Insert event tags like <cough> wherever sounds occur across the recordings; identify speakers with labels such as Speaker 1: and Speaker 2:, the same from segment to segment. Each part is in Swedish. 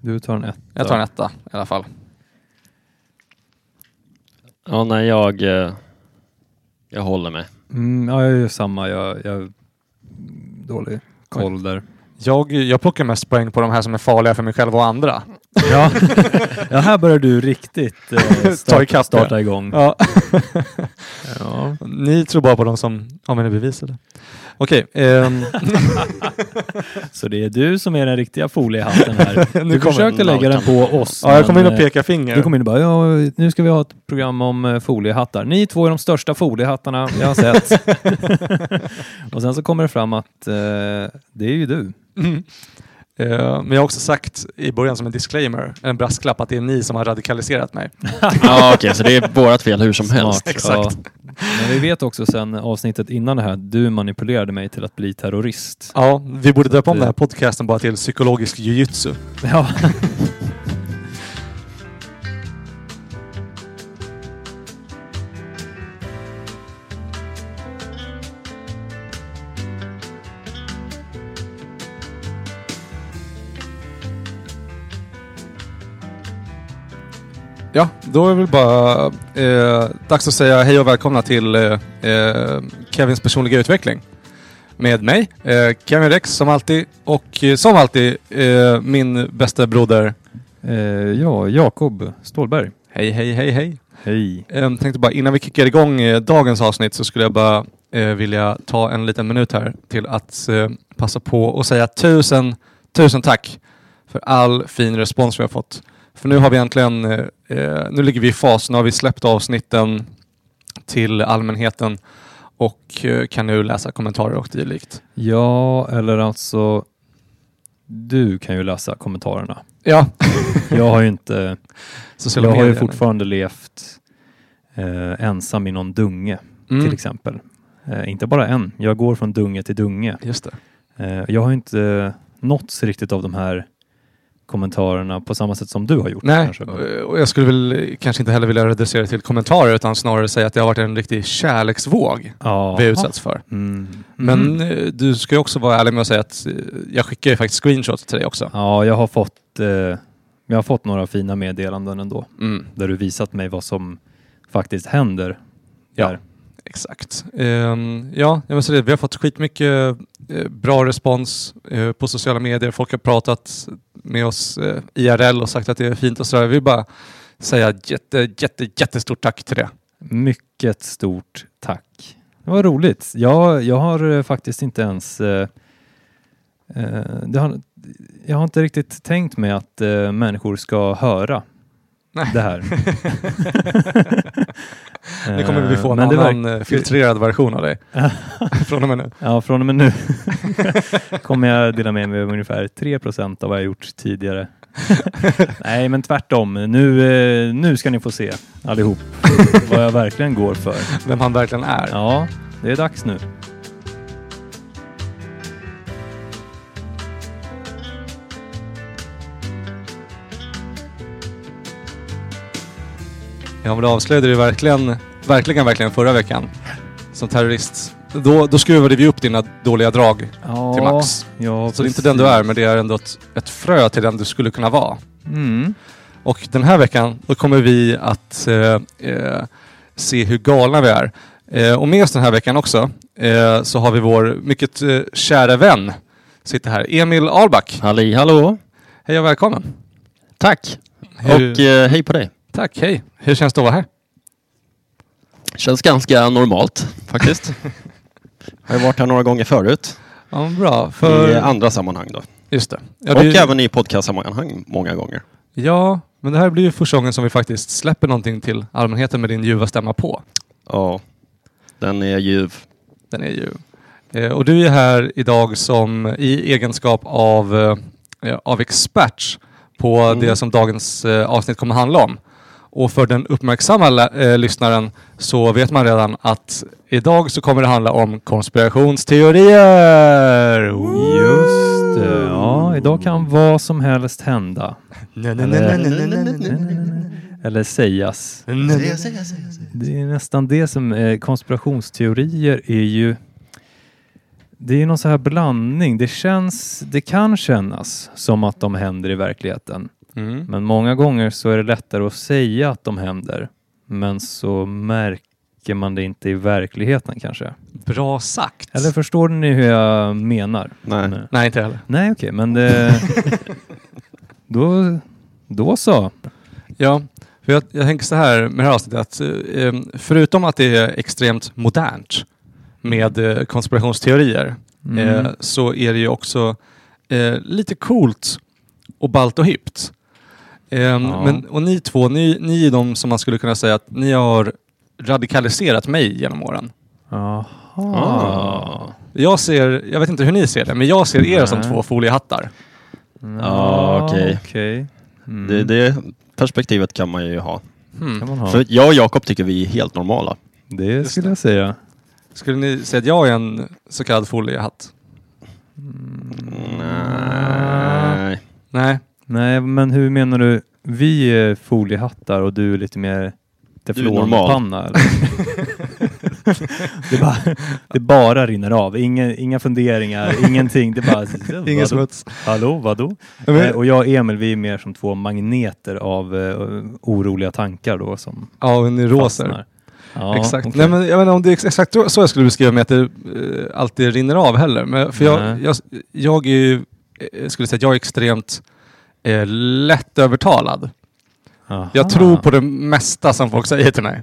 Speaker 1: Du tar en etta.
Speaker 2: Jag tar en etta i alla fall.
Speaker 3: Ja, nej, jag, eh, jag
Speaker 4: <laughs>
Speaker 3: håller med.
Speaker 1: Mm, ja, jag är ju samma. Jag, jag dålig koll där.
Speaker 4: Jag, jag plockar mest poäng på de här som är farliga för mig själv och andra.
Speaker 1: Ja. <laughs> ja, här börjar du riktigt eh,
Speaker 4: <laughs> Ta
Speaker 1: starta,
Speaker 4: ikapp det.
Speaker 1: starta igång.
Speaker 4: Ja.
Speaker 1: Ja.
Speaker 4: <laughs> Ni tror bara på de som har mina bevis eller? Okej, <laughs> ehm,
Speaker 1: Så det är du som är den riktiga foliehatten här.
Speaker 4: <laughs> Nu
Speaker 1: Du
Speaker 4: kommer
Speaker 1: försökte lägga den på oss.
Speaker 4: ja, jag kommer in
Speaker 1: men,
Speaker 4: och
Speaker 1: eh,
Speaker 4: pekar finger.
Speaker 1: Du kommer in och bara, ja, nu ska vi ha ett program om eh, foliehattar. Ni två är de största foliehattarna jag har
Speaker 4: <laughs>
Speaker 1: sett. <laughs> och sen så kommer det fram att eh, det är ju du.
Speaker 4: Mm. Eh, men jag har också sagt i början som en disclaimer, en brasklapp, att det är ni som har radikaliserat mig.
Speaker 3: Ja, okej, så det är vårt fel hur som
Speaker 4: <laughs>
Speaker 3: helst.
Speaker 4: Exakt.
Speaker 1: Ja. Men vi vet också sen avsnittet innan det här, du manipulerade mig till att bli terrorist.
Speaker 4: Ja, vi borde döpa om
Speaker 1: det-
Speaker 4: den här podcasten bara till psykologisk jujutsu.
Speaker 1: <laughs> Ja.
Speaker 4: Ja, då är det väl bara eh, dags att säga hej och välkomna till eh, eh, Kevins personliga utveckling. Med mig, eh, Kevin Rex som alltid och eh, som alltid eh, min bästa broder.
Speaker 1: Eh, ja, Jakob Stålberg.
Speaker 4: Hej, hej, hej, hej.
Speaker 1: Hej.
Speaker 4: Eh, tänkte bara innan vi kickar igång eh, dagens avsnitt så skulle jag bara eh, vilja ta en liten minut här till att eh, passa på och säga tusen, tusen tack för all fin respons vi har fått. För nu har vi äntligen, eh, eh, nu ligger vi i fas, nu har vi släppt avsnitten till allmänheten och eh, kan nu läsa kommentarer och dylikt.
Speaker 1: Ja, eller alltså, du kan ju läsa kommentarerna.
Speaker 4: Ja,
Speaker 1: Jag har ju inte,
Speaker 4: sociala
Speaker 1: jag har ju
Speaker 4: medier.
Speaker 1: fortfarande levt eh, ensam i någon dunge
Speaker 4: Mm,
Speaker 1: till exempel. Eh, inte bara en, jag går från dunge till dunge.
Speaker 4: Just det.
Speaker 1: Eh, jag har ju inte eh, nåtts riktigt av de här kommentarerna på samma sätt som du har gjort.
Speaker 4: Nej,
Speaker 1: kanske.
Speaker 4: och jag skulle väl eh, kanske inte heller vilja reducera det till kommentarer utan snarare säga att det har varit en riktig kärleksvåg
Speaker 1: Ja.
Speaker 4: vi utsatts för.
Speaker 1: Mm.
Speaker 4: Men eh, du ska ju också vara ärlig med att säga att eh, jag skickar ju faktiskt screenshots till dig också.
Speaker 1: Ja, jag har fått, eh, jag har fått några fina meddelanden ändå
Speaker 4: Mm,
Speaker 1: där du visat mig vad som faktiskt händer.
Speaker 4: Ja.
Speaker 1: där.
Speaker 4: exakt. Ehm, ja, jag vill säga det. Vi har fått skitmycket eh, bra respons eh, på sociala medier. Folk har pratat med oss eh, IRL och sagt att det är fint och sådär. Vi vill bara säga jätte, jätte, jättestort tack
Speaker 1: <laughs>
Speaker 4: till det.
Speaker 1: Mycket stort tack. Det var roligt. Jag, jag har eh, faktiskt inte ens... Eh, eh, det har, jag har inte riktigt tänkt mig att eh, människor ska höra
Speaker 4: Nej.
Speaker 1: det här.
Speaker 4: <laughs>
Speaker 1: <laughs>
Speaker 4: Nu kommer vi få en
Speaker 1: Men det
Speaker 4: annan eh, filtrerad version av dig
Speaker 1: <laughs>
Speaker 4: från och med nu.
Speaker 1: Ja, från och med nu <laughs> kommer jag dela med mig av ungefär 3 av vad jag gjort tidigare. Nej, men tvärtom. Nu, eh, nu ska ni få se allihop vad jag verkligen går för.
Speaker 4: Vem han verkligen är.
Speaker 1: Ja, det är dags nu.
Speaker 4: Ja, men det avslöjade du verkligen, verkligen, verkligen förra veckan som terrorist. Då, då skruvade vi upp dina dåliga drag
Speaker 1: Ja,
Speaker 4: till max.
Speaker 1: Ja,
Speaker 4: Så det är inte
Speaker 1: precis.
Speaker 4: den du är, men det är ändå ett, ett frö till den du skulle kunna vara.
Speaker 1: Mm.
Speaker 4: Och den här veckan då kommer vi att eh, eh, se hur galna vi är. Eh, och med oss den här veckan också eh, så har vi vår mycket eh, kära vän sitter här, Emil Alback.
Speaker 3: Halli hallå!
Speaker 4: Hej och välkommen.
Speaker 3: Tack!
Speaker 4: Hur,
Speaker 3: Och eh, hej på dig.
Speaker 4: tack, hej. Hur känns det att vara här?
Speaker 3: Känns ganska normalt
Speaker 4: <laughs>
Speaker 3: faktiskt. Har ju varit här några gånger förut.
Speaker 4: Ja, bra.
Speaker 3: I andra sammanhang då.
Speaker 4: Just det. Ja,
Speaker 3: och
Speaker 4: det är ju-
Speaker 3: även i podcastsammanhang många gånger.
Speaker 4: ja, men det här blir ju första gången som vi faktiskt släpper någonting till allmänheten med din ljuva stämma på.
Speaker 3: Ja, den är ljuv.
Speaker 4: Den är ju... Eh, och du är här idag som i egenskap av, eh, av expert på
Speaker 3: Mm.
Speaker 4: det som dagens eh, avsnitt kommer handla om. Och för den uppmärksamma lä- eh, lyssnaren så vet man redan att idag så kommer det handla om konspirationsteorier!
Speaker 1: Just det. Ja, idag kan vad som helst hända. Eller sägas. Det är nästan det som eh, konspirationsteorier är ju det är någon så här blandning. Det, känns, det kan kännas som att de händer i verkligheten.
Speaker 4: Mm.
Speaker 1: Men många gånger så är det lättare att säga att de händer. Men så märker man det inte i verkligheten kanske.
Speaker 4: Bra sagt.
Speaker 1: Eller förstår ni hur jag menar?
Speaker 3: Nej.
Speaker 1: Nej.
Speaker 4: Nej, inte heller.
Speaker 1: Nej, okej, men det... då, då så.
Speaker 4: Ja, för jag, jag tänker så här med det här avsnittet. Att, eh, eh, förutom att det är extremt modernt med eh, konspirationsteorier
Speaker 1: Mm.
Speaker 4: eh, så är det ju också eh, lite coolt och ballt och hippt. Eh,
Speaker 1: Ja.
Speaker 4: men, och ni två, ni, ni är de som man skulle kunna säga att ni har radikaliserat mig genom åren.
Speaker 1: Jaha.
Speaker 3: Ah.
Speaker 4: Jag ser, jag vet inte hur ni ser det, men jag ser er som
Speaker 1: Nej.
Speaker 4: två foliehattar.
Speaker 1: Ja,
Speaker 3: Ah, okej.
Speaker 1: okej. Mm.
Speaker 3: Det, det perspektivet kan man ju ha.
Speaker 1: kan man ha.
Speaker 3: För jag och Jakob tycker vi är helt normala.
Speaker 1: Det
Speaker 4: Just
Speaker 1: skulle
Speaker 4: det.
Speaker 1: jag säga.
Speaker 4: Skulle ni säga att jag är en så kallad foliehatt?
Speaker 1: Mm.
Speaker 4: Mm.
Speaker 3: Nej.
Speaker 4: Nej.
Speaker 1: Nej, men hur menar du? Vi är foliehattar och du är lite mer teflonpanna. eller? <laughs> det, bara, det bara rinner av. Inga, inga funderingar,
Speaker 3: <laughs>
Speaker 1: ingenting. Det bara... vadå? Hallå, vadå? Eh, och jag och Emil, vi är mer som två magneter av eh, oroliga tankar då som
Speaker 4: Ja, och neuroser.
Speaker 1: fastnar. Ja,
Speaker 4: exakt.
Speaker 1: okej.
Speaker 4: Nej, men jag vet inte om det är ex- exakt så jag skulle beskriva mig, att det eh, alltid rinner av heller. Men, för jag,
Speaker 1: Nej.
Speaker 4: jag, jag är ju, eh, skulle säga att jag är extremt eh, lättövertalad.
Speaker 1: Aha.
Speaker 4: Jag tror på det mesta som folk säger
Speaker 1: <laughs>
Speaker 4: till mig.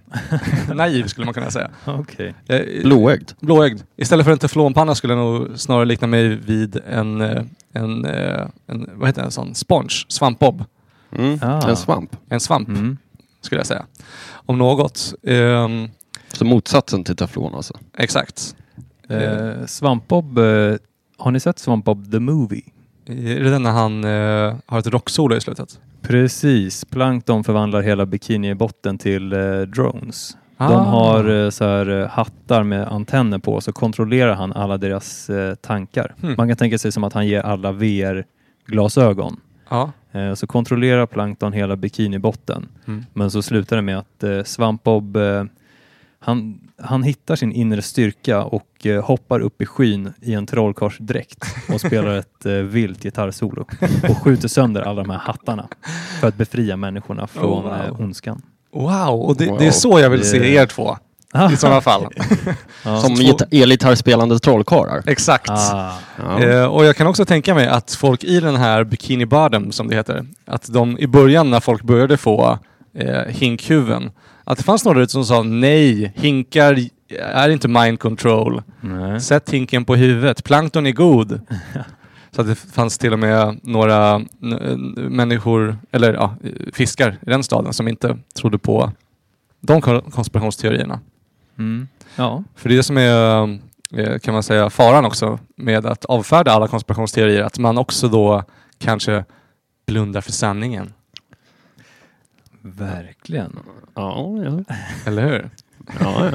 Speaker 4: Naiv skulle man kunna säga.
Speaker 1: Okej.
Speaker 4: Jag,
Speaker 3: Blåögd.
Speaker 4: blåögd. Istället för en teflonpanna skulle jag nog snarare likna mig vid en, eh, en, eh, en vad heter det, en sån sponge, svampbob.
Speaker 3: Mm.
Speaker 1: Ah.
Speaker 3: En svamp.
Speaker 4: En svamp
Speaker 1: Mm.
Speaker 4: skulle jag säga. Om något. Ehm,
Speaker 3: Så motsatsen till teflon alltså.
Speaker 4: exakt.
Speaker 1: Eh, Svampbob, eh, har ni sett Svampbob the Movie?
Speaker 4: Är det den när han eh, har ett rocksolo i slutet?
Speaker 1: Precis, Plankton förvandlar hela bikinibotten till eh, drones.
Speaker 4: Ah.
Speaker 1: De har eh, så här, eh, hattar med antenner på så kontrollerar han alla deras eh, tankar.
Speaker 4: Hmm.
Speaker 1: Man kan tänka sig som att han ger alla VR-glasögon.
Speaker 4: Ja.
Speaker 1: Eh, så kontrollerar Plankton hela bikinibotten.
Speaker 4: Mm.
Speaker 1: Men så slutar det med att eh, Svampbob eh, han, han hittar sin inre styrka och eh, hoppar upp i skyn i en trollkarlsdräkt och spelar ett eh, vilt gitarrsolo och skjuter sönder alla de här hattarna för att befria människorna från
Speaker 4: wow.
Speaker 1: eh, ondskan.
Speaker 4: Wow, och det,
Speaker 3: Wow.
Speaker 4: det är så jag vill
Speaker 1: Det- Ah.
Speaker 4: se er två i
Speaker 1: <laughs>
Speaker 4: sådana fall.
Speaker 1: Ja.
Speaker 3: Som
Speaker 4: två-
Speaker 3: gita- elgitarrspelande trollkarlar.
Speaker 4: Exakt.
Speaker 1: Ah.
Speaker 3: Ja.
Speaker 4: Eh, och jag kan också tänka mig att folk i den här Bikini Bottom, som det heter, att de i början när folk började få eh, hinkhuven, att det fanns några ute som sa nej, hinkar är inte mind control.
Speaker 1: Nej.
Speaker 4: Sätt hinken på huvudet, plankton är <laughs> god. Så att det fanns till och med några n- n- människor, eller ja, fiskar i den staden som inte trodde på de kon- konspirationsteorierna.
Speaker 1: Mm. Ja.
Speaker 4: För det är det som är, eh, kan man säga, faran också med att avfärda alla konspirationsteorier, att man också då kanske blundar för sanningen.
Speaker 1: Verkligen.
Speaker 3: Ja, ja.
Speaker 4: Eller hur?
Speaker 3: ja,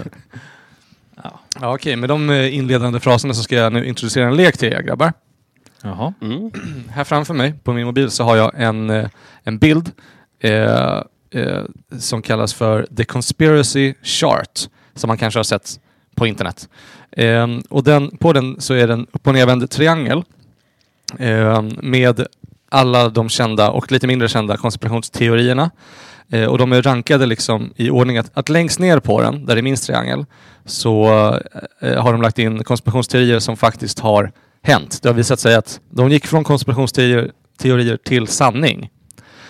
Speaker 3: ja.
Speaker 4: Ja, okej, med de eh, inledande fraserna så ska jag nu introducera en lek till er grabbar.
Speaker 1: <laughs> Jaha.
Speaker 3: Mm.
Speaker 4: Här framför mig på min mobil så har jag en, eh, en bild eh, eh, som kallas för The Conspiracy Chart som man kanske har sett på internet. Eh, och den, på den så är det en upp och nedvänd triangel eh, med alla de kända och lite mindre kända konspirationsteorierna. Eh, och de är rankade liksom i ordning att, att längst ner på den, där det är minst triangel, så eh, har de lagt in konspirationsteorier som faktiskt har hänt. Det har visat sig att de gick från konspirationsteorier teorier till sanning.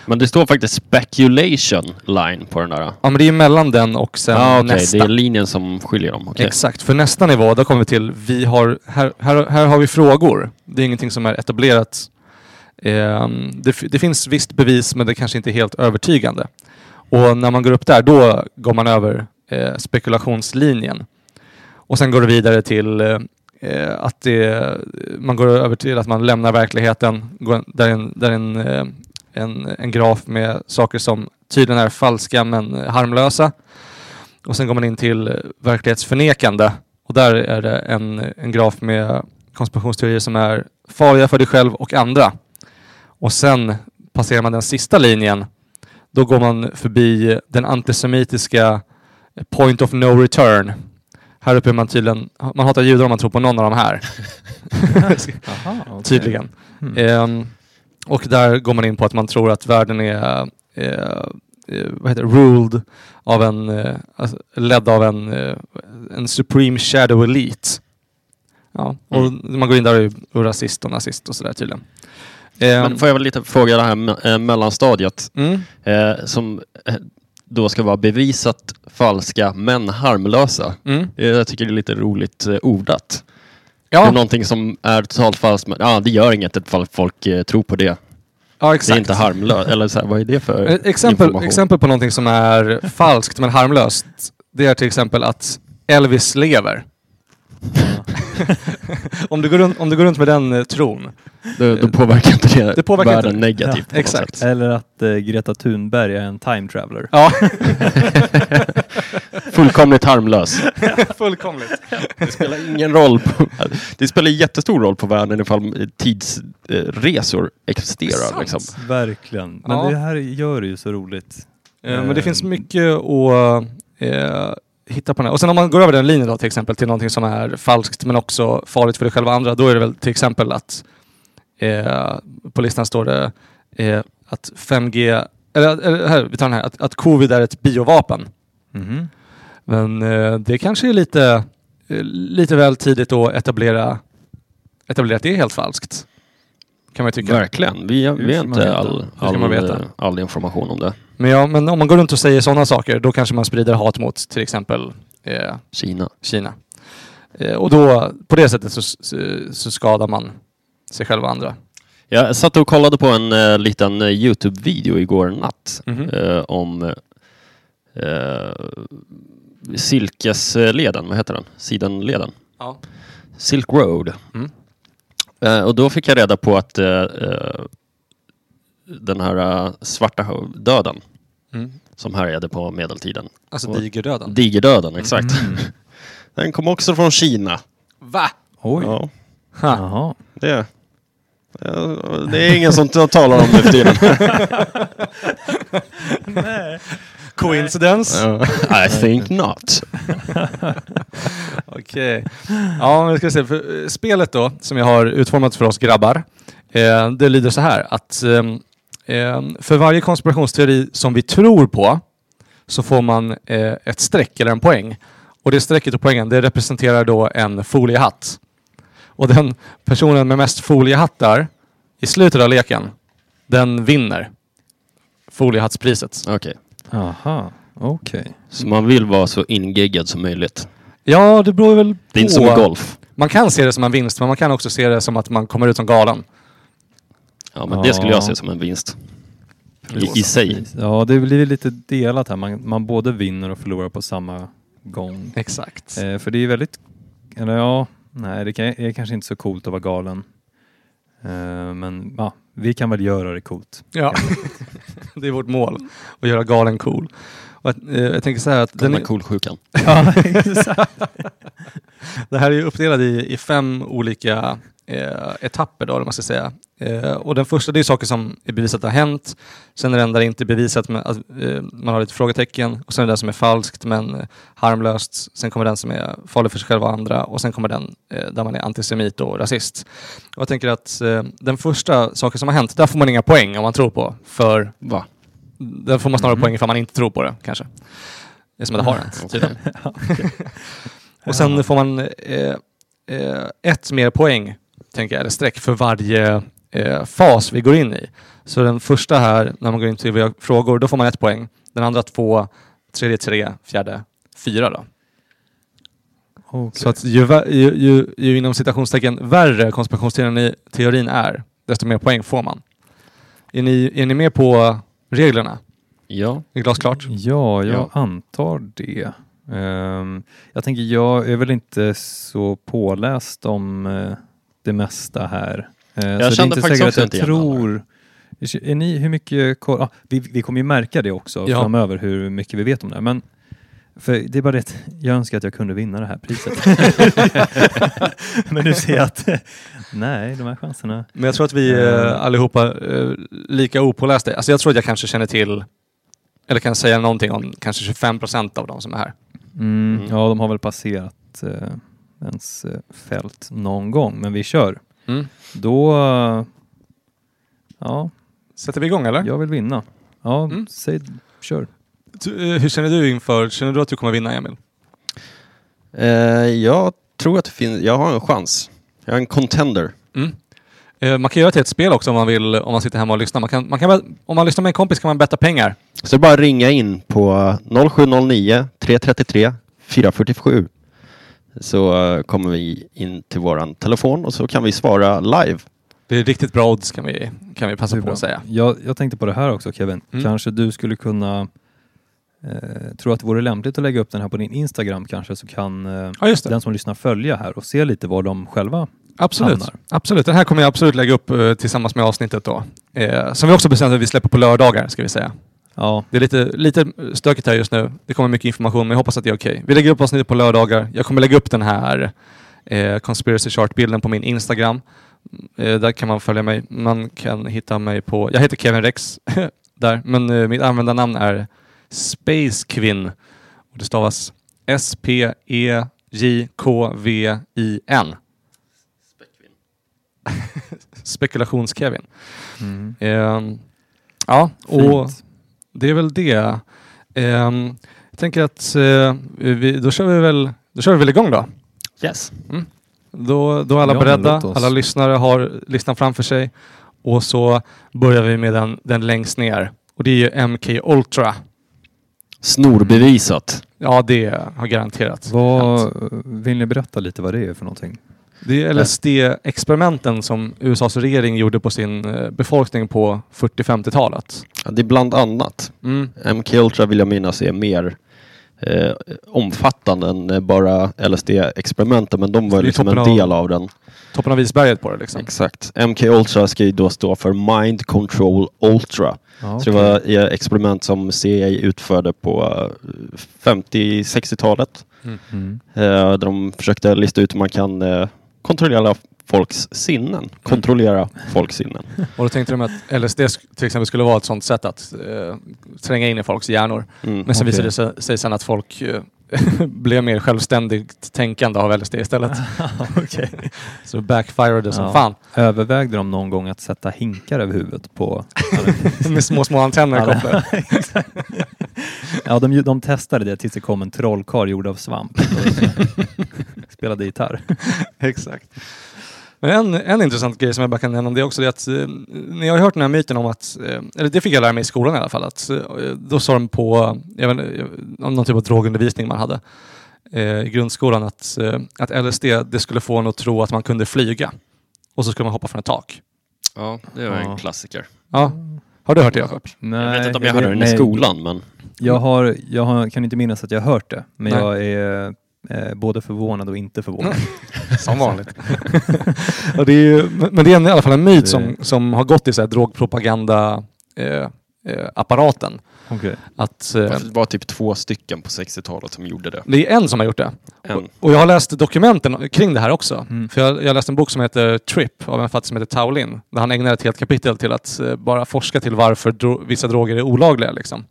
Speaker 3: Men det står faktiskt speculation line på den där.
Speaker 4: Ja, men det är ju mellan den och sen
Speaker 3: Ja, okej.
Speaker 4: nästa.
Speaker 3: Det är linjen som skiljer dem. Okej.
Speaker 4: Exakt, för nästa nivå, då kommer vi till, vi har, här, här, här har vi frågor. Det är ingenting som är etablerat. Ehm, det, f- det finns visst bevis, men det kanske inte är helt övertygande. Och när man går upp där, då går man över eh, spekulationslinjen. Och sen går det vidare till eh, eh, att det, man går över till att man lämnar verkligheten. Går, där är en, där är en, eh, en, en graf med saker som tydligen är falska men harmlösa. Och sen går man in till eh, verklighetsförnekande. Och där är det en, en graf med konspirationsteorier som är farliga för dig själv och andra. Och sen passerar man den sista linjen. Då går man förbi den antisemitiska point of no return. Här uppe är man tydligen... Man hatar judar om man tror på någon av de här.
Speaker 1: Aha, okej.
Speaker 4: Tydligen.
Speaker 1: Mm.
Speaker 4: Ehm, och där går man in på att man tror att världen är eh, eh, vad heter det? ruled av en, eh, alltså, ledd av en, eh, en supreme shadow elite. Ja, och
Speaker 3: Mm.
Speaker 4: man går in där och är och rasist och nazist och sådär tydligen. Ehm,
Speaker 3: Men får jag väl lite fråga det här me- eh, mellanstadiet
Speaker 4: mm,
Speaker 3: eh, som eh, då ska vara bevisat falska men harmlösa.
Speaker 4: mm.
Speaker 3: Eh, Jag tycker det är lite roligt eh, ordat. Det är
Speaker 4: Ja,
Speaker 3: någonting som är totalt falskt men ah, det gör inget ifall folk eh, tror på det.
Speaker 4: ja,
Speaker 3: Det är
Speaker 4: exakt.
Speaker 3: inte harmlöst. Eller så här, vad är det för
Speaker 4: Ett exempel,
Speaker 3: information?
Speaker 4: exempel på någonting som är <laughs> falskt men harmlöst, det är till exempel att Elvis lever. <laughs> om, du går runt, om du går runt med den eh, tron,
Speaker 3: Då, då påverkar inte det,
Speaker 4: Det påverkar
Speaker 3: världen
Speaker 4: inte det.
Speaker 3: negativt
Speaker 4: Ja,
Speaker 3: på något
Speaker 4: exakt.
Speaker 3: sätt. <laughs>
Speaker 1: Eller att eh, Greta Thunberg är en time traveler.
Speaker 4: Ja,
Speaker 3: Fullkomligt harmlös.
Speaker 4: fullkomligt.
Speaker 3: Det spelar ingen roll. På, det spelar jättestor roll på världen ifall eh, tidsresor existerar. Liksom.
Speaker 1: Verkligen. Men
Speaker 4: Ja.
Speaker 1: det här gör det ju så roligt.
Speaker 4: Eh, Men det finns mycket att eh, hitta på den här. Och sen om man går över den linjen då till exempel till någonting som är falskt men också farligt för dig själv och andra. Då är det väl till exempel att eh, på listan står det eh, att 5G, eller, eller här, vi tar den här, att, att covid är ett biovapen.
Speaker 1: Mhm.
Speaker 4: Men eh, det kanske är lite, eh, lite väl tidigt att etablera, etablera att det är helt falskt. Kan man ju tycka.
Speaker 3: Verkligen. Vi har vi har
Speaker 1: ska man
Speaker 3: inte
Speaker 1: veta?
Speaker 3: all,
Speaker 4: ska man
Speaker 3: all,
Speaker 4: veta?
Speaker 3: eh, all information om det.
Speaker 4: Men, ja, men om man går runt och säger sådana saker, då kanske man sprider hat mot till exempel eh,
Speaker 3: Kina.
Speaker 4: Kina. Eh, och då, på det sättet så, så, så skadar man sig själv och andra.
Speaker 3: Jag satt och kollade på en eh, liten eh, Youtube-video igår natt
Speaker 4: Mhm.
Speaker 3: eh, om eh, silkesleden, vad heter den? Sidenleden.
Speaker 4: Ja.
Speaker 3: Silk Road.
Speaker 4: Mm.
Speaker 3: Eh, och då fick jag reda på att eh, eh, den här eh, svarta hö- döden
Speaker 4: Mm.
Speaker 3: som härjade på medeltiden,
Speaker 4: Alltså
Speaker 3: Och-
Speaker 4: digerdöden.
Speaker 3: digerdöden exakt,
Speaker 1: Mm.
Speaker 3: den kom också från Kina.
Speaker 4: Va?
Speaker 1: Oj.
Speaker 3: Ja,
Speaker 4: Ha.
Speaker 1: Jaha.
Speaker 3: det. eh, Det är ingen som t- talar om det
Speaker 4: <laughs>
Speaker 3: för tiden.
Speaker 4: Coincidence?
Speaker 3: I think not.
Speaker 4: Okej. Ja, men vi ska se. För, eh, spelet då, som jag har utformat för oss grabbar, eh, det lyder så här att ehm, ehm, för varje konspirationsteori som vi tror på så får man eh, ett streck eller en poäng. Och det strecket och poängen, det representerar då en foliehatt. Och den personen med mest foliehattar i slutet av leken, den vinner foliehattspriset.
Speaker 3: Okej,
Speaker 1: Aha. Okej.
Speaker 3: så man vill vara så ingiggad som möjligt.
Speaker 4: Ja, det beror väl på.
Speaker 3: Det är inte som med golf.
Speaker 4: Man kan se det som en vinst, men man kan också se det som att man kommer ut som galen.
Speaker 3: Ja, men det skulle
Speaker 1: Ja.
Speaker 3: jag se som en vinst. I, i sig.
Speaker 1: Ja, det blir lite delat här. Man, man både vinner och förlorar på samma gång.
Speaker 4: Exakt.
Speaker 1: Eh, för det är väldigt... Eller ja, nej, det kan, är kanske inte så coolt att vara galen. Eh, men ja, vi kan väl göra det coolt.
Speaker 4: Ja, <laughs> det är vårt mål. Att göra galen cool. Och att, eh, jag tänker så här att den
Speaker 3: Den
Speaker 4: är,
Speaker 3: här kolsjukan.
Speaker 1: ja, <laughs> exakt.
Speaker 4: <laughs> det här är ju uppdelat i, i fem olika eh, etapper då, eller vad man ska säga. Eh, och den första det är saker som är bevisat har hänt. Sen är den där det inte är bevisat, men att, eh, man har lite frågetecken. Och sen är det den som är falskt men eh, harmlöst. Sen kommer den som är farlig för sig själv och andra. Och sen kommer den eh, där man är antisemit och rasist. Och jag tänker att eh, den första saken som har hänt, där får man inga poäng om man tror på. För
Speaker 3: Va?
Speaker 4: Där får man snarare
Speaker 1: Mhm.
Speaker 4: poäng ifall man inte tror på det kanske. Det är som att det har hänt. tydligen. Och sen får man eh, eh, ett mer poäng, tänker jag, eller streck, för varje eh, fas vi går in i. Så den första här, när man går in till våra frågor, då får man ett poäng. Den andra två, tredje tre, fjärde fyra då.
Speaker 1: Okej.
Speaker 4: Så att ju, vä- ju, ju, ju inom citationstecken värre konspirationsteorin i- teorin är, desto mer poäng får man. Är ni, är ni med på reglerna?
Speaker 3: Ja.
Speaker 4: Det är glasklart.
Speaker 1: Ja, jag
Speaker 4: Ja.
Speaker 1: antar det. Ehm, jag tänker, jag är väl inte så påläst om eh, det mesta här. Eh, så det är
Speaker 3: kände
Speaker 1: inte
Speaker 3: faktiskt
Speaker 1: säkert
Speaker 3: också
Speaker 1: att
Speaker 3: inte
Speaker 1: jag
Speaker 3: igen
Speaker 1: tror... Är ni, hur mycket koll... Ah, vi, vi kommer ju märka det också
Speaker 4: Ja.
Speaker 1: framöver, hur mycket vi vet om det här. Men för det är bara det att jag önskar att jag kunde vinna det här
Speaker 3: <laughs>
Speaker 1: priset. <laughs> Men nu ser jag att <laughs> nej, de här chanserna...
Speaker 4: Men jag tror att vi
Speaker 1: Mm.
Speaker 4: eh, allihopa eh, lika opålästa. Alltså jag tror att jag kanske känner till, eller kan säga någonting om kanske 25 procent av de som är här.
Speaker 1: Mm,
Speaker 3: Mm.
Speaker 1: Ja, de har väl passerat passerat eh, ens eh, fält någon gång, men vi kör.
Speaker 4: Mm.
Speaker 1: Då... eh, Ja,
Speaker 4: Sätter vi igång eller?
Speaker 1: jag vill vinna. Ja,
Speaker 4: Mm.
Speaker 1: säg, kör.
Speaker 4: Du, eh, Hur känner du inför, känner du att du kommer vinna Emil?
Speaker 3: Eh, jag tror att det finns, jag har en chans. Jag är en contender.
Speaker 4: Mm. Eh, Man kan göra till ett spel också om man vill, om man sitter hemma och lyssnar. Man kan, man kan, väl- om man lyssnar med en kompis kan man betta pengar.
Speaker 3: Så det är bara att ringa in på 0709 333 447. Så eh, kommer vi in till våran telefon och så kan vi svara live.
Speaker 4: Det är riktigt bra odds kan vi, kan vi passa
Speaker 1: Det är
Speaker 4: på
Speaker 1: bra.
Speaker 4: att säga.
Speaker 1: Jag, jag tänkte på det här också Kevin.
Speaker 4: Mm.
Speaker 1: Kanske du skulle kunna... Eh, tror att det vore lämpligt att lägga upp den här på din Instagram kanske så kan eh,
Speaker 4: Ja, just det.
Speaker 1: den som lyssnar följa här och se lite vad de själva...
Speaker 4: Absolut.
Speaker 1: hamnar.
Speaker 4: absolut. Den här kommer jag absolut lägga upp eh, tillsammans med avsnittet då. Eh, som vi också bestämt att vi släpper på lördagar ska vi säga.
Speaker 1: Ja,
Speaker 4: Det är lite, lite stökigt här just nu. Det kommer mycket information men jag hoppas att det är okej. Vi lägger upp avsnittet på lördagar. Jag kommer lägga upp den här eh, Conspiracy Chart-bilden på min Instagram. Eh, där kan man följa mig. Man kan hitta mig på... Jag heter Kevin Rex <laughs> där, men eh, mitt användarnamn är Spacekvin. Och det stavas E S-P-E-J-K-V-I-N. <laughs> Spekulations-Kevin.
Speaker 1: mm.
Speaker 4: Ehm, ja, och
Speaker 1: fint.
Speaker 4: det är väl det. Ehm, jag tänker att eh, vi, då, kör vi väl, då kör vi väl igång då.
Speaker 3: Yes.
Speaker 4: Då, då är alla
Speaker 1: Ja, men
Speaker 4: beredda,
Speaker 1: låt oss.
Speaker 4: alla lyssnare har listan framför sig. Och så börjar vi med den, den längst ner. Och det är ju MK Ultra.
Speaker 3: Snorbevisat.
Speaker 4: Ja, det har garanterat hänt.
Speaker 1: Vad, vill ni berätta lite vad det är för någonting?
Speaker 4: Det är LSD-experimenten som USAs regering gjorde på sin eh, befolkning på 40-50-talet.
Speaker 3: Ja, det är bland annat.
Speaker 4: Mm.
Speaker 3: MK Ultra vill jag minnas är mer eh, omfattande än eh, bara LSD-experimenten men de
Speaker 4: Så det
Speaker 3: var
Speaker 4: är
Speaker 3: liksom en
Speaker 4: toppen av-
Speaker 3: del av den.
Speaker 4: Toppen av isberget på det liksom.
Speaker 3: Exakt. MK Ultra ska ju då stå för Mind Control Ultra.
Speaker 1: Ja,
Speaker 3: Så det
Speaker 1: okej.
Speaker 3: var eh, experiment som CIA utförde på eh, 50-60-talet.
Speaker 4: <laughs>
Speaker 1: Mm.
Speaker 3: Eh, där de försökte lista ut hur man kan eh, kontrollera folks sinnen. Kontrollera folks sinnen.
Speaker 4: Och då tänkte de att LSD sk- till exempel skulle vara ett sånt sätt att eh, tränga in i folks hjärnor.
Speaker 3: Mm.
Speaker 4: Men sen
Speaker 1: Okej.
Speaker 4: visade det sig- sig sen att folk eh, <laughs> blev mer självständigt tänkande av
Speaker 1: <laughs>
Speaker 4: LSD istället. Så det backfirade som
Speaker 1: Ja.
Speaker 4: fan. <laughs>
Speaker 1: Övervägde de någon gång att sätta hinkar över huvudet på...
Speaker 4: Med små, små antenner
Speaker 1: Alla- <laughs>
Speaker 4: kopplade.
Speaker 1: Exakt. ja, de, ju- de testade det tills det kom en trollkarl gjord av svamp. Och <laughs> Spelade gitarr.
Speaker 4: Exakt. Men en, en intressant grej som jag bara kan nämna om det också är att eh, ni har ju hört den här myten om att, eh, eller det fick jag lära mig i skolan i alla fall, att eh, då sa de på, jag vet, inte, om någon typ av drogundervisning man hade eh, i grundskolan, att, eh, att LSD det skulle få en att tro att man kunde flyga och så skulle man hoppa från ett tak.
Speaker 3: Ja, det
Speaker 1: var en Ja.
Speaker 3: klassiker.
Speaker 4: Ja. Har du hört det Jakob?
Speaker 1: Nej,
Speaker 3: Jag vet inte om jag hörde den i
Speaker 1: nej.
Speaker 3: skolan men
Speaker 1: Jag, har, jag har, kan inte minnas att jag har hört det, men
Speaker 4: Nej.
Speaker 1: jag är eh, både förvånad och inte förvånad.
Speaker 4: Som vanligt. <laughs> och det är ju, men det är en, i alla fall en myt som, som har gått i så här drogpropaganda eh, eh, apparaten.
Speaker 1: <laughs> Okej.
Speaker 4: Att, eh,
Speaker 3: det var typ två stycken på 60-talet som gjorde det. eh,
Speaker 4: Det är en som har gjort det.
Speaker 3: En.
Speaker 4: Och jag har läst dokumenten kring det här också.
Speaker 1: Mm.
Speaker 4: För jag, jag läste en bok som heter Trip av en författare som heter Taolin. Där han ägnar ett helt kapitel till att eh, bara forska till varför dro- vissa droger är olagliga. Liksom.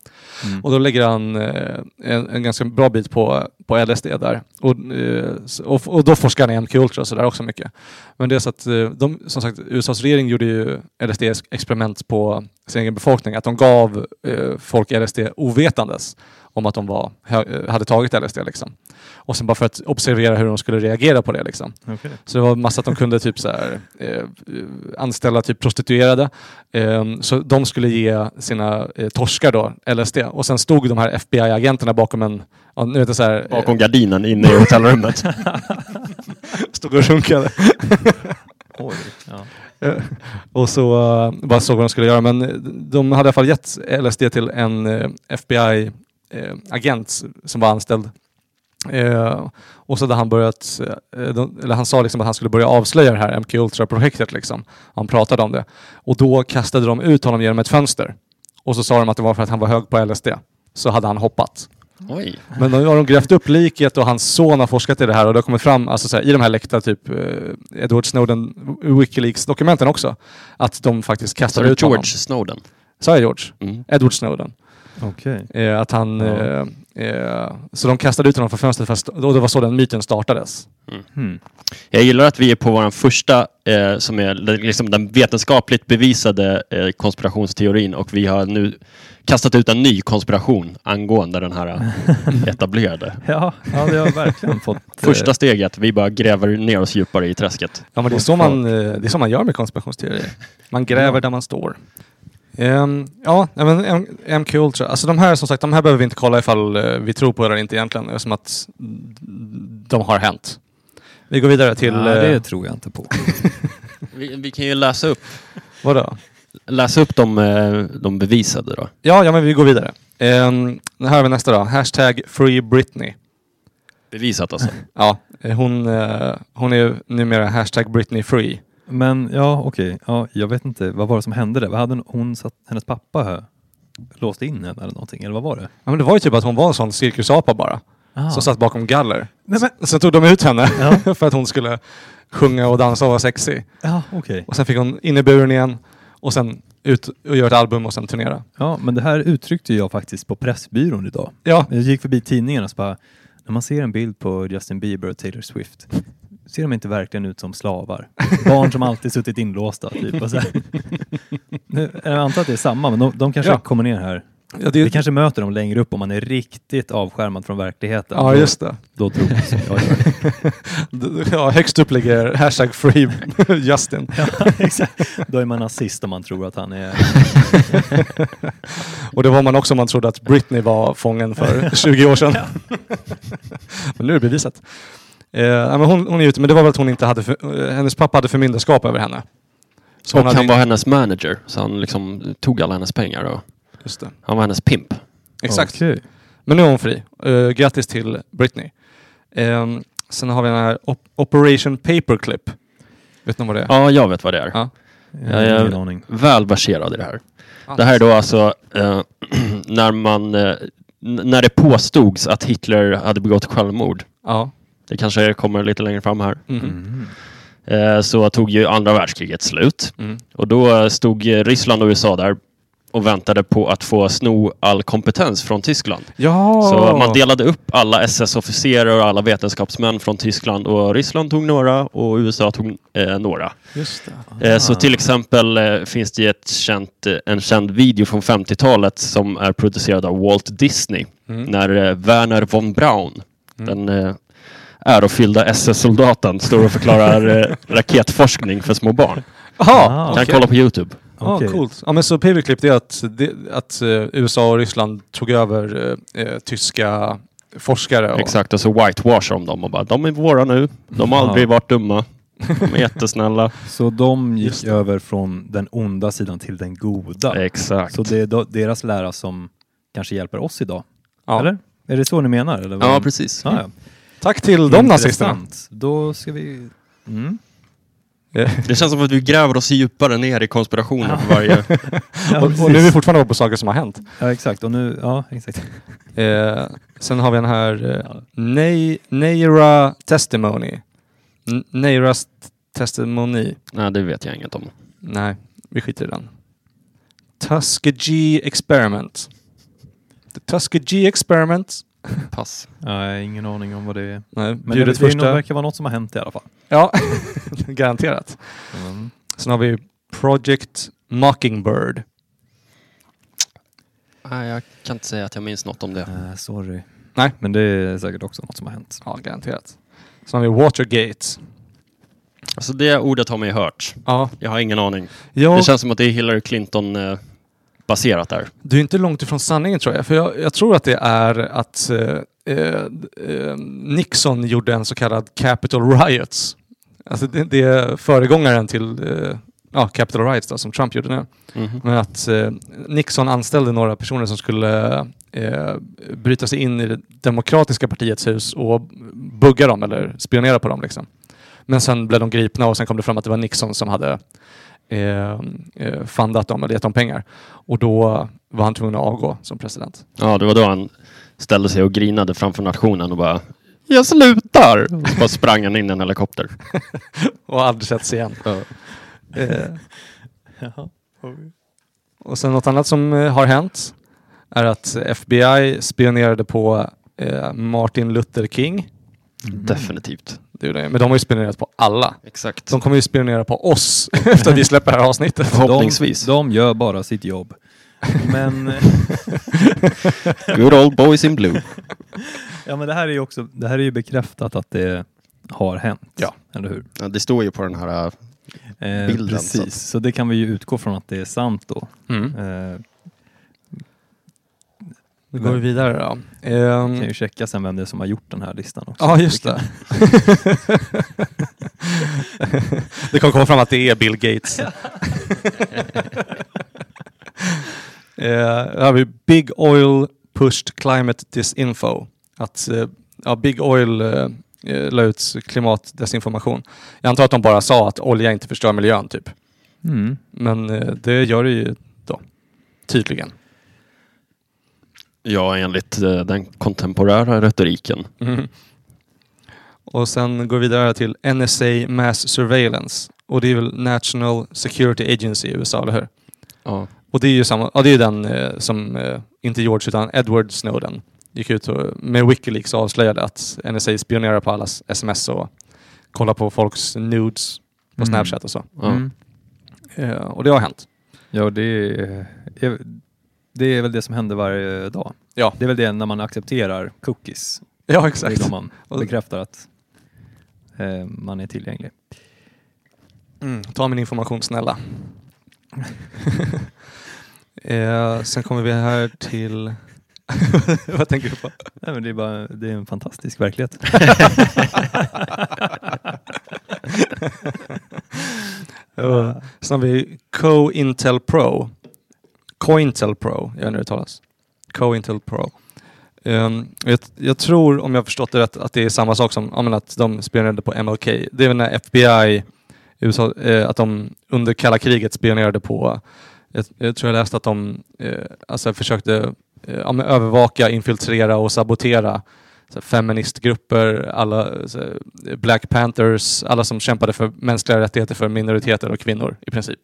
Speaker 1: Mm.
Speaker 4: Och då lägger han eh, en, en ganska bra bit på, på LSD där. Och, eh, s- och, och då forskar han i MK Ultra och sådär också mycket. Men det är så att eh, de, som sagt, USAs regering gjorde ju LSD-experiment på sin egen befolkning. Att de gav eh, folk LSD ovetandes om att de var, hö- hade tagit LSD. Liksom. Och sen bara för att observera hur de skulle reagera på det. Liksom.
Speaker 1: Okej.
Speaker 4: Så det var massa att de kunde typ så här, eh, anställa typ prostituerade. Eh, så de skulle ge sina eh, torskar då LSD. Och sen stod de här FBI-agenterna bakom en... Ja, nu vet jag så här, eh,
Speaker 3: Bakom gardinen inne i hotellrummet.
Speaker 4: eh, stod och runkade.
Speaker 1: Oj, ja.
Speaker 4: Eh, och så eh, bara såg vad de skulle göra. Men eh, de hade i alla fall gett LSD till en eh, FBI-agent eh, som var anställd. Eh, och så hade han börjat, eh, de, eller han sa liksom att han skulle börja avslöja det här MK Ultra-projektet. Liksom. Han pratade om det. Och då kastade de ut honom genom ett fönster. Och så sa de att det var för att han var hög på LSD. Så hade han hoppat.
Speaker 3: <laughs> Oj.
Speaker 4: Men nu har de grävt upp liket och hans son har forskat i det här och det har kommit fram alltså, så här, i de här läckta typ eh, Edward Snowden Wikileaks-dokumenten också. att de faktiskt
Speaker 3: Så
Speaker 4: kastade
Speaker 3: det
Speaker 4: ut
Speaker 3: George
Speaker 4: honom.
Speaker 3: Snowden.
Speaker 4: Sa jag George?
Speaker 3: Mm.
Speaker 4: Edward Snowden.
Speaker 1: Okej.
Speaker 4: Eh, att han,
Speaker 1: Ja.
Speaker 4: eh, eh, så de kastade ut honom från fönstret fast, och det var så den myten startades.
Speaker 1: Hmm.
Speaker 3: Jag gillar att vi är på vår första, eh, som är li- liksom den vetenskapligt bevisade eh, konspirationsteorin och vi har nu kastat ut en ny konspiration angående den här <laughs> eh, etablerade.
Speaker 1: Ja, ja, det har verkligen fått... eh,
Speaker 3: Första steget, vi bara gräver ner oss djupare i träsket.
Speaker 4: Ja, men det, är så man, eh, det är så man gör med konspirationsteorier. Man gräver där man står. Ehm, ja, nej, men M- MK Ultra. Alltså de här som sagt, de här behöver vi inte kolla ifall eh, vi tror på det eller inte egentligen eftersom att de har hänt. Vi går vidare till...
Speaker 1: till... Nej, det
Speaker 4: eh,
Speaker 1: tror jag inte på.
Speaker 3: Vi, vi kan ju läsa upp,
Speaker 4: eh, vadå?
Speaker 3: läsa upp de, eh, de bevisade då.
Speaker 4: Ja, ja, men vi går vidare. Ehm, här har vi nästa då. Hashtag Free Britney.
Speaker 3: Bevisat alltså.
Speaker 4: Ja, eh, hon, eh, hon är ju numera hashtag Britney Free.
Speaker 1: Men ja, okej. Ja, jag vet inte. Vad var det som hände där? Vad hade hon- hon satt, hennes pappa här, låst in henne eller någonting? Eller vad var det?
Speaker 4: Ja, men det var ju typ att hon var en sån cirkusapa bara.
Speaker 1: Ah.
Speaker 4: Som satt bakom galler.
Speaker 1: Nej, men,
Speaker 4: Sen tog de ut henne
Speaker 1: ja,
Speaker 4: <laughs> för att hon skulle sjunga och dansa och vara sexig.
Speaker 1: ja okej.
Speaker 4: Och sen fick hon in i buren igen och sen ut och göra ett album och sen turnera.
Speaker 1: Ja, men det här uttryckte jag faktiskt på Pressbyrån idag.
Speaker 4: Ja,
Speaker 1: Jag gick förbi tidningarna och så bara, när man ser en bild på Justin Bieber och Taylor Swift, ser de inte verkligen ut som slavar? Barn som alltid suttit inlåsta, typ. Och så här. Nu, jag antar att det är samma, men de, de kanske
Speaker 4: Ja.
Speaker 1: kommer ner här.
Speaker 4: ja,
Speaker 1: Vi
Speaker 4: det,
Speaker 1: kanske möter dem längre upp om man är riktigt avskärmad från verkligheten.
Speaker 4: ja
Speaker 1: Då-
Speaker 4: just det.
Speaker 1: Då tror jag som jag gör.
Speaker 4: D- Ja, högst upp ligger hashtag free <laughs> Justin. <laughs>
Speaker 1: Ja, <laughs> exakt. Då är man nazist om man tror att han är...
Speaker 4: Och det var man också om man trodde att Britney var fången för 20 år sedan. <laughs> men nu är det bevisat. Eh, ja, men hon, hon är ute, men det var väl att hon inte hade för, eh, hennes pappa hade förmyndarskap över henne. Så hon
Speaker 3: Och han
Speaker 4: hade-
Speaker 3: var hennes manager, så han liksom tog alla hennes pengar. Och
Speaker 4: Just det.
Speaker 3: han var hennes pimp.
Speaker 4: Exakt.
Speaker 1: Okej.
Speaker 4: Men nu är hon fri. Uh, grattis till Britney. Ehm, sen har vi den här op- Operation Paperclip. Vet ni vad det är?
Speaker 3: Ja, jag vet vad det är.
Speaker 4: Ja.
Speaker 1: Jag har
Speaker 3: Ja, jag-
Speaker 1: ingen aning.
Speaker 3: Väl verserad i det här. Det här är då alltså eh, <clears throat> när man eh, n- när det påstods att Hitler hade begått självmord.
Speaker 4: Ja.
Speaker 3: Det kanske kommer lite längre fram här.
Speaker 4: Mhm.
Speaker 1: Mhm.
Speaker 3: Eh, så tog ju andra världskriget slut
Speaker 4: Mm.
Speaker 3: och då eh, stod eh, Ryssland och USA där och väntade på att få sno all kompetens från Tyskland.
Speaker 4: Ja!
Speaker 3: Så man delade upp alla SS-officerare och alla vetenskapsmän från Tyskland och Ryssland tog några och USA tog eh, några.
Speaker 4: Just det.
Speaker 3: Eh, Så till exempel eh, finns det ju ett känt, eh, en känd video från 50-talet som är producerad av Walt Disney
Speaker 4: Mm.
Speaker 3: när eh, Werner von Braun,
Speaker 4: Mm.
Speaker 3: den eh, ärofyllda SS-soldaten, står och förklarar
Speaker 4: <laughs>
Speaker 3: eh, raketforskning för små barn.
Speaker 4: Aha,
Speaker 1: Ah.
Speaker 3: Kan
Speaker 4: okej.
Speaker 3: kolla på Youtube.
Speaker 4: Ja,
Speaker 1: Okej.
Speaker 4: coolt. Ja, men så Paperclip, det är att, det, att eh, USA och Ryssland tog över eh, eh, tyska forskare. Och,
Speaker 3: Exakt, och så whitewashar de dem och bara de är våra nu. De har
Speaker 1: Ja.
Speaker 3: aldrig varit dumma.
Speaker 4: <laughs>
Speaker 3: De är jättesnälla.
Speaker 1: Så de
Speaker 4: Just
Speaker 1: gick
Speaker 4: det.
Speaker 1: över från den onda sidan till den goda.
Speaker 3: Exakt.
Speaker 1: Så det är då- deras lära som kanske hjälper oss idag?
Speaker 4: Ja.
Speaker 1: Eller? Är det så ni menar? Eller vad- Ah,
Speaker 3: Ah, Ja, precis.
Speaker 1: Ja, ja.
Speaker 4: Tack till de nazisterna.
Speaker 1: Intressant. Då ska vi... Mm.
Speaker 3: Det känns som att vi gräver oss djupare ner i konspirationen för varje...
Speaker 1: Ja,
Speaker 4: Och, och nu är vi fortfarande på saker som har hänt.
Speaker 1: ja, exakt. Och nu... Ja, exakt.
Speaker 4: Eh, sen har vi den här eh, Ne- Neira Testimony. N- Neiras Testimony.
Speaker 3: <laughs> Nej, det vet jag inget om.
Speaker 4: Nej, vi skiter i den. Tuskegee Experiment. The Tuskegee Experiment.
Speaker 3: Pass.
Speaker 1: Nej, ingen aning om vad det är.
Speaker 4: Nej,
Speaker 1: Men
Speaker 4: bjuder
Speaker 1: det,
Speaker 4: ett
Speaker 1: det är nog-
Speaker 4: första.
Speaker 1: verkar vara något som har hänt i alla fall.
Speaker 4: Ja, <laughs> garanterat.
Speaker 1: Mm.
Speaker 4: Sen har vi Project Mockingbird.
Speaker 3: Nej, jag kan inte säga att jag minns något om det.
Speaker 1: Eh, sorry.
Speaker 4: Nej.
Speaker 1: Men det är säkert också något som har hänt.
Speaker 4: Ja, garanterat. Sen har vi Watergate.
Speaker 3: Alltså det ordet har man ju hört.
Speaker 4: Ja,
Speaker 3: Jag har ingen aning. Det
Speaker 4: jag,
Speaker 3: känns som att det är Hillary Clinton-baserat där.
Speaker 4: Du är inte långt ifrån sanningen tror jag, för jag, jag tror att det är att eh, eh, eh, Nixon gjorde en så kallad Capitol Riots. Alltså det, det är föregångaren till eh, ja, Capitol Riots då, som Trump gjorde nu.
Speaker 3: Mhm.
Speaker 4: Men att eh, Nixon anställde några personer som skulle eh, bryta sig in i det demokratiska partiets hus och bugga dem eller spionera på dem. Liksom. Men sen blev de gripna och sen kom det fram att det var Nixon som hade eh, eh, fundat dem eller gett dem pengar. Och då var han tvungen att avgå som president.
Speaker 3: Ja, det var då han ställde sig och grinade framför nationen och bara jag slutar! Och så bara sprang han in i en helikopter.
Speaker 4: Och aldrig setts igen. Eh, och sen något annat som eh, har hänt. är att FBI spionerade på eh, Martin Luther King.
Speaker 3: Definitivt.
Speaker 4: Det gjorde de. Men de har ju spionerat på alla.
Speaker 3: Exakt.
Speaker 4: De kommer ju spionera på oss <laughs> efter att vi släpper det här <laughs> avsnittet.
Speaker 3: Förhoppningsvis.
Speaker 1: De, de gör bara sitt jobb. Men,
Speaker 4: <laughs>
Speaker 1: eh,
Speaker 3: Good old boys in blue.
Speaker 1: ja, men det här är ju också det här är ju bekräftat att det har hänt.
Speaker 4: Ja.
Speaker 1: Eller hur?
Speaker 3: Ja, det står ju på den här... äh,
Speaker 1: Eh,
Speaker 3: Bilden, så att-
Speaker 1: precis, så det kan vi ju utgå från att det är sant då.
Speaker 4: Mm.
Speaker 1: Eh,
Speaker 4: Nu går vi vidare då. Ehm,
Speaker 1: kan ju checka sen vem det är som har gjort den här listan också.
Speaker 4: Ja, just det. <laughs> det kommer komma fram att det är Bill Gates. <laughs> Eh, Här har vi Big Oil Pushed Climate Disinfo. Att eh, ja, Big Oil eh, eh, la ut klimatdesinformation. Jag antar att de bara sa att olja inte förstör miljön, typ.
Speaker 1: Mm.
Speaker 4: Men eh, det gör det ju då, tydligen.
Speaker 3: Ja, enligt eh, den kontemporära retoriken.
Speaker 1: Mm-hmm.
Speaker 4: Och sen går vi vidare till NSA Mass Surveillance. Och det är väl National Security Agency i USA, eller hur?
Speaker 3: Ja.
Speaker 4: Och det är ju samma, ja, det är ju den eh, som, eh, inte George utan Edward Snowden, gick ut och, med Wikileaks och avslöjade att NSA spionerar på allas sms och kollar på folks nudes på
Speaker 1: Mm.
Speaker 4: Snapchat och så.
Speaker 3: Ja.
Speaker 1: Mm.
Speaker 4: Eh, och det har hänt.
Speaker 1: Ja, det är, det är väl det som händer varje dag.
Speaker 4: Ja.
Speaker 1: Det är väl det när man accepterar cookies.
Speaker 4: Ja,
Speaker 1: Det är
Speaker 4: exakt.
Speaker 1: då man
Speaker 4: Och-
Speaker 1: bekräftar att eh, man är tillgänglig.
Speaker 4: Mm, ta min information snälla. <laughs> eh, sen kommer vi här till... <laughs> Vad tänker du på?
Speaker 1: Nej, men det, är bara, det är en fantastisk verklighet.
Speaker 4: Uh, sen har vi Co-Intel Pro. Cointel Pro, jag vet inte hur det uttalas. Co-Intel Pro. Ehm, jag, jag tror, om jag förstått det rätt, att det är samma sak som ja, men att de spionerade på MLK. Det är väl när FBI i USA, eh, att de under kalla kriget spionerade på, jag, jag tror jag läste att de eh, alltså försökte eh, ja, men övervaka, infiltrera och sabotera så här, feministgrupper, alla så här, Black Panthers, alla som kämpade för mänskliga rättigheter för minoriteter och kvinnor i princip.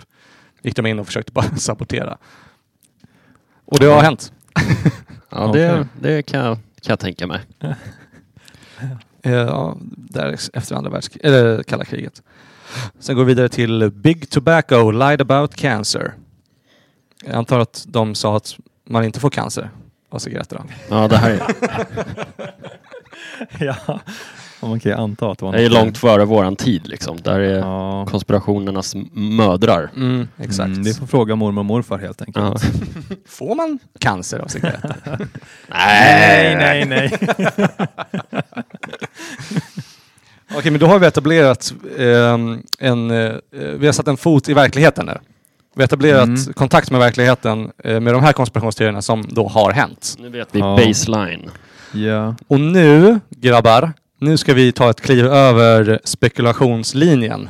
Speaker 4: Gick de in och försökte bara <laughs> sabotera. Och det har hänt.
Speaker 3: Ja,
Speaker 1: Okej.
Speaker 3: det, det kan, jag- kan jag tänka mig.
Speaker 4: Eh, ja, där ex- efter andra världskriget, eller kalla kriget. Sen går vi vidare till Big Tobacco lied about cancer. Jag antar att de sa att man inte får cancer av cigaretter. Då.
Speaker 3: Ja, det här är,
Speaker 1: <laughs> ja, och man kan ju anta att det var
Speaker 3: <laughs> det är
Speaker 1: något-
Speaker 3: långt före våran tid. Liksom. Där är
Speaker 1: Ja.
Speaker 3: konspirationernas mödrar.
Speaker 4: Mm, exakt.
Speaker 1: Mm, det får fråga mormor och morfar helt enkelt.
Speaker 3: Ja.
Speaker 4: Får man cancer
Speaker 1: <laughs>
Speaker 4: av
Speaker 3: <laughs>
Speaker 4: cigaretter?
Speaker 1: Nej, nej, nej.
Speaker 4: Okej, men då har vi etablerat ehm, en... eh, vi har satt en fot i verkligheten nu. Vi har etablerat
Speaker 1: Mm.
Speaker 4: kontakt med verkligheten eh, med de här konspirationsteorierna som då har hänt.
Speaker 3: Nu vet vi
Speaker 1: Ja.
Speaker 3: baseline.
Speaker 1: ja.
Speaker 4: Och nu, grabbar, nu ska vi ta ett kliv över spekulationslinjen
Speaker 3: Mm.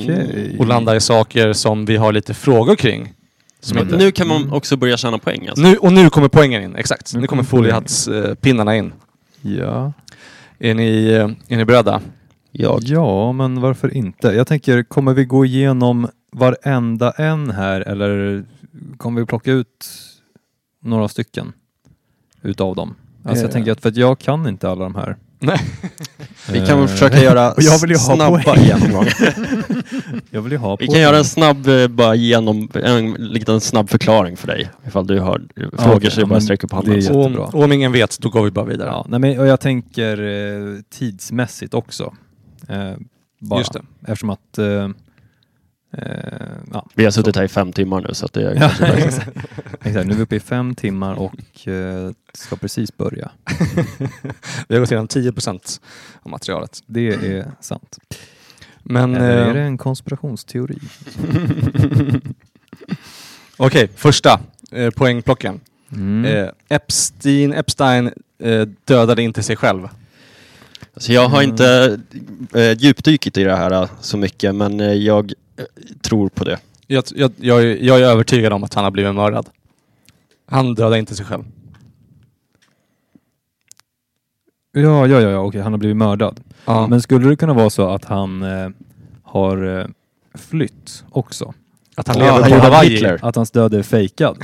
Speaker 1: Okej.
Speaker 4: och landa i saker som vi har lite frågor kring. Som
Speaker 1: Mm.
Speaker 3: Men
Speaker 4: inte...
Speaker 3: nu kan man också börja tjäna poäng. Alltså.
Speaker 4: nu, och nu kommer poängen in, exakt.
Speaker 1: Nu
Speaker 4: Nu kommer
Speaker 1: kommer poängen.
Speaker 4: foliehattspinnarna in.
Speaker 1: Ja.
Speaker 4: Är ni, eh, är ni beredda?
Speaker 3: Jag.
Speaker 1: ja, men varför inte? Jag tänker, kommer vi gå igenom varenda en här eller kommer vi plocka ut några stycken utav dem? Alltså jag
Speaker 4: Eh.
Speaker 1: tänker att, för att jag kan inte alla de här. <laughs>
Speaker 4: Nej.
Speaker 3: Vi kan
Speaker 1: Eh,
Speaker 3: väl försöka göra
Speaker 1: Och jag vill ju ha
Speaker 3: snabba
Speaker 1: poäng.
Speaker 3: genomgångar.
Speaker 1: <laughs> Jag vill ju ha
Speaker 3: Vi
Speaker 1: på
Speaker 3: kan göra en snabb, eh, bara genom, en liten snabb förklaring för dig. Ifall du har frågor
Speaker 1: okej, ja,
Speaker 3: så är det bara
Speaker 1: men
Speaker 3: att sträcka upp
Speaker 1: det
Speaker 3: handen.
Speaker 1: är
Speaker 3: Så-
Speaker 4: Om,
Speaker 1: jättebra.
Speaker 4: om ingen vet, då går vi bara vidare.
Speaker 1: Ja, nej men, och jag tänker eh, tidsmässigt också. Eh, bara.
Speaker 4: Just det.
Speaker 1: Eftersom att eh, eh, ja,
Speaker 3: Vi har suttit här i fem timmar nu så att det är
Speaker 1: <laughs> Ja,
Speaker 3: kanske
Speaker 4: <laughs>
Speaker 3: dags.
Speaker 1: exakt. exakt. Nu är vi uppe i fem timmar och eh, ska precis börja.
Speaker 4: Vi har gått igenom 10 procent av materialet.
Speaker 1: Det är sant.
Speaker 4: Men...
Speaker 1: Eller är
Speaker 4: eh,
Speaker 1: det en konspirationsteori?
Speaker 4: <laughs> Okej, första eh, poängplocken.
Speaker 1: Mm.
Speaker 4: Eh, Epstein, Epstein eh, dödade inte sig själv.
Speaker 3: Så jag har
Speaker 1: Mm.
Speaker 3: inte eh, djupdykit i det här eh, så mycket men eh, jag eh, tror på det.
Speaker 4: Jag, jag, jag, är- jag är övertygad om att han har blivit mördad. Han dödade inte sig själv.
Speaker 1: Ja, ja, ja, ja, okej, han har blivit mördad.
Speaker 4: Ja.
Speaker 1: Men skulle det kunna vara så att han eh, har eh, flytt också?
Speaker 4: att han
Speaker 3: Ja,
Speaker 4: lever
Speaker 3: han
Speaker 4: på
Speaker 3: gjorde
Speaker 4: Hawaii.
Speaker 3: Hitler.
Speaker 1: Att hans död är fejkad?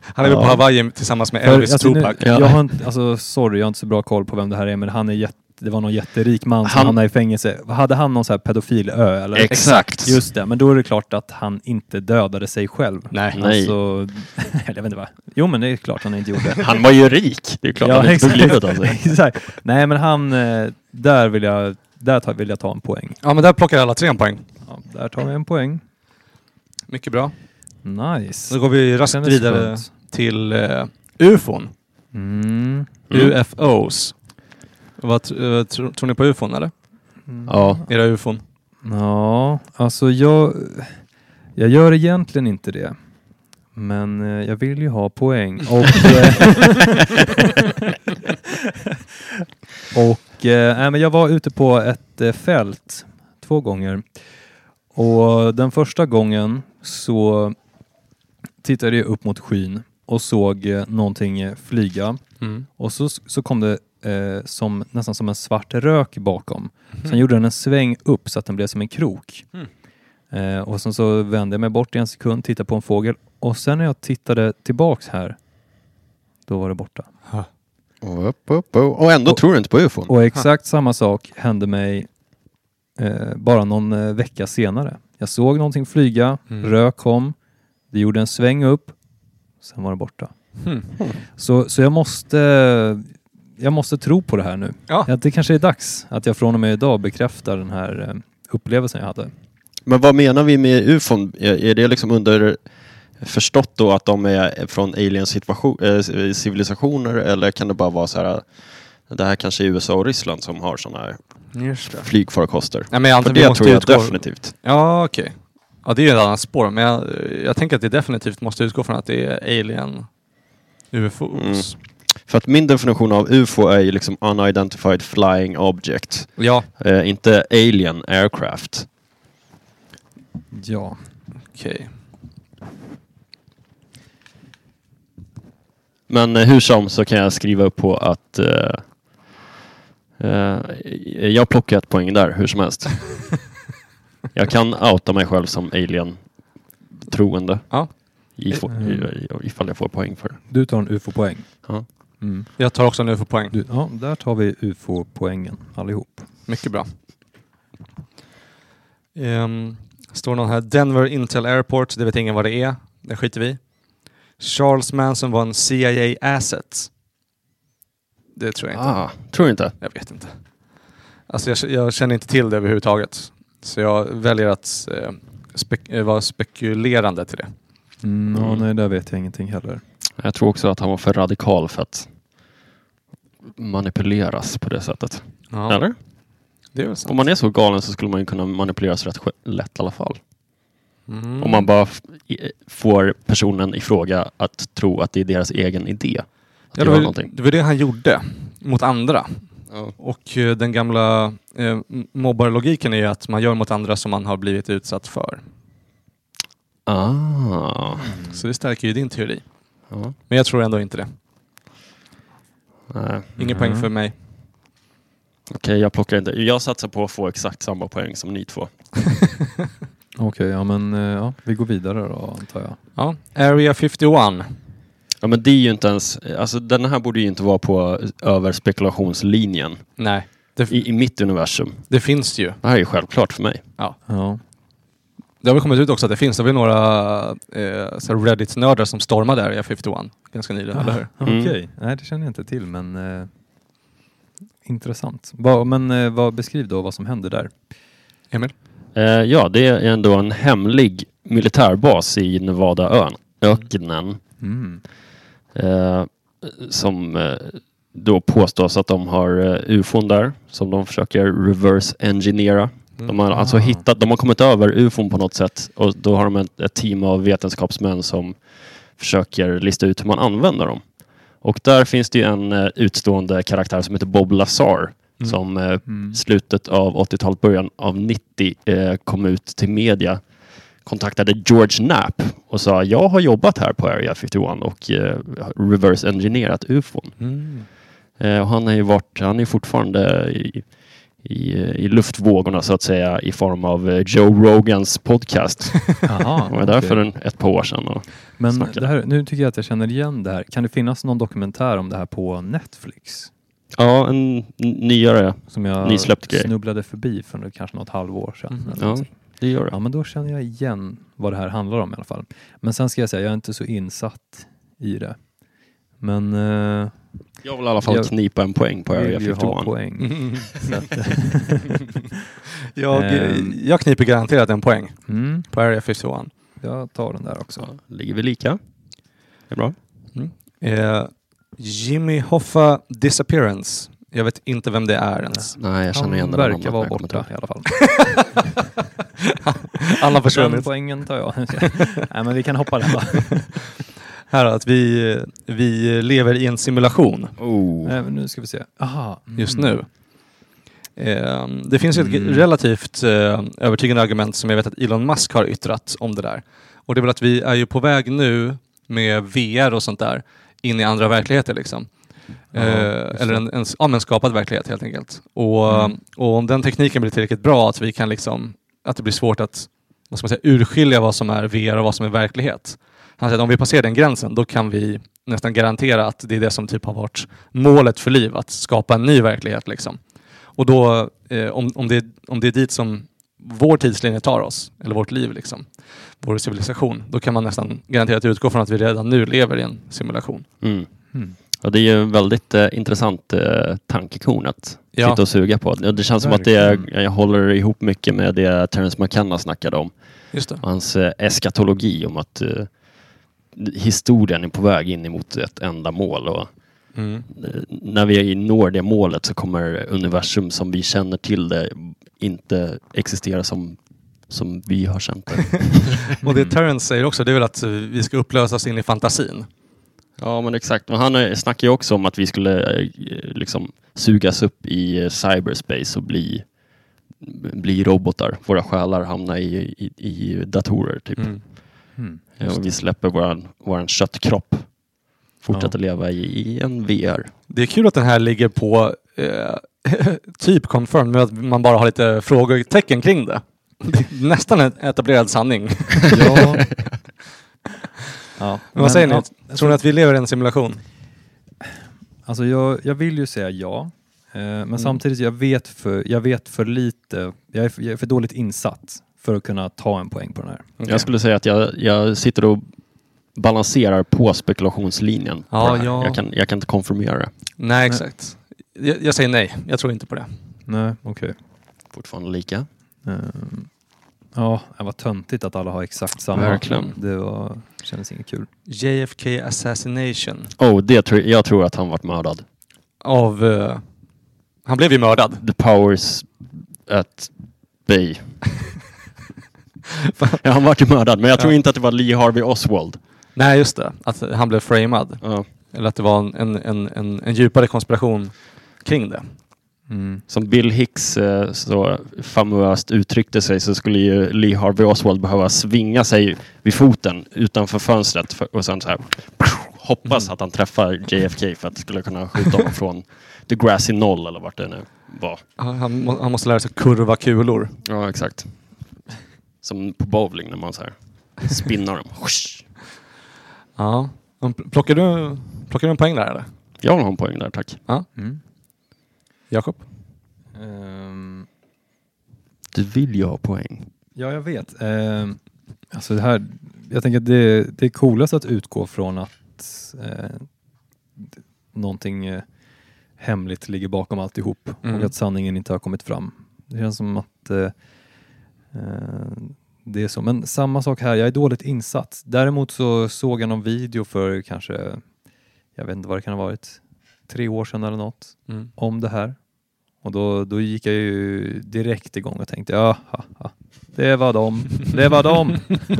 Speaker 4: Han är väl
Speaker 1: Ja.
Speaker 4: på Hawaii tillsammans med
Speaker 1: För,
Speaker 4: <laughs> Elvis
Speaker 1: alltså, nu,
Speaker 4: Tupac.
Speaker 3: Ja.
Speaker 1: jag har inte, alltså, sorry, jag har inte så bra koll på vem det här är, men han är jätte, det var någon jätterik man som
Speaker 3: Han-
Speaker 1: hamnade i fängelse. Hade han någon så här pedofilö? Eller?
Speaker 3: Exakt.
Speaker 1: Just det, men då är det klart att han inte dödade sig själv.
Speaker 4: Nej.
Speaker 3: Nej.
Speaker 1: Alltså, <laughs> jag vet inte vad. Jo, men det är klart han inte gjorde.
Speaker 3: <laughs>
Speaker 1: <laughs>
Speaker 3: Han var ju rik. Det är klart han inte tog livet av sig.
Speaker 1: exakt. Nej, men han... eh, Där vill jag, där tar, vill jag ta en poäng.
Speaker 4: Ja, men där plockar alla tre en poäng.
Speaker 1: Ja, där tar vi en poäng.
Speaker 4: Mycket bra.
Speaker 1: Nice.
Speaker 4: Då går vi raskt
Speaker 1: Kändes
Speaker 4: vidare
Speaker 1: skönt.
Speaker 4: till eh, ufon.
Speaker 1: Mm.
Speaker 3: Mm.
Speaker 4: UFOs. Vad tr- eh, tro- tror ni på ufon eller?
Speaker 1: Mm.
Speaker 3: Ja.
Speaker 4: Era ufon?
Speaker 1: Ja, alltså jag... Jag gör egentligen inte det. Men eh, jag vill ju ha poäng. Och... eh, <laughs> och eh, nej, men jag var ute på ett eh, fält två gånger. Och den första gången så tittade jag upp mot skyn och såg eh, någonting eh, flyga. Och så, så kom det eh, som, nästan som en svart rök bakom.
Speaker 4: Mhm.
Speaker 1: Sen gjorde den en sväng upp så att den blev som en krok.
Speaker 4: Mm.
Speaker 1: Eh, och sen så vände jag mig bort i en sekund, tittade på en fågel och sen när jag tittade tillbaks här, då var det borta.
Speaker 3: Och, upp, upp, upp. och ändå tror du inte på ufon.
Speaker 4: Mm.
Speaker 1: Och exakt samma sak hände mig eh, bara någon eh, vecka senare. Jag såg någonting flyga,
Speaker 4: Mm.
Speaker 1: rök kom, det gjorde en sväng upp, sen var det borta.
Speaker 4: Hmm.
Speaker 1: Så, så jag måste jag måste tro på det här nu.
Speaker 4: Ja.
Speaker 1: Att det kanske är dags att jag från och med idag bekräftar den här eh, upplevelsen jag hade.
Speaker 3: Men vad menar vi med ufon? Är är det liksom under förstått då att de är från alien situation- eh, civilisationer eller kan det bara vara så här det här kanske är USA och Ryssland som har sådana här flygfarkoster?
Speaker 4: Nej, men jag antar
Speaker 3: För
Speaker 4: Alltså, vi
Speaker 3: det
Speaker 4: måste
Speaker 3: tror jag
Speaker 4: utgå...
Speaker 3: definitivt.
Speaker 4: Ja, okej. Ja, det är ju ett annat spår, men jag, jag tänker att det definitivt måste utgå från att det är alien UFOs.
Speaker 3: För att min definition av UFO är ju liksom unidentified flying object.
Speaker 4: Ja,
Speaker 3: Eh, inte alien aircraft.
Speaker 1: Ja.
Speaker 4: okej.
Speaker 3: Men eh, hur som så kan jag skriva upp på att eh, eh, jag plockar ett poäng där hur
Speaker 4: <laughs>
Speaker 3: som helst. jag kan outa mig själv som alien-troende.
Speaker 4: Ja. Eh,
Speaker 3: Ifå-
Speaker 1: Mm.
Speaker 3: i- i- ifall jag får poäng för det.
Speaker 1: Du tar en ufo-poäng.
Speaker 3: Ja.
Speaker 1: Mm.
Speaker 4: Jag tar också en UFO-poäng.
Speaker 1: Du, ja, där tar vi ufo-poängen allihop.
Speaker 4: Mycket bra. Ehm, står någon här. Denver Intel Airport, det vet ingen vad det är. Det skiter vi i. Charles Manson var en CIA asset. Det tror jag inte.
Speaker 3: Ah, tror du inte?
Speaker 4: Jag vet inte. Alltså jag, jag känner inte till det överhuvudtaget. Så jag väljer att eh, spek- eh, vara spekulerande till det.
Speaker 1: Mm, ja,
Speaker 3: Mm.
Speaker 1: nej, där vet jag ingenting heller.
Speaker 3: Jag tror också att han var för radikal för att manipuleras på det sättet. Eller?
Speaker 4: Det är väl
Speaker 3: Om
Speaker 4: sant.
Speaker 3: man är så galen så skulle man ju kunna manipuleras rätt sk- lätt i alla fall.
Speaker 4: Mm.
Speaker 3: Om man bara f- i- får personen i fråga att tro att det är deras egen idé. Att
Speaker 4: ja, det,
Speaker 3: göra
Speaker 4: var,
Speaker 3: någonting.
Speaker 4: det var det han gjorde mot andra. Och eh, den gamla eh, m- mobbarlogiken är ju att man gör mot andra som man har blivit utsatt för.
Speaker 3: Mm. Ah.
Speaker 1: Mm.
Speaker 4: Så det stärker ju din teori.
Speaker 3: Ja.
Speaker 4: Men jag tror ändå inte det.
Speaker 3: Nej.
Speaker 4: Ingen
Speaker 1: Mm.
Speaker 4: poäng för mig.
Speaker 3: Okej, jag plockar inte. Jag satsar på att få exakt samma poäng som ni två.
Speaker 1: Okej, ja men eh, ja, vi går vidare då antar jag.
Speaker 4: Ja. Area 51.
Speaker 3: Ja, men det är ju inte ens... Alltså, den här borde ju inte vara på eh, över spekulationslinjen
Speaker 4: Nej, det,
Speaker 3: i, i mitt universum.
Speaker 4: det finns ju.
Speaker 3: Det här är ju självklart för mig.
Speaker 1: Ja.
Speaker 4: Det har väl kommit ut också att det finns. Det var ju några eh, så här Reddit-nördar som stormade Area 51 ganska nyligen, eller hur?
Speaker 3: Mm.
Speaker 1: Okej, nej det känner jag inte till men eh, intressant. Va, men eh, vad, beskriv då vad som hände där.
Speaker 4: Emil?
Speaker 3: Eh, ja, det är ändå en hemlig militärbas i Nevadaön, öknen.
Speaker 1: Mm.
Speaker 3: Eh, som eh, då påstås att de har eh, ufon där som de försöker reverse engineera. De har alltså
Speaker 1: Ah.
Speaker 3: hittat, de har kommit över ufon på något sätt och då har de ett, ett team av vetenskapsmän som försöker lista ut hur man använder dem. Och där finns det ju en eh, utstående karaktär som heter Bob Lazar
Speaker 4: Mm.
Speaker 3: som eh,
Speaker 1: Mm.
Speaker 3: slutet av 80-talet, början av 90 eh, kom ut till media kontaktade George Knapp och sa jag har jobbat här på Area 51 och eh, reverse engineerat ufon.
Speaker 4: Mm.
Speaker 3: Eh, och han är ju varit, han är fortfarande i, i, eh, i luftvågorna så att säga i form av eh, Joe Rogans podcast.
Speaker 1: <laughs> <laughs> Jaha,
Speaker 3: Han var där för en, ett par år sedan. Och,
Speaker 1: Men
Speaker 3: snackade.
Speaker 1: det här, nu tycker jag att jag känner igen det här. Kan det finnas någon dokumentär om det här på Netflix?
Speaker 3: ja, en n- nyare.
Speaker 1: Som jag
Speaker 3: Nysläppt grej.
Speaker 1: snubblade förbi för nu kanske något halvår sedan.
Speaker 4: Mhm.
Speaker 1: eller
Speaker 3: Ja,
Speaker 1: någonting.
Speaker 3: det gör
Speaker 1: Mm. ja,
Speaker 3: det.
Speaker 1: men då känner jag igen vad det här handlar om i alla fall. Men sen ska jag säga, jag är inte så insatt i det. Men eh,
Speaker 3: Jag vill i alla fall
Speaker 1: Jag
Speaker 3: knipa en poäng på Area
Speaker 1: vill ju
Speaker 3: 51.
Speaker 1: ha poäng.
Speaker 4: Mm.
Speaker 1: Så att, <laughs>
Speaker 4: jag,
Speaker 1: Ehm.
Speaker 4: jag kniper garanterat en poäng
Speaker 1: mm,
Speaker 4: på Area 51.
Speaker 1: jag tar den där också.
Speaker 3: Så ligger vi lika. Det är bra.
Speaker 4: Eh, Jimmy Hoffa Disappearance. Jag vet inte vem det är ens.
Speaker 3: Nej, jag känner igen
Speaker 1: Han
Speaker 3: den här
Speaker 1: verkar
Speaker 3: namnet,
Speaker 1: vara
Speaker 3: men jag kommer inte
Speaker 1: borta
Speaker 3: ihåg.
Speaker 1: i alla fall.
Speaker 4: Alla har
Speaker 1: Den
Speaker 4: försvunnit.
Speaker 1: poängen tar jag. <laughs> Nej, men vi kan hoppa den va?
Speaker 4: Här att vi, eh, vi lever i en simulation
Speaker 3: Oh.
Speaker 1: Nej, Eh, men nu ska vi se. Aha, mm.
Speaker 4: just nu. Eh, det finns ju ett
Speaker 1: Mm.
Speaker 4: relativt eh, övertygande argument som jag vet att Elon Musk har yttrat om det där. Och det är väl att vi är ju på väg nu med VR och sånt där in i andra verkligheter liksom.
Speaker 1: Ja,
Speaker 4: Eh,
Speaker 1: just
Speaker 4: eller
Speaker 1: det.
Speaker 4: en, en, ja, men skapad verklighet helt enkelt. Och,
Speaker 1: Mm.
Speaker 4: och om den tekniken blir tillräckligt bra att vi kan liksom, att det blir svårt att vad ska man säga, urskilja vad som är VR och vad som är verklighet. Han säger att om vi passerar den gränsen då kan vi nästan garantera att det är det som typ har varit målet för liv, att skapa en ny verklighet. Liksom. Och då, eh, om, om, det, om det är dit som vår tidslinje tar oss, eller vårt liv, liksom, vår civilisation, då kan man nästan garanterat utgå från att vi redan nu lever i en simulation.
Speaker 3: Mm.
Speaker 1: Mm.
Speaker 3: Ja, det är ju en väldigt eh, intressant eh, tankekorn att
Speaker 4: Ja.
Speaker 3: sitta och suga på. Det det känns som att
Speaker 1: Verkligen.
Speaker 3: det, jag håller ihop mycket med det Terence McKenna snackade om.
Speaker 4: Just det.
Speaker 3: Och Hans eh, eskatologi om att eh, historien är på väg in emot ett enda mål. Och,
Speaker 4: Mm.
Speaker 3: eh, när vi når det målet så kommer universum som vi känner till det inte existera som, som vi har känt det.
Speaker 4: Och det Terrence säger också, det är väl att eh, vi ska upplösas in i fantasin.
Speaker 3: ja men exakt. Men han eh, snackar ju också om att vi skulle eh, liksom sugas upp i eh, cyberspace och bli bli robotar, våra själar hamnar i, i, i datorer. Typ.
Speaker 1: Mm.
Speaker 3: Ja, och vi släpper våran, våran köttkropp. Fortsätter leva i, i en VR.
Speaker 4: Det är kul att den här ligger på eh, <laughs> typ confirmed, men att man bara har lite frågetecken kring det. Det är Nästan en etablerad sanning. <laughs>
Speaker 1: Ja. ja.
Speaker 4: Men vad säger ni?
Speaker 1: ja,
Speaker 4: Tror ni att vi lever i en simulation?
Speaker 1: Alltså jag, jag vill ju säga ja. Eh, Men samtidigt, jag vet, för, jag vet för lite. Jag är för, jag är för dåligt insatt för att kunna ta en poäng på den här.
Speaker 3: Jag skulle säga att jag, jag sitter och balanserar på spekulationslinjen. på
Speaker 4: Ja,
Speaker 3: det här.
Speaker 4: ja.
Speaker 3: Jag, kan, jag kan inte konfirmera det.
Speaker 4: Nej, exakt. Jag, jag säger nej. Jag tror inte på det.
Speaker 1: Nej, okej.
Speaker 3: Fortfarande lika.
Speaker 1: Ehm, Ja, det var töntigt att alla har exakt samma.
Speaker 3: Verkligen.
Speaker 1: Det var, kändes inget kul.
Speaker 4: JFK assassination.
Speaker 3: Oh, det tror, jag tror att han varit mördad.
Speaker 4: Av... Eh, han blev ju mördad.
Speaker 3: The powers at <laughs> bay. ja, han vart ju mördad, men jag tror
Speaker 4: Ja.
Speaker 3: inte att det var Lee Harvey Oswald.
Speaker 4: Nej, just det. Att han blev framad.
Speaker 3: Ja,
Speaker 4: Eller att det var en, en, en, en, en djupare konspiration kring det.
Speaker 1: Mm.
Speaker 3: Som Bill Hicks eh, så famöst uttryckte sig så skulle ju Lee Harvey Oswald behöva svinga sig vid foten utanför fönstret för, och sen så här hoppas att han träffar JFK för att skulle kunna skjuta honom från The Grassy Noll eller vart det nu var.
Speaker 4: Han, han, må- han måste lära sig kurva kulor.
Speaker 3: Ja, exakt. Som på bowling när man så här spinnar dem.
Speaker 4: Ja. Men pl- Plockar du, plockar du en poäng där eller?
Speaker 3: Jag vill ha en poäng där, tack.
Speaker 1: Mm.
Speaker 4: Jakob?
Speaker 1: Ehm,
Speaker 3: Du vill ju ha poäng.
Speaker 1: Ja, jag vet. Ehm, alltså det här, jag tänker att det, det är coolast att utgå från att eh, d- någonting eh, hemligt ligger bakom alltihop
Speaker 4: Mm.
Speaker 1: och att sanningen inte har kommit fram. Det känns som att eh, eh, det är så. Men samma sak här, jag är dåligt insatt. Däremot så såg jag någon video för kanske, jag vet inte vad det kan ha varit, tre år sedan eller något
Speaker 4: Mm.
Speaker 1: om det här. Och då, då gick jag ju direkt igång och tänkte ja, ha, ha. det var dem, det var <laughs> dem.
Speaker 4: <laughs>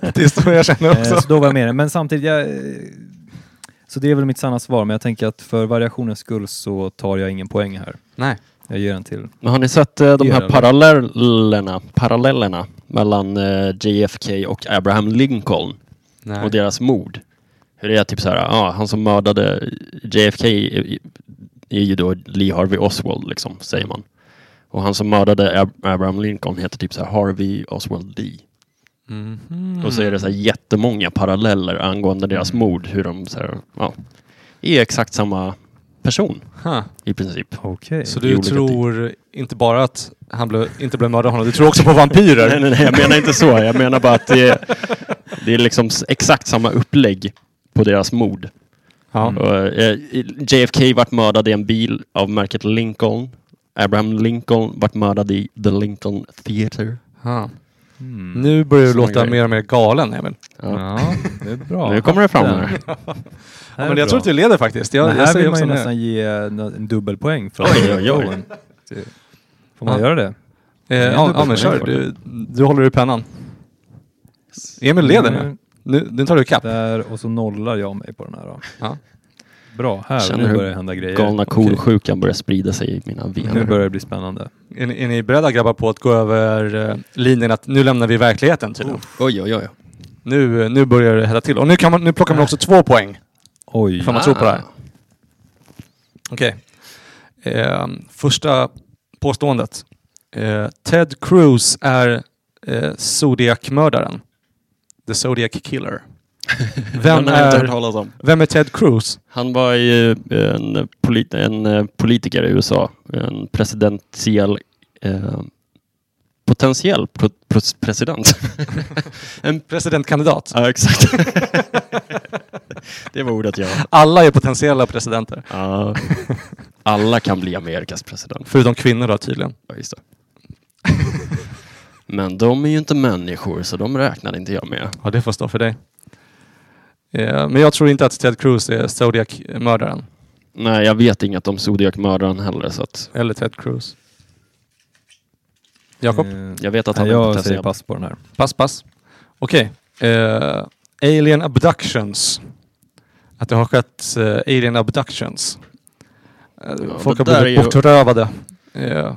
Speaker 4: Det är så jag känner
Speaker 1: Eh,
Speaker 4: också.
Speaker 1: så då var jag med i det. Men samtidigt, jag, eh, så det är väl mitt sanna svar, men jag tänker att för variationens skull så tar jag ingen poäng här.
Speaker 4: Nej.
Speaker 1: Jag ger den till.
Speaker 3: Men har ni sett eh, de
Speaker 1: Gör
Speaker 3: här
Speaker 1: det.
Speaker 3: parallellerna, parallellerna mellan eh, JFK och Abraham Lincoln?
Speaker 4: Nej.
Speaker 3: och deras mord. Hur det är typ så här, ja, han som mördade JFK är är ju då Lee Harvey Oswald liksom, säger man. Och han som mördade Ab- Abraham Lincoln heter typ så här Harvey Oswald Lee.
Speaker 4: Mhm.
Speaker 3: Och så är det så här jättemånga paralleller angående deras
Speaker 1: Mm.
Speaker 3: mord. Hur de så här, ja, är exakt samma person
Speaker 4: Ha.
Speaker 3: i princip.
Speaker 1: Okej.
Speaker 4: Så
Speaker 3: I
Speaker 4: du
Speaker 3: olika
Speaker 4: tror inte bara att han blev, inte blev mördad av honom, du tror också på vampyrer?
Speaker 3: Nej, nej, nej, jag menar inte så. Jag menar bara att det är, det är liksom s- exakt samma upplägg på deras mord.
Speaker 4: Ja.
Speaker 1: Mm.
Speaker 3: Och, eh, JFK vart mördad i en bil av märket Lincoln. Abraham Lincoln vart mördad i The Lincoln Theater.
Speaker 4: Ha.
Speaker 1: Mm.
Speaker 4: Nu börjar du
Speaker 3: Såna
Speaker 4: låta
Speaker 3: grejer.
Speaker 4: mer och mer galen Emil.
Speaker 3: Ja.
Speaker 1: Ja, <laughs> det är bra.
Speaker 3: Nu kommer det fram här.
Speaker 4: Ja, men jag tror att du leder faktiskt. Jag,
Speaker 1: Men
Speaker 4: jag
Speaker 1: här vill
Speaker 4: säger
Speaker 1: man
Speaker 4: också
Speaker 1: ju
Speaker 4: det.
Speaker 1: nästan ge en, en dubbelpoäng för
Speaker 3: Oj, oj, oj.
Speaker 1: Det- Får man
Speaker 4: Ja.
Speaker 1: göra det?
Speaker 4: Eh,
Speaker 1: Jag
Speaker 4: ja,
Speaker 1: dubbelpoäng
Speaker 4: ja men kör.
Speaker 1: för
Speaker 4: Du, du håller i pennan. Emil leder
Speaker 1: Mm.
Speaker 4: nu. Nu, nu tar du kapp.
Speaker 1: Där och så nollar jag mig på den här då.
Speaker 4: Ja.
Speaker 1: Bra, här
Speaker 3: Känner
Speaker 1: nu
Speaker 3: hur
Speaker 1: börjar det hända grejer.
Speaker 3: Galna
Speaker 1: Okej.
Speaker 3: kor-sjukan börjar sprida sig i mina
Speaker 1: Nu
Speaker 3: vener.
Speaker 1: börjar det bli spännande.
Speaker 4: Är, ni- är ni beredda grabbar på att gå över eh, linjen att nu lämnar vi verkligheten tydligen?
Speaker 3: Oj, oj, oj.
Speaker 4: Nu, eh, nu börjar det hetta till. Och nu, kan man, nu plockar man också två poäng.
Speaker 1: Oj.
Speaker 4: Får man tro på det här? Okej. Ehm, första påståendet. Eh, Ted Cruz är eh, Zodiac-mördaren. The Zodiac
Speaker 3: <laughs>
Speaker 4: Killer. Vem
Speaker 3: Den har jag inte hört
Speaker 4: är,
Speaker 3: talas om.
Speaker 4: vem är Ted Cruz?
Speaker 3: Han var ju eh, en, polit- en eh, politiker i USA. En presidentiell... Eh, potentiell pro- pro- president. en,
Speaker 4: Presidentkandidat.
Speaker 3: ja, exakt. <laughs> det var ordet jag...
Speaker 4: Alla är potentiella presidenter.
Speaker 3: Ja. <laughs> alla kan bli Amerikas president.
Speaker 4: Förutom kvinnor då tydligen.
Speaker 3: Ja, just det. Men de är ju inte människor, så de räknade inte jag med.
Speaker 4: Ja, det får stå för dig. Eh, men jag tror inte att Ted Cruz är Zodiac-mördaren.
Speaker 3: Nej, jag vet inget om Zodiac-mördaren heller, så att
Speaker 4: Eller Ted Cruz.
Speaker 3: Mm.
Speaker 4: Jakob?
Speaker 1: Eh,
Speaker 3: jag vet att han
Speaker 1: nej,
Speaker 3: är
Speaker 1: jag
Speaker 3: potentiell.
Speaker 1: säger pass på den här.
Speaker 4: Pass, pass. Okej. Eh, alien abductions. Att det har skett eh, alien abductions. Eh,
Speaker 3: Ja,
Speaker 4: folk
Speaker 3: det
Speaker 4: har
Speaker 3: där är ju-
Speaker 4: blivit bortrövade. Eh,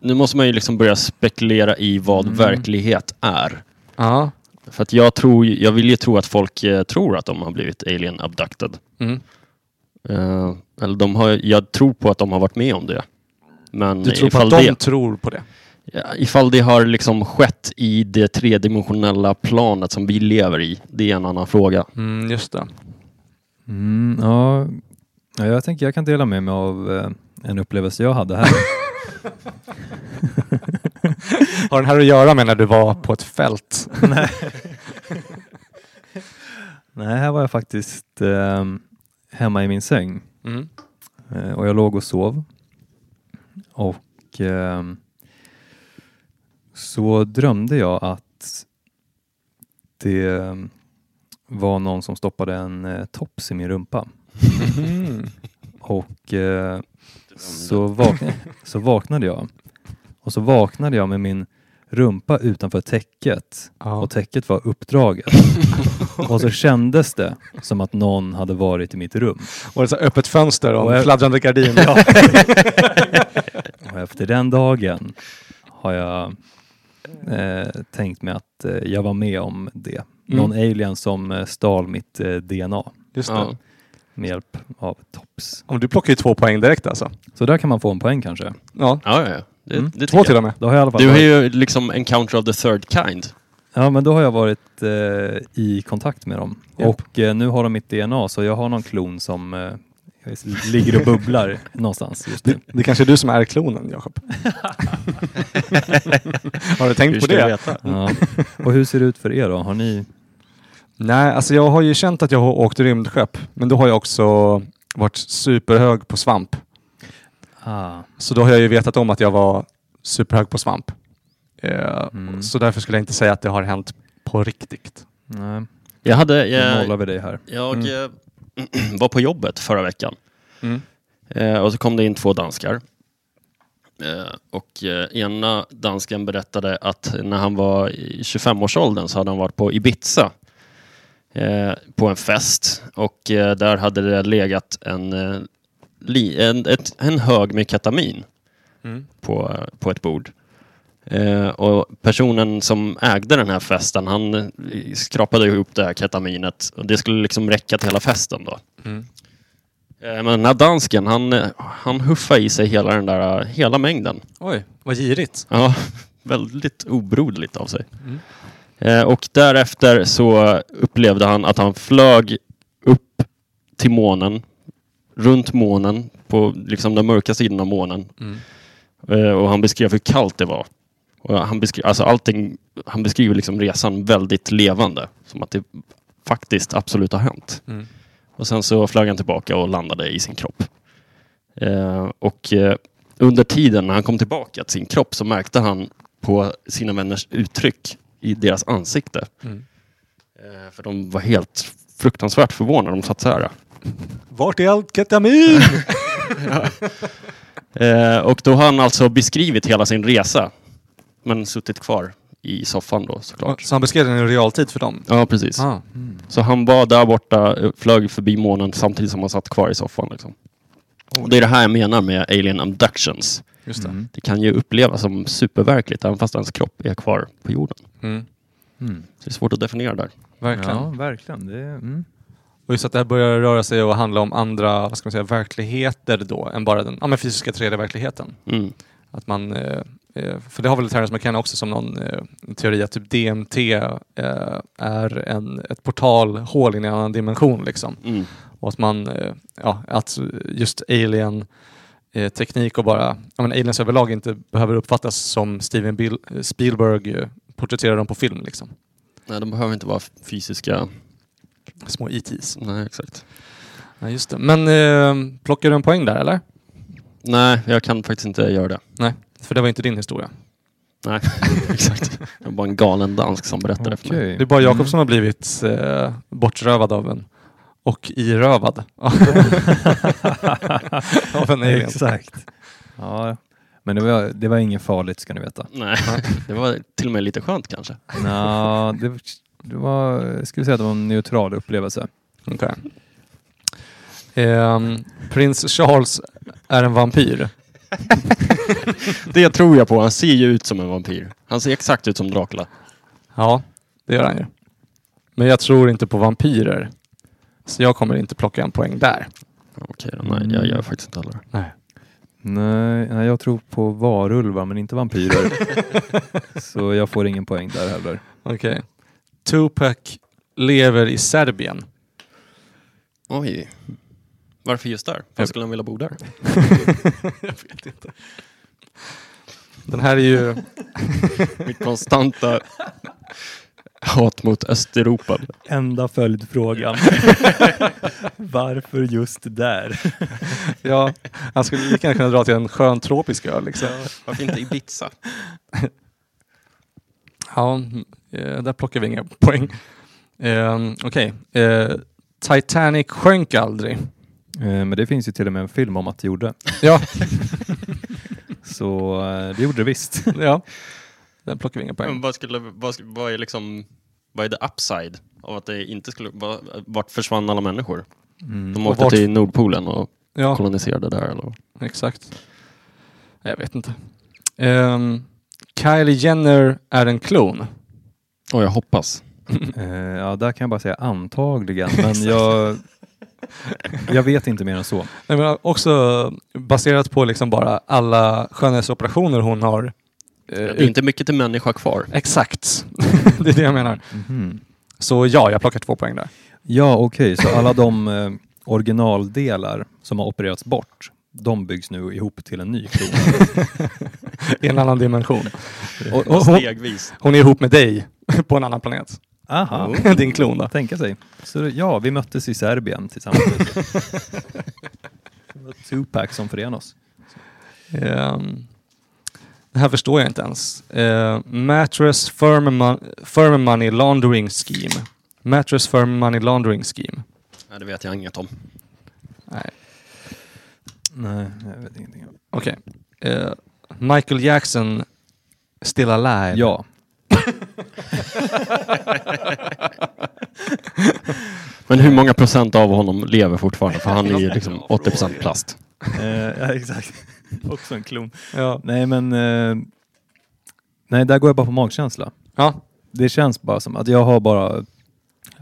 Speaker 3: Nu måste man ju liksom börja spekulera i vad
Speaker 4: Mm.
Speaker 3: verklighet är.
Speaker 4: Ja.
Speaker 3: För att jag, tror, ju- jag vill ju tro att folk eh, tror att de har blivit alien abducted.
Speaker 4: Mm.
Speaker 3: Eh, eller de har, jag tror på att de har varit med om det. Men
Speaker 4: Du tror på
Speaker 3: ifall,
Speaker 4: att de
Speaker 3: det,
Speaker 4: tror på det?
Speaker 3: ja, ifall det har liksom skett i det tredimensionella planet som vi lever i, det är en annan fråga.
Speaker 4: Mm, just det.
Speaker 1: Mm, ja. ja, jag tänker jag kan dela med mig av eh, en upplevelse jag hade
Speaker 3: <laughs>
Speaker 1: här.
Speaker 4: Har den här att göra med när du var på ett fält?
Speaker 1: Nej. <laughs> Nej, här var jag faktiskt eh, hemma i min säng
Speaker 4: Mm.
Speaker 1: eh, och jag låg och sov. Och ehm, så drömde jag att det eh, var någon som stoppade en eh, tops i min rumpa.
Speaker 4: Mm.
Speaker 3: <laughs>
Speaker 1: Och eh, så, vakna, så vaknade jag. Och så vaknade jag med min rumpa utanför täcket
Speaker 4: Ja.
Speaker 1: och täcket var uppdraget. och så kändes det som att någon hade varit i mitt rum.
Speaker 4: Var det så här öppet fönster och
Speaker 1: Och jag-
Speaker 4: en fladdrande gardin? Mm.
Speaker 1: Och efter den dagen har jag eh, tänkt mig att eh, jag var med om det.
Speaker 4: Mm.
Speaker 1: Någon alien som eh, stal mitt eh, DNA
Speaker 4: Just det.
Speaker 3: Ja.
Speaker 1: med hjälp av tops.
Speaker 4: Om du plockar ju två poäng direkt alltså.
Speaker 1: Så där kan man få en poäng kanske.
Speaker 4: Ja.
Speaker 3: Ja, ja, ja. Det,
Speaker 1: Mm.
Speaker 3: det tycker
Speaker 4: Två till
Speaker 3: jag.
Speaker 4: och med.
Speaker 1: Då har jag i alla fall
Speaker 3: Du har
Speaker 1: varit,
Speaker 3: ju liksom encounter of the third kind.
Speaker 1: ja, men då har jag varit eh, i kontakt med dem.
Speaker 4: Japp.
Speaker 1: Och eh, nu har de mitt DNA så jag har någon klon som eh, ligger och
Speaker 4: <laughs>
Speaker 1: bubblar någonstans just nu.
Speaker 4: Det, det kanske är du som är klonen, Jakob. Har du tänkt
Speaker 3: Hur
Speaker 4: på
Speaker 3: ska
Speaker 4: det?
Speaker 3: jag veta?
Speaker 1: Ja. Och hur ser det ut för er då? Har ni...
Speaker 4: Nej, alltså jag har ju känt att jag har åkt rymdskepp, men då har jag också varit superhög på svamp.
Speaker 1: Ah.
Speaker 4: Så då har jag ju vetat om att jag var superhög på svamp. Eh,
Speaker 1: Mm.
Speaker 4: Så därför skulle jag inte säga att det har hänt på riktigt.
Speaker 1: Nej,
Speaker 3: Jag hade...
Speaker 1: nu
Speaker 3: Jag,
Speaker 1: nollar vi dig här.
Speaker 3: jag eh, <clears throat> var på jobbet förra veckan. Eh, och så kom det in två danskar. Eh, och eh, ena dansken berättade att när han var i 25-årsåldern så hade han varit på Ibiza eh, på en fest. Och eh, där hade det legat en, eh, li, en, ett, en hög med ketamin på, på ett bord. Eh, och personen som ägde den här festen, han eh, skrapade ihop det här ketaminet. Och det skulle liksom räcka till hela festen då. Eh, Men den här dansken, han, eh, han huffade i sig hela den där eh, hela mängden.
Speaker 4: Oj, vad girigt.
Speaker 3: Ja, <laughs> väldigt obroderligt av sig. Eh, Och därefter så upplevde han att han flög upp till månen, runt månen, på liksom den mörka sidan av månen.
Speaker 4: Mm.
Speaker 3: Eh, Och han beskrev hur kallt det var. Och han, beskri- alltså allting, han beskriver liksom resan väldigt levande, som att det faktiskt absolut har hänt.
Speaker 4: Mm.
Speaker 3: Och sen så flög han tillbaka och landade i sin kropp. Eh, och eh, under tiden när han kom tillbaka till sin kropp så märkte han på sina vänners uttryck i deras ansikte.
Speaker 4: Mm.
Speaker 3: Eh, för de var helt fruktansvärt förvånade. De satt så här.
Speaker 4: Vart är allt ketamin?
Speaker 3: Eh, och då har han alltså beskrivit hela sin resa. Men suttit kvar i soffan då såklart.
Speaker 4: Så han beskrev den i realtid för dem?
Speaker 3: Ja, precis.
Speaker 4: Ah.
Speaker 3: Så han var där borta, eh, flög förbi månen samtidigt som han satt kvar i soffan. Liksom. Och det är det här jag menar med alien abductions.
Speaker 4: Just det.
Speaker 1: Mm.
Speaker 3: Det kan ju upplevas som superverkligt även fast ens kropp är kvar på jorden.
Speaker 4: Mm.
Speaker 1: Mm.
Speaker 3: Så det är svårt att definiera där.
Speaker 4: Verkligen.
Speaker 1: Ja, verkligen. Det, mm.
Speaker 4: Och just att det här börjar röra sig och handla om andra vad ska man säga, verkligheter då än bara den ja, men fysiska 3D-verkligheten.
Speaker 3: Mm.
Speaker 4: Att man, eh, eh, för det har väl Terrence McKenna också som någon eh, teori att typ DMT eh, är en, ett portalhål in i en annan dimension. Liksom.
Speaker 3: Mm.
Speaker 4: Och att man, eh, ja, att just alien eh, teknik och bara, ja men aliens överlag inte behöver uppfattas som Steven Bil- Spielberg eh, porträtterar dem på film liksom.
Speaker 3: Nej, de behöver inte vara fysiska.
Speaker 4: Små ETs.
Speaker 3: Nej, exakt.
Speaker 4: Ja, just det. Men eh, plockar du en poäng där eller?
Speaker 3: Nej, jag kan faktiskt inte göra det.
Speaker 4: Nej, för det var inte din historia.
Speaker 3: Nej, <laughs> exakt. Det var bara en galen dansk som berättade det för mig.
Speaker 1: Okej.
Speaker 4: Det är bara Jakob
Speaker 1: Mm. <laughs>
Speaker 4: som har blivit eh, bortrövad av en och irövad <laughs> av en alien.
Speaker 1: Exakt. Ja, men det var, det var inget farligt ska ni veta.
Speaker 3: Nej, det var till och med lite skönt kanske.
Speaker 1: Nå, det, det var, jag skulle säga att det var en neutral upplevelse.
Speaker 4: Okej. Ehm, Prins Charles är en vampyr.
Speaker 3: Det tror jag på. Han ser ju ut som en vampyr. Han ser exakt ut som Dracula.
Speaker 4: Ja, det gör han ju. Men jag tror inte på vampyrer. Så jag kommer inte plocka en poäng där.
Speaker 3: Okej, då, nej, jag gör faktiskt inte heller det.
Speaker 1: Nej, nej, jag tror på varulvar men inte vampyrer. <laughs> Så jag får ingen poäng där heller.
Speaker 4: Okej. Tupac lever i Serbien.
Speaker 3: Oj. Varför just där? Varför skulle han vilja bo där?
Speaker 4: Den här är ju...
Speaker 3: Mitt <laughs> konstanta hat mot Östeuropa.
Speaker 1: Enda
Speaker 4: <laughs>
Speaker 1: följdfrågan. Varför just där?
Speaker 4: Ja, han skulle lika gärna kunna dra till en skön tropisk ö liksom.
Speaker 3: Varför inte Ibiza?
Speaker 4: Ja, eh, där plockar vi inga poäng. Ehm, Okej. Eh, Titanic sjönk aldrig.
Speaker 1: Eh, Men det finns ju till och med en film om att det gjorde.
Speaker 4: Ja,
Speaker 1: Så eh, det gjorde det
Speaker 3: <laughs>
Speaker 1: visst.
Speaker 4: ja. Där plockar vi inga <laughs>
Speaker 3: Men
Speaker 4: poäng.
Speaker 3: vad, skulle, vad, sk- vad är liksom, vad är the upside av att det inte skulle, vad, vart försvann alla människor? De
Speaker 1: Mm.
Speaker 4: Och
Speaker 3: åkte
Speaker 4: vart-
Speaker 3: till Nordpolen och
Speaker 4: Ja,
Speaker 3: koloniserade där eller?
Speaker 4: exakt. Nej, Jag vet inte. Ehm, Kylie Jenner är en klon.
Speaker 3: Åh, jag hoppas.
Speaker 1: Eh, Ja, där kan jag bara säga antagligen,
Speaker 3: <laughs>
Speaker 1: men jag, jag vet inte mer än så.
Speaker 4: Nej, men också baserat på liksom bara alla skönhetsoperationer hon har. eh,
Speaker 3: Det är inte mycket till människa kvar.
Speaker 4: Exakt. <laughs> det är det jag menar.
Speaker 1: Mhm.
Speaker 4: Så ja, jag plockar två poäng där.
Speaker 1: Ja, okej, så alla de eh, originaldelar som har opererats bort, de byggs nu ihop till en ny klon.
Speaker 4: I en annan dimension. Och, och hon,
Speaker 3: Stegvis.
Speaker 4: hon är ihop med dig på en annan planet.
Speaker 1: Aha,
Speaker 4: <laughs> Din klon då.
Speaker 1: tänka sig. Så det- ja, vi möttes i Serbien <laughs> tillsammans. Det var Tupac som förenade oss.
Speaker 4: Ehm, det här förstår jag inte ens. Ehm, mattress firm, mon- firm money laundering scheme. Mattress firm money laundering scheme.
Speaker 3: Nej, det vet jag inget om.
Speaker 4: Nej,
Speaker 1: Nej, jag vet ingenting. om.
Speaker 4: okej. Ehm, Michael Jackson still alive.
Speaker 1: Ja,
Speaker 3: Men hur många procent av honom lever fortfarande? För han är ju liksom 80 procent plast.
Speaker 1: eh, ja exakt. <laughs> Också en klon.
Speaker 4: Ja.
Speaker 1: Nej, men... Eh, nej, där går jag bara på magkänsla.
Speaker 4: ja.
Speaker 1: Det känns bara som att jag har bara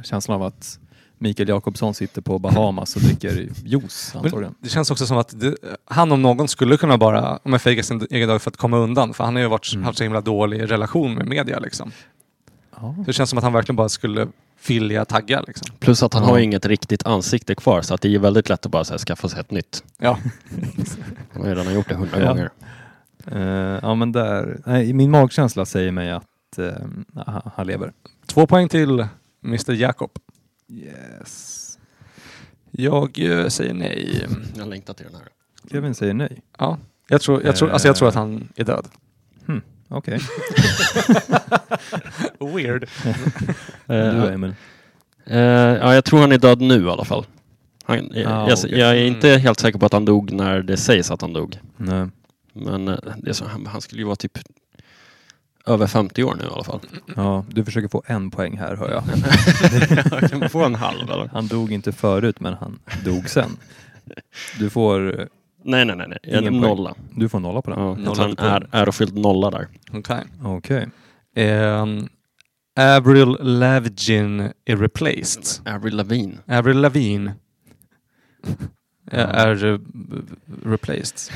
Speaker 1: känslan av att Mikael Jakobsson sitter på Bahamas och dricker juice antagligen.
Speaker 4: Det känns också som att det, han om någon skulle kunna bara om jag fejka sin egen dag för att komma undan för han har ju varit,
Speaker 1: Mm.
Speaker 4: haft så himla dålig relation med media. Liksom.
Speaker 1: Ja.
Speaker 4: Det känns som att han verkligen bara skulle vilja tagga. Liksom.
Speaker 3: Plus att han
Speaker 1: Ja.
Speaker 3: har ju inget riktigt ansikte kvar så att det är väldigt lätt att bara så här, skaffa sig ett nytt.
Speaker 4: Ja.
Speaker 3: Han har ju redan gjort det hundra
Speaker 1: Ja.
Speaker 3: gånger.
Speaker 1: Eh, ja men där, nej, min magkänsla säger mig att eh, han- han lever.
Speaker 4: Två poäng till Mr Jakob.
Speaker 1: Yes.
Speaker 4: Jag eh, säger nej.
Speaker 3: Jag längtar till den här.
Speaker 1: Kevin säger nej.
Speaker 4: Ja. Jag, tror, jag, tror, alltså jag tror att han är död.
Speaker 1: Okej,
Speaker 4: Weird.
Speaker 1: <laughs> du Emil.
Speaker 3: Eh, ja, jag tror han är död nu i alla fall. Han, eh,
Speaker 1: Ah,
Speaker 3: jag,
Speaker 1: okej.
Speaker 3: jag är inte helt säker på att han dog när det sägs att han dog.
Speaker 1: Nej.
Speaker 3: Men eh, det är så, han, han skulle ju vara typ över 50 år nu i alla fall.
Speaker 1: Ja, du försöker få en poäng här hör jag.
Speaker 3: jag <laughs> kan få en halv eller?
Speaker 1: Han dog inte förut men han dog sen. Du får,
Speaker 3: Nej, nej, nej. nej. En
Speaker 1: Ingen poäng.
Speaker 3: nolla.
Speaker 1: du får nolla på den.
Speaker 3: Ja,
Speaker 4: Nolla
Speaker 3: att han
Speaker 4: poäng.
Speaker 3: är ärofylld nolla där.
Speaker 4: Okay.
Speaker 1: Okej.
Speaker 4: Um, Avril Lavigne är replaced.
Speaker 3: Avril Lavigne.
Speaker 4: Avril Lavigne
Speaker 1: Ja.
Speaker 4: är eh, replaced.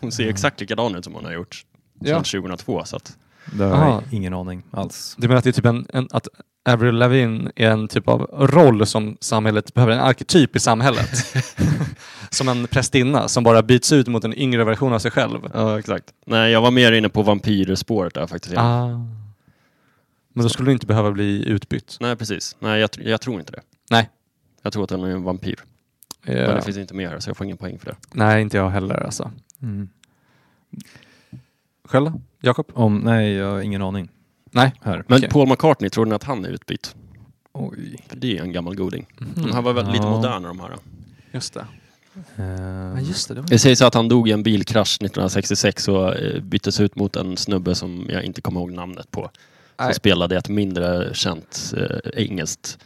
Speaker 3: Hon ser ju exakt likadan ut som hon har gjort
Speaker 4: Ja.
Speaker 3: sedan 2002. Så att,
Speaker 1: Där har
Speaker 4: Aha.
Speaker 1: jag ingen aning alls.
Speaker 4: Du menar att det är typ en, en att Avril Lavigne är en typ av roll som samhället behöver, en arketyp i samhället. som en prästinna som bara byts ut mot en yngre version av sig själv.
Speaker 3: ja, exakt. Nej, jag var mer inne på vampyrspåret där faktiskt.
Speaker 4: Ah. Men då skulle du inte behöva bli utbytt.
Speaker 3: Nej, precis. Nej, jag, tr- jag tror inte det.
Speaker 4: Nej.
Speaker 3: Jag tror att hon är en vampyr. Men det finns inte med här så jag får ingen poäng för det.
Speaker 4: Eh, Nej, inte jag heller alltså.
Speaker 1: Mm.
Speaker 4: Själv då? Jakob?
Speaker 1: Om, nej, jag har ingen aning.
Speaker 4: Nej.
Speaker 1: Här.
Speaker 3: Men
Speaker 4: Okej.
Speaker 3: Paul McCartney, tror ni att han är utbytt?
Speaker 1: Oj.
Speaker 3: För det är ju en gammal goding.
Speaker 4: Mhm.
Speaker 3: De här var väl lite
Speaker 1: Ja.
Speaker 3: moderna de här.
Speaker 4: Just det.
Speaker 1: Eh,
Speaker 4: Ja, just det. det var
Speaker 3: Det sägs att han dog i en bilkrasch 1966 och eh, byttes ut mot en snubbe som jag inte kommer ihåg namnet på. Som
Speaker 4: Nej.
Speaker 3: spelade i ett mindre känt eh, engelskt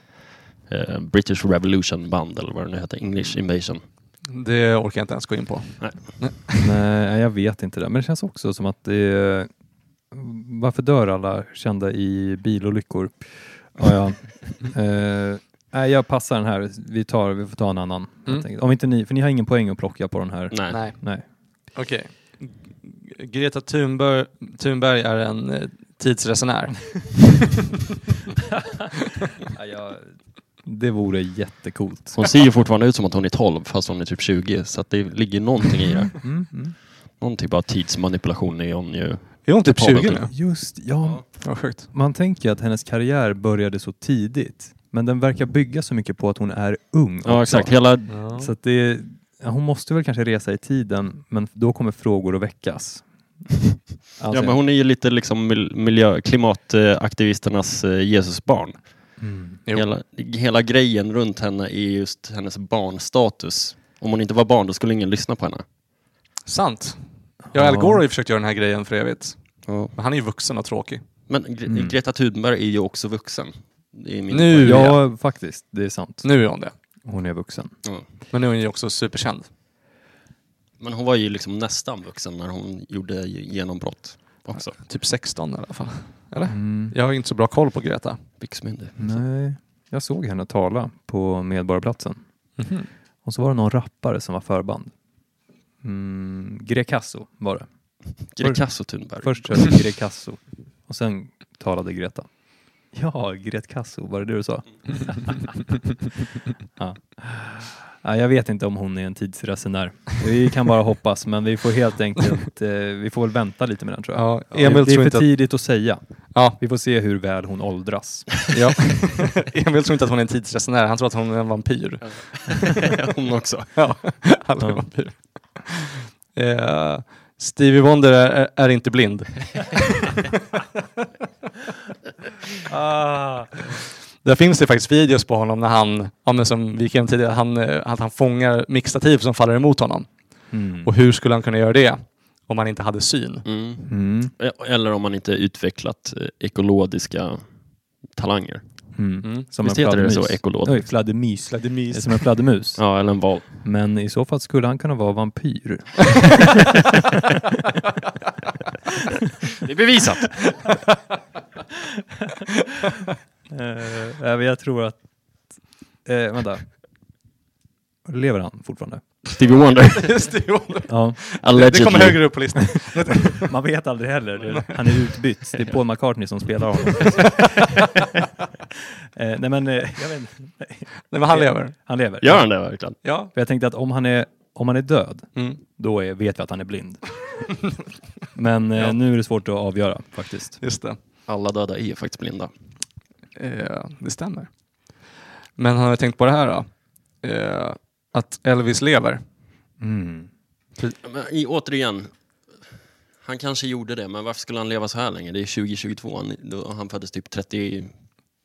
Speaker 3: eh, British Revolution band eller vad det nu heter, English Invasion.
Speaker 4: Det orkar jag inte ens gå in på.
Speaker 1: Nej, jag vet inte det. Men det känns också som att det är... Varför dör alla kända i bilolyckor? Ja,
Speaker 3: <laughs>
Speaker 1: ja. Eh, nej, jag passar den här. Vi, tar, vi får ta en annan. helt
Speaker 4: Mm.
Speaker 1: enkelt. Om inte ni, för ni har ingen poäng att plocka på den här.
Speaker 3: Nej.
Speaker 1: Nej.
Speaker 4: Okej. G- Greta Thunberg, Thunberg är en eh, tidsresenär.
Speaker 1: Det vore jättecoolt.
Speaker 3: Hon ser ju fortfarande ut som att hon är 12 fast hon är typ 20 så att det ligger någonting i det.
Speaker 1: Mm, mm.
Speaker 3: Någon typ av tidsmanipulation är hon ju.
Speaker 4: Är hon typ 20
Speaker 3: 20
Speaker 4: nu?
Speaker 1: Just ja.
Speaker 4: Vad sjukt.
Speaker 1: Man tänker att hennes karriär började så tidigt. Men den verkar bygga så mycket på att hon är ung. också.
Speaker 3: Ja exakt, hela
Speaker 1: Så att det, ja, hon måste väl kanske resa i tiden, men då kommer frågor att väckas.
Speaker 3: Ja, men hon är ju lite liksom mil- miljö, klimataktivisternas eh, Jesusbarn.
Speaker 1: Mm.
Speaker 4: Jo.
Speaker 3: Hela, hela grejen runt henne är just hennes barnstatus. Om hon inte var barn då skulle ingen lyssna på henne.
Speaker 4: Sant. Ja, Al Gore har ju försökt göra den här grejen för evigt. Men han är ju vuxen och tråkig.
Speaker 3: Men Gre-
Speaker 1: Mm.
Speaker 3: Greta Thunberg är ju också vuxen. Det är min
Speaker 4: Nu,
Speaker 3: poäng.
Speaker 1: Ja, faktiskt. Det är sant.
Speaker 4: Nu är hon det.
Speaker 1: Hon är vuxen.
Speaker 3: Ja.
Speaker 4: Men nu är hon ju också superkänd.
Speaker 3: Men hon var ju liksom nästan vuxen när hon gjorde ge- genombrott också.
Speaker 4: Typ 16 i alla fall. Eller?
Speaker 1: Mm.
Speaker 4: Jag har inte så bra koll på Greta.
Speaker 3: Byxmyndig.
Speaker 1: Nej, jag såg henne tala på Medborgarplatsen.
Speaker 4: Mhm.
Speaker 1: Och så var det någon rappare som var förband. Mm, Grecasso var det.
Speaker 3: Grecasso Thunberg.
Speaker 1: Först körde Grecasso och sen talade Greta. <laughs> Ja, Gretkasso, var det det du sa? <laughs> ja. Ja, jag vet inte om hon är en tidsresenär. Vi kan bara hoppas, men vi får helt enkelt eh, vi får väl vänta lite med den tror jag.
Speaker 4: Ja,
Speaker 1: Det-
Speaker 4: Emil
Speaker 1: det är
Speaker 4: tror
Speaker 1: för
Speaker 4: inte att...
Speaker 1: tidigt att säga.
Speaker 4: Ja,
Speaker 1: Vi får se hur väl hon åldras.
Speaker 4: ja. <laughs> Emil tror inte att hon är en tidsresenär. Han tror att hon är en vampyr.
Speaker 3: hon också.
Speaker 4: Ja, alla är
Speaker 1: Ja.
Speaker 4: vampyrer. Eh, Stevie Wonder är, är inte blind. Där finns det faktiskt videos på honom när han, ja, men som vi gick igenom tidigare, han, eh, att han fångar mixtativ som faller emot honom.
Speaker 1: Mm.
Speaker 4: Och hur skulle han kunna göra det om han inte hade syn?
Speaker 3: <laughs> Mm.
Speaker 1: Mm.
Speaker 3: Eller om man inte utvecklat eh, ekologiska talanger.
Speaker 1: Mm.
Speaker 4: Mm.
Speaker 1: Som
Speaker 3: Visst heter det så?
Speaker 1: fladdermus.
Speaker 3: Ekolod?
Speaker 1: Oj, fladdermus. <laughs>
Speaker 4: Fladdermus.
Speaker 1: Som en fladdermus.
Speaker 3: Ja, eller en val.
Speaker 1: Men i så fall skulle han kunna vara vampyr.
Speaker 3: Det är bevisat!
Speaker 1: Eh, nej, men jag tror att Eh, vänta. Lever han fortfarande?
Speaker 3: <laughs> Stevie <laughs> Wonder.
Speaker 4: Stevie Wonder.
Speaker 1: Ja.
Speaker 4: Det,
Speaker 3: Allegedly.
Speaker 4: det kommer högre upp på listan.
Speaker 1: Man vet aldrig heller. Han är utbytt. Det är Paul McCartney som spelar honom. eh, nej men, eh, jag vet, inte.
Speaker 4: Nej, men han lever.
Speaker 1: han lever.
Speaker 3: Gör han det verkligen?
Speaker 4: Ja.
Speaker 1: För jag tänkte att om han är, om han är död,
Speaker 4: Mm.
Speaker 1: då är, vet vi att han är blind. men eh,
Speaker 4: Ja.
Speaker 1: nu är det svårt att avgöra faktiskt.
Speaker 4: Just det.
Speaker 3: Alla döda är faktiskt blinda.
Speaker 4: Eh, det stämmer. Men har ni tänkt på det här då? Eh, att Elvis lever.
Speaker 3: Men, i, återigen, han kanske gjorde det, men varför skulle han leva så här länge? Det är 2022, han, då, han föddes typ 30,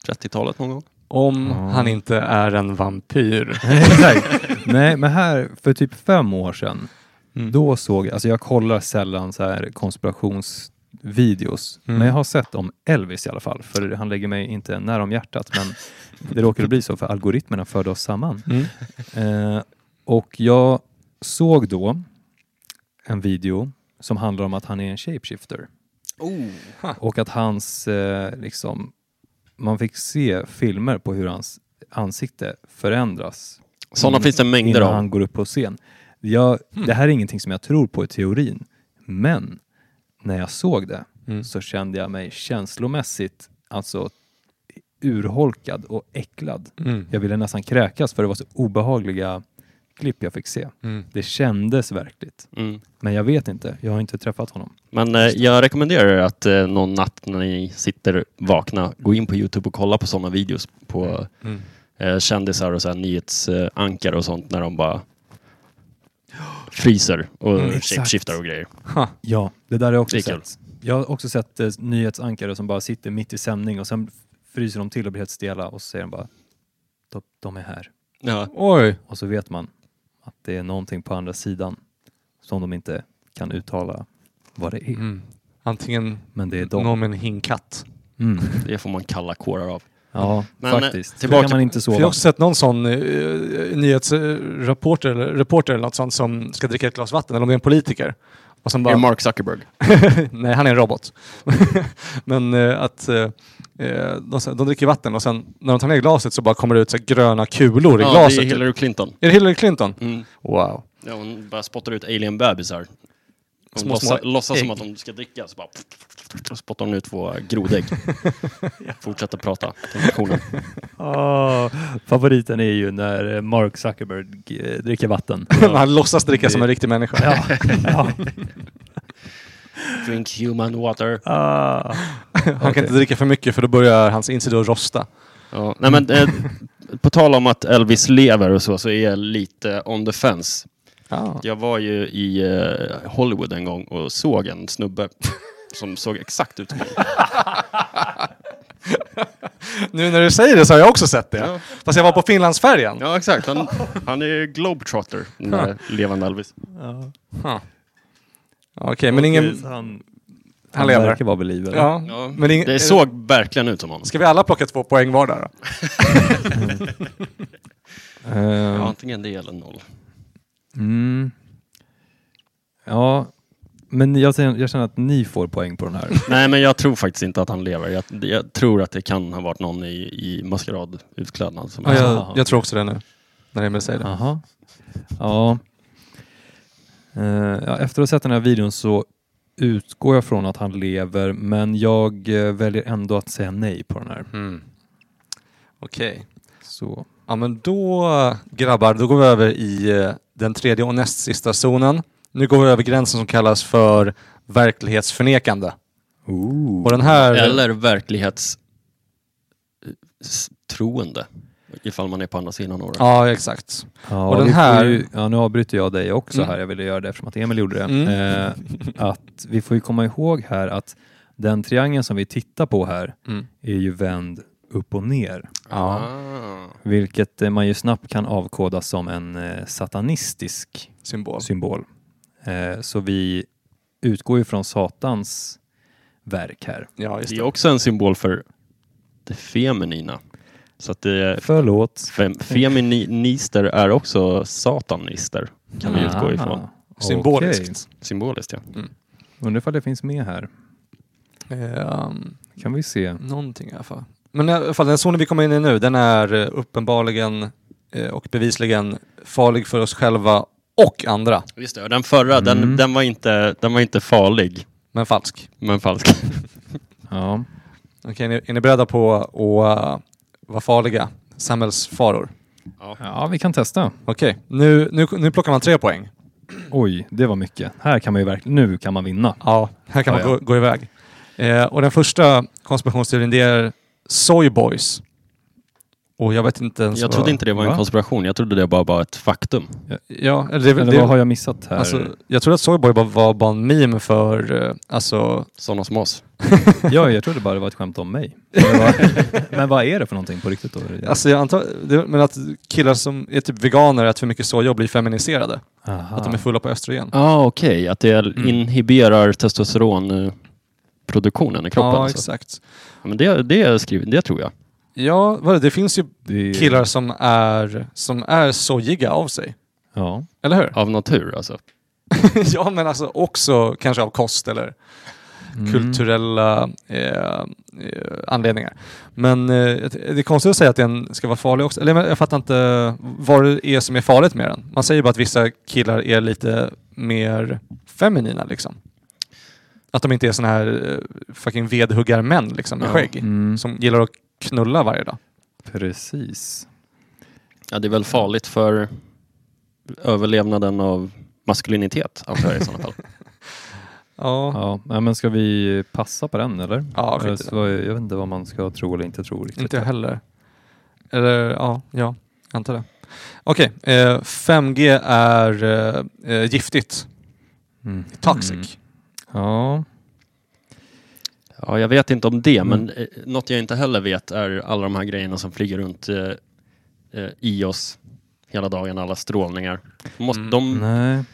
Speaker 3: 30-talet någon gång.
Speaker 4: Om
Speaker 1: Ja.
Speaker 4: han inte är en vampyr.
Speaker 1: <laughs> Exakt. Nej, men här för typ fem år sedan,
Speaker 4: Mm.
Speaker 1: då såg jag, alltså jag kollar sällan så här konspirationsvideos,
Speaker 4: Mm.
Speaker 1: men jag har sett om Elvis i alla fall, för han lägger mig inte nära om hjärtat, men det råkade bli så för algoritmerna förde oss samman.
Speaker 4: Mm.
Speaker 1: Eh, och jag såg då en video som handlar om att han är en shapeshifter.
Speaker 3: Oh.
Speaker 1: Och att hans, eh, liksom, man fick se filmer på hur hans ansikte förändras
Speaker 3: Sådana
Speaker 1: Mm.
Speaker 3: finns det mängder
Speaker 1: innan
Speaker 3: av.
Speaker 1: han går upp på scen. Jag, Det här är ingenting som jag tror på i teorin, men när jag såg det
Speaker 4: Mm.
Speaker 1: så kände jag mig känslomässigt alltså urholkad och äcklad.
Speaker 4: Mm.
Speaker 1: Jag ville nästan kräkas för det var så obehagliga klipp jag fick se.
Speaker 4: Mm.
Speaker 1: Det kändes verkligt,
Speaker 3: Mm.
Speaker 1: men jag vet inte. Jag har inte träffat honom.
Speaker 3: Men eh, jag rekommenderar er att eh, någon natt när ni sitter vakna, gå in på Youtube och kolla på sådana videos på
Speaker 4: Mm.
Speaker 3: eh, kändisar och så här nyhetsankare och sånt när de bara fryser och
Speaker 4: Mm,
Speaker 1: exakt.
Speaker 3: shapeshiftar och grejer.
Speaker 4: Ha.
Speaker 1: Ja, det där har jag
Speaker 3: Det
Speaker 1: också
Speaker 3: är kul.
Speaker 1: sett. Jag har också sett eh, nyhetsankare som bara sitter mitt i sändning och sen fryser de till och blir helt stela och så säger de bara de, de är här.
Speaker 3: Ja.
Speaker 4: Oj.
Speaker 1: Och så vet man att det är någonting på andra sidan som de inte kan uttala vad det är.
Speaker 4: Mm. Antingen
Speaker 1: Men det är de.
Speaker 4: någon med en hinkatt.
Speaker 1: Mm.
Speaker 3: Det får man kalla kårar av.
Speaker 1: Ja,
Speaker 3: Men, eh,
Speaker 1: faktiskt. Tillbaka.
Speaker 3: tillbaka-
Speaker 1: kan man inte
Speaker 4: För Jag har
Speaker 1: sova.
Speaker 4: också sett någon sån eh, nyhetsreporter eller, reporter eller något sånt som ska dricka ett glas vatten, eller om det är en politiker. Och sen
Speaker 3: Är
Speaker 4: bara,
Speaker 3: det Mark Zuckerberg?
Speaker 4: <laughs> nej han är en robot. Men eh, att eh, eh, de, de dricker vatten och sen när de tar ner glaset så bara kommer det ut så här gröna kulor i
Speaker 3: Ja,
Speaker 4: glaset.
Speaker 3: det är
Speaker 4: typ.
Speaker 3: Hillary Clinton.
Speaker 4: är det Hillary Clinton?
Speaker 3: Mm.
Speaker 4: Wow.
Speaker 3: Ja, hon bara spottar ut alien-bebisar. Hon
Speaker 4: Små,
Speaker 3: låtsas,
Speaker 4: små
Speaker 3: låtsas som
Speaker 4: ägg.
Speaker 3: att de ska dricka, så bara så spottar hon ut två
Speaker 4: <laughs>
Speaker 3: grodägg. Fortsätter prata. Konversationen.
Speaker 1: Ah, favoriten är ju när eh, Mark Zuckerberg eh, dricker <laughs> vatten.
Speaker 4: <laughs> han låtsas dricka som en riktig människa.
Speaker 1: ja, ja.
Speaker 3: Drink human water.
Speaker 1: Ah.
Speaker 4: <laughs> han kan
Speaker 1: Okej.
Speaker 4: inte dricka för mycket för då börjar hans insida att rosta.
Speaker 3: Ja. Nej, men, eh, på tal om att Elvis lever och så, så är jag lite on the fence. Jag var ju i eh, Hollywood en gång och såg en snubbe <laughs> som såg exakt ut som mig.
Speaker 4: Nu när du säger det så har jag också sett det.
Speaker 3: Ja.
Speaker 4: Fast jag var på Finlandsfärjan.
Speaker 3: Ja, exakt. Han, han är globetrotter, den där levande Elvis.
Speaker 1: Ja.
Speaker 4: Huh. Okej, men ingen...
Speaker 1: Han, han,
Speaker 4: Han lever.
Speaker 1: verkar vara believer.
Speaker 4: Ja,
Speaker 3: Ja,
Speaker 4: men ingen...
Speaker 3: Det såg verkligen ut som honom.
Speaker 4: Ska vi alla plocka två poäng var där då?
Speaker 3: Ja, antingen det eller noll.
Speaker 1: Ehm, Mm. Ja, men jag, känner- jag känner att ni får poäng på den här.
Speaker 3: Nej, men jag tror faktiskt inte att han lever. Jag, jag tror att det kan ha varit någon i, i maskeradutklädnad. Som
Speaker 1: Ja,
Speaker 4: jag,
Speaker 1: jag- jag
Speaker 4: tror också det nu. När Emil säger det.
Speaker 1: Jaha. Ja. Eh, ja. Efter att ha sett den här videon så utgår jag från att han lever, men jag eh, väljer ändå att säga nej på den här.
Speaker 4: Mm. Okej.
Speaker 1: Så.
Speaker 4: Ja men då grabbar, då går vi över i eh, den tredje och näst sista zonen. Nu går vi över gränsen som kallas för verklighetsförnekande. Och den här...
Speaker 3: Eller verklighetstroende. Ifall man är på andra sidan året.
Speaker 4: Ja, exakt.
Speaker 1: Ja,
Speaker 4: Och den
Speaker 1: vi får
Speaker 4: här-
Speaker 1: Ju, ja, nu avbryter jag dig också
Speaker 4: Mm.
Speaker 1: här. Jag ville göra det eftersom att Emil gjorde det.
Speaker 4: Mm.
Speaker 1: Eh, att vi får ju komma ihåg här att den triangeln som vi tittar på här
Speaker 4: Mm.
Speaker 1: är ju vänd upp och ner.
Speaker 4: Ja.
Speaker 3: Ah.
Speaker 1: Vilket eh, man ju snabbt kan avkoda som en eh, satanistisk
Speaker 4: Symbol.
Speaker 1: symbol. Eh, så vi utgår ju från Satans verk här.
Speaker 4: Ja, just
Speaker 3: Det är
Speaker 4: det.
Speaker 3: också en symbol för det feminina. Så att det är
Speaker 1: Förlåt.
Speaker 3: fem, feminister är också satanister. Kan vi utgå ifrån.
Speaker 1: Ah,
Speaker 4: Symboliskt.
Speaker 3: Symboliskt ja.
Speaker 1: Undrar ifall det finns med här.
Speaker 4: Ehm,
Speaker 1: Kan vi se.
Speaker 3: Mm.
Speaker 4: någonting i alla fall. Men i alla fall, den zonen vi kommer in i nu, den är eh, uppenbarligen eh, och bevisligen farlig för oss själva och andra,
Speaker 3: Just det, och den förra, den,
Speaker 1: Mm.
Speaker 3: den, var inte, den var inte farlig,
Speaker 4: men falsk.
Speaker 3: men falsk.
Speaker 1: Ja.
Speaker 4: Okej, är ni- är ni beredda på att eh, vara farliga? Samhällsfaror.
Speaker 1: ja, vi kan testa.
Speaker 4: Okej, nu, nu, nu plockar man tre poäng.
Speaker 1: Oj, det var mycket. Här kan man ju verkligen, nu kan man vinna.
Speaker 4: Ja, här kan man
Speaker 1: Ja, ja.
Speaker 4: Gå, gå iväg. Eh, och den första konspirationsteorin det är Soyboys. Och jag vet inte ens
Speaker 3: <laughs> Jag
Speaker 4: vad...
Speaker 3: trodde inte det var en
Speaker 1: va?
Speaker 3: konspiration, jag trodde det bara var ett faktum.
Speaker 4: Ja, eller det,
Speaker 1: Eller
Speaker 4: det,
Speaker 1: vad har jag missat här?
Speaker 4: alltså, jag trodde att Soyboy bara var bara en meme för... Eh, alltså...
Speaker 3: Sådana som oss.
Speaker 1: ja, jag trodde bara det var ett skämt om
Speaker 4: <laughs>
Speaker 1: mig. Men vad, men vad är det för någonting på riktigt då?
Speaker 4: Alltså jag antar... Det, men att killar som är typ veganer äter för mycket soja och blir feminiserade.
Speaker 1: Aha.
Speaker 4: Att de är fulla på östrogen.
Speaker 3: Ja, Ah, okej. Att det inhiberar testosteronproduktionen i kroppen.
Speaker 4: ja,
Speaker 3: alltså.
Speaker 4: exakt.
Speaker 3: Ja, Men det, det, skriver, det tror jag.
Speaker 4: Ja, vad är det? det finns ju
Speaker 1: Det är-
Speaker 4: killar som är, som är sojiga av sig.
Speaker 1: Ja.
Speaker 4: Eller hur?
Speaker 3: Av natur alltså.
Speaker 4: <laughs> ja, men alltså också kanske av kost eller
Speaker 1: Mm.
Speaker 4: kulturella eh, eh, anledningar. Men eh, det är konstigt att säga att den ska vara farlig också. Eller men jag fattar inte vad det är som är farligt med den. Man säger bara att vissa killar är lite mer feminina liksom. Att de inte är såna här eh, fucking vedhuggarmän liksom med
Speaker 3: Ja.
Speaker 4: skägg.
Speaker 1: Mm.
Speaker 4: Som gillar att knulla varje dag.
Speaker 1: Precis.
Speaker 3: Ja, det är väl farligt för överlevnaden av maskulinitet, antar jag i sådana fall.
Speaker 4: Ja,
Speaker 1: Ja. ja, men ska vi passa på den eller?
Speaker 4: ja skit i det.
Speaker 1: Så, jag vet inte vad man ska tro eller inte tro riktigt.
Speaker 4: Inte jag heller. Eller ja, ja, jag antar det. Okej, eh, 5G är eh, eh, giftigt.
Speaker 1: Mm.
Speaker 4: Toxic.
Speaker 1: Mm. Ja.
Speaker 3: <laughs> Ja, jag vet inte om det,
Speaker 1: Mm.
Speaker 3: men eh, något jag inte heller vet är alla de här grejerna som flyger runt eh, eh, i oss hela dagen, alla strålningar. Måste,
Speaker 4: Mm.
Speaker 3: de,
Speaker 1: Nej.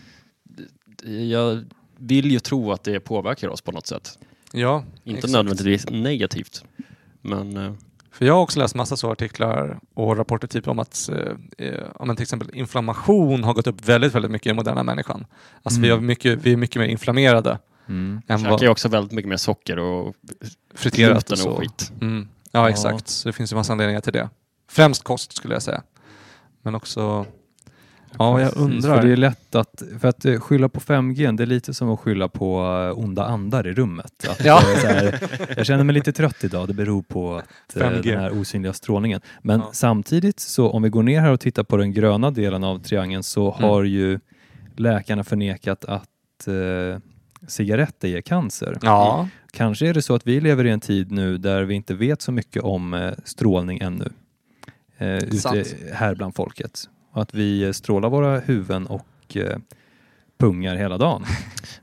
Speaker 3: jag vill ju tro att det påverkar oss på något sätt.
Speaker 4: Ja,
Speaker 3: Inte
Speaker 4: exakt.
Speaker 3: nödvändigtvis negativt, men eh,
Speaker 4: För jag har också läst massa så artiklar och rapporter typ om att eh, eh, ja, men till exempel inflammation har gått upp väldigt, väldigt mycket i moderna människan. Alltså vi,
Speaker 1: Mm.
Speaker 4: har mycket, vi är mycket mer inflammerade
Speaker 1: Mm.
Speaker 4: än
Speaker 3: käkar ju
Speaker 4: vad
Speaker 3: också väldigt mycket mer socker och
Speaker 4: friterat
Speaker 3: gluten
Speaker 4: och
Speaker 3: och,
Speaker 4: så.
Speaker 3: skit.
Speaker 4: Mm. Ja,
Speaker 1: Ja.
Speaker 4: exakt. Så det finns ju massa anledningar till det. Främst kost skulle jag säga. Men också... Ja, jag
Speaker 1: Precis,
Speaker 4: undrar.
Speaker 1: För det är lätt att, för att eh, skylla på 5G, det är lite som att skylla på eh, onda andar i rummet. Att,
Speaker 4: Ja.
Speaker 1: eh, så här, jag känner mig lite trött idag, det beror på att, eh,
Speaker 4: 5G.
Speaker 1: den här osynliga strålningen. Men
Speaker 4: Ja.
Speaker 1: samtidigt, så om vi går ner här och tittar på den gröna delen av triangeln så
Speaker 4: Mm.
Speaker 1: har ju läkarna förnekat att eh, cigaretter ger cancer.
Speaker 4: Ja.
Speaker 1: Kanske är det så att vi lever i en tid nu där vi inte vet så mycket om eh, strålning ännu. Eh, ute
Speaker 4: Sant.
Speaker 1: här bland folket. Och att vi eh, strålar våra huvuden och eh, pungar hela
Speaker 3: <laughs>
Speaker 1: dagen.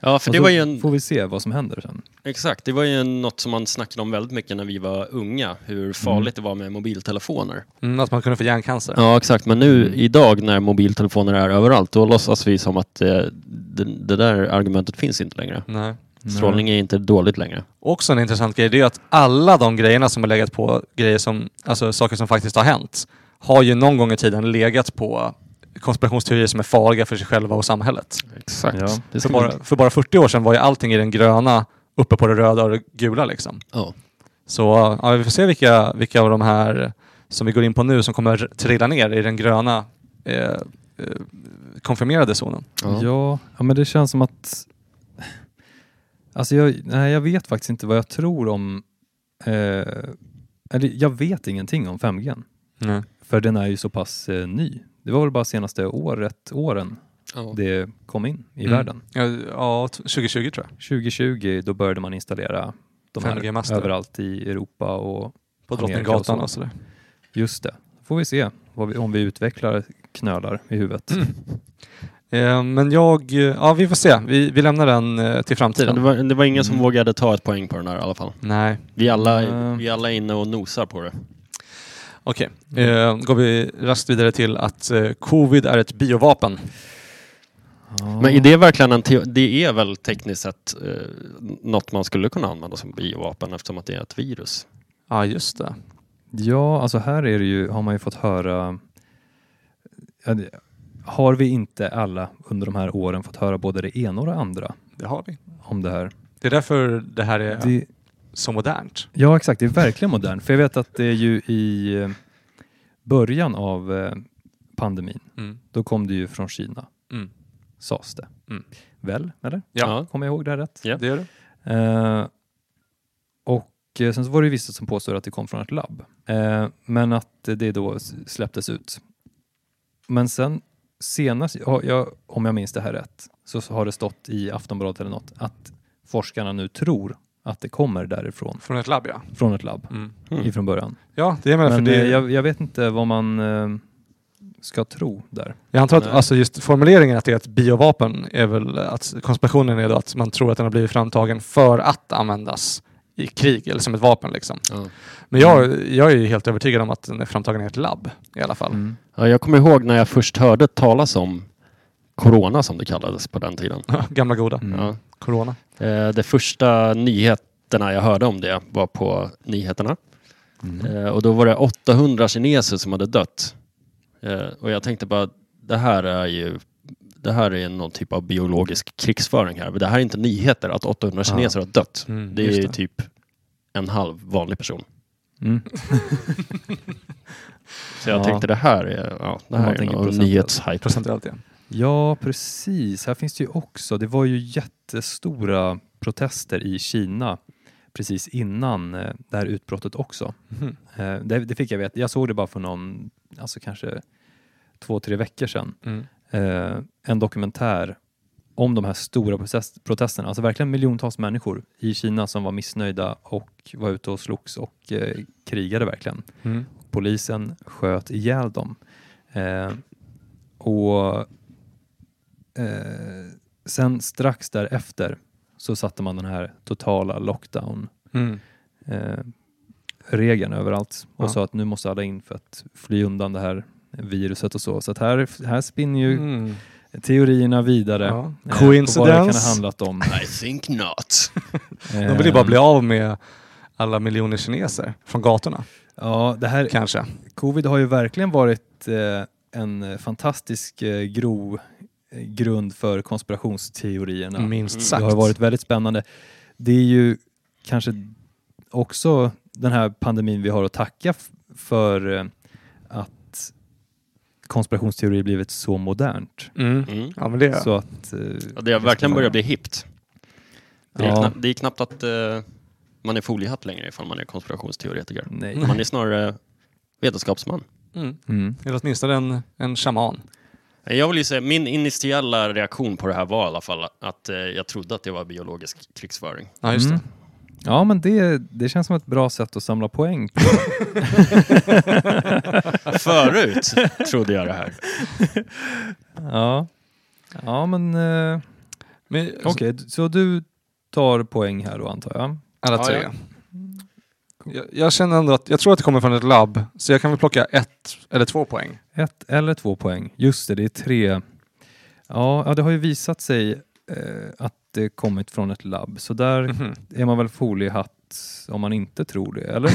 Speaker 3: Ja, för
Speaker 1: och
Speaker 3: det
Speaker 1: så
Speaker 3: var ju en,
Speaker 1: får vi se vad som händer sen.
Speaker 3: exakt, det var ju en- något som man snackade om väldigt mycket när vi var unga, hur farligt det var med mobiltelefoner. Mm.
Speaker 4: Mm, att man kunde få hjärncancer.
Speaker 3: Ja, exakt. Men nu idag när mobiltelefoner är överallt, då låtsas vi som att eh, det, det där argumentet finns inte längre.
Speaker 4: Nej.
Speaker 3: Strålning är inte dåligt längre.
Speaker 4: Också en intressant grej, det är att alla de grejerna som har legat på grejer som, alltså saker som faktiskt har hänt, har ju någon gång i tiden legat på konspirationsteorier som är farliga för sig själva och samhället.
Speaker 3: Exakt.
Speaker 1: Ja.
Speaker 3: Det
Speaker 4: För
Speaker 3: ska
Speaker 4: bara,
Speaker 3: man-
Speaker 4: för bara 40 år sedan var ju allting i den gröna uppe på det röda och det gula liksom.
Speaker 3: Ja.
Speaker 4: Så ja, vi får se vilka, vilka av de här som vi går in på nu som kommer trilla ner i den gröna eh, eh, konfirmerade zonen.
Speaker 3: Ja.
Speaker 1: eh, Ja, ja, men det känns som att... <laughs> Alltså jag, nej, jag vet faktiskt inte vad jag tror om... Eh, eller jag vet ingenting om 5G. n, För den är ju så pass eh, ny. Det var väl bara senaste året, åren det kom in i
Speaker 4: Mm.
Speaker 1: världen.
Speaker 4: Ja, ja, t- 2020 tror jag.
Speaker 1: 2020 då började man installera de här
Speaker 4: 5G-master.
Speaker 1: överallt i Europa och Amerika
Speaker 4: På
Speaker 1: och
Speaker 4: Drottninggatan
Speaker 1: så.
Speaker 4: och sådär.
Speaker 1: just det. Får vi se vad vi, om vi utvecklar knölar i huvudet.
Speaker 4: Eh, men jag, eh, ja vi får se. Vi, vi lämnar den eh, till
Speaker 3: Ja, Det,
Speaker 4: framtiden.
Speaker 3: var, det var ingen som
Speaker 1: Mm.
Speaker 3: vågade ta ett poäng på den här i alla fall.
Speaker 4: Nej,
Speaker 3: Vi alla,
Speaker 1: Mm.
Speaker 3: vi alla är inne och nosar på det.
Speaker 4: okej. Eh, går vi raskt vidare till att eh, covid är ett biovapen.
Speaker 1: Ja.
Speaker 3: Men är det verkligen en teo- det är väl tekniskt sett eh, något man skulle kunna använda som biovapen eftersom att det är ett virus?
Speaker 4: Ja, just det.
Speaker 1: Ja, alltså här är det ju, har man ju fått höra... ja, det- Har vi inte alla under de här åren fått höra både det ena och det andra
Speaker 4: Det har vi.
Speaker 1: om det här?
Speaker 4: Det är därför det här är
Speaker 1: Det,
Speaker 4: så modernt.
Speaker 1: Ja, exakt. Det är verkligen modernt. För jag vet att det är ju i eh, början av eh, pandemin,
Speaker 4: Mm.
Speaker 1: då kom det ju från Kina,
Speaker 4: Mm.
Speaker 1: sades det.
Speaker 4: Mm.
Speaker 1: Väl, eller?
Speaker 3: Ja.
Speaker 1: Kommer jag ihåg det här rätt?
Speaker 3: Ja.
Speaker 4: Det gör det.
Speaker 1: Eh, och eh, sen så var det ju vissa som påstod att det kom från ett labb. Eh, men att eh, det då s- släpptes ut. Men sen senast, ja, jag, om jag minns det här rätt, så s- har det stått i Aftonbladet eller något att forskarna nu tror att det kommer därifrån,
Speaker 4: Från ett labb ja.
Speaker 1: från ett labb
Speaker 4: Mm.
Speaker 3: Mm.
Speaker 1: ifrån början.
Speaker 4: Ja, det är men,
Speaker 1: Men
Speaker 4: för det,
Speaker 1: eh,
Speaker 4: jag,
Speaker 1: jag, jag vet inte vad man eh, ska tro där.
Speaker 4: antar att
Speaker 3: Nej.
Speaker 4: alltså just formuleringen att det är ett biovapen är väl att konspirationen är då att man tror att den har blivit framtagen för att användas i krig eller som ett vapen liksom.
Speaker 3: Ja.
Speaker 4: Men jag, jag är ju helt övertygad om att den är framtagen i ett labb i alla fall.
Speaker 1: Mm.
Speaker 3: Ja, jag kommer ihåg när jag först hörde talas om Corona som det kallades på den tiden.
Speaker 4: <laughs> Gamla goda.
Speaker 1: Mm.
Speaker 3: Ja.
Speaker 4: Corona.
Speaker 3: Eh, de första nyheterna jag hörde om det var på nyheterna.
Speaker 1: Mm.
Speaker 3: Eh, och då var det 800 kineser som hade dött. Eh, och jag tänkte bara, det här är ju det här är någon typ av biologisk krigsföring här. Men det här är inte nyheter att 800
Speaker 4: Ja.
Speaker 3: kineser har dött.
Speaker 4: Mm,
Speaker 3: Det är
Speaker 4: just
Speaker 3: ju typ en halv vanlig person.
Speaker 1: Mm.
Speaker 3: Så jag
Speaker 1: Ja.
Speaker 3: tänkte det här är, ja, det här
Speaker 1: man
Speaker 3: är
Speaker 1: tänker
Speaker 3: en
Speaker 1: procentuellt.
Speaker 3: nyhetshype.
Speaker 4: Procentuellt igen.
Speaker 1: Ja, precis. Här finns det ju också. Det var ju jättestora protester i Kina precis innan eh, det här utbrottet också.
Speaker 4: Mhm.
Speaker 1: Eh, Det, det fick jag veta. Jag såg det bara för någon, alltså kanske två, tre veckor sedan.
Speaker 4: Mm.
Speaker 1: Eh, En dokumentär om de här stora process- protesterna. Alltså verkligen miljontals människor i Kina som var missnöjda och var ute och slogs och eh, krigade verkligen
Speaker 4: Mm.
Speaker 1: polisen sköt ihjäl dem. Eh, och eh, sen strax därefter så satte man den här totala lockdown
Speaker 4: Mm.
Speaker 1: eh, regeln överallt och
Speaker 4: Ja.
Speaker 1: sa att nu måste alla in för att fly undan det här viruset och så. Så att här, här spinner ju
Speaker 4: Mm.
Speaker 1: teorierna vidare.
Speaker 4: Ja.
Speaker 1: eh, på Vad det kan
Speaker 4: Coincidence?
Speaker 1: ha handlat om.
Speaker 3: I
Speaker 1: <laughs>
Speaker 3: think not.
Speaker 4: De vill ju bara
Speaker 1: Eh.
Speaker 4: bli av med alla miljoner kineser från gatorna,
Speaker 1: Ja, det här,
Speaker 4: kanske.
Speaker 1: Covid har ju verkligen varit eh, en eh, fantastisk eh, grov eh, grund för konspirationsteorierna.
Speaker 4: Minst
Speaker 1: Det
Speaker 4: sagt.
Speaker 1: har varit väldigt spännande. Det är ju kanske också den här pandemin vi har att tacka f- för eh, att konspirationsteorier blivit så modernt.
Speaker 4: Mm.
Speaker 3: Mm.
Speaker 4: Ja, men det
Speaker 1: Så att, eh,
Speaker 3: Ja, det har verkligen börjat bli hippt. Det är,
Speaker 1: Ja.
Speaker 3: knappt, det är knappt att eh, man är foliehatt längre ifall man är konspirationsteoretiker.
Speaker 1: Nej.
Speaker 3: Man är snarare vetenskapsman.
Speaker 4: Mm.
Speaker 1: Mm.
Speaker 4: Eller åtminstone en, en shaman.
Speaker 3: Eh, Jag vill ju säga, min initiala reaktion på det här var i alla fall att eh, jag trodde att det var biologisk <laughs> krigsföring.
Speaker 4: Ja, just
Speaker 1: Mm. Ja, men det, det känns som ett bra sätt att samla poäng.
Speaker 3: <laughs>
Speaker 1: på. <laughs>
Speaker 3: Förut trodde jag det här.
Speaker 1: Ja, ja men... Eh,
Speaker 4: det. Men,
Speaker 1: Okej, d- så du tar poäng här då antar jag?
Speaker 4: Alla
Speaker 3: Ja,
Speaker 4: tre.
Speaker 3: ja.
Speaker 4: Jag, jag känner ändå att, jag tror att det kommer från ett labb, så jag kan väl plocka ett eller två poäng.
Speaker 1: Ett eller två poäng. Just det, det är tre. Ja, ja det har ju visat sig eh, att det kommit från ett labb, så där
Speaker 4: Mhm.
Speaker 1: är man väl foliehatt om man inte tror det, <laughs> eller?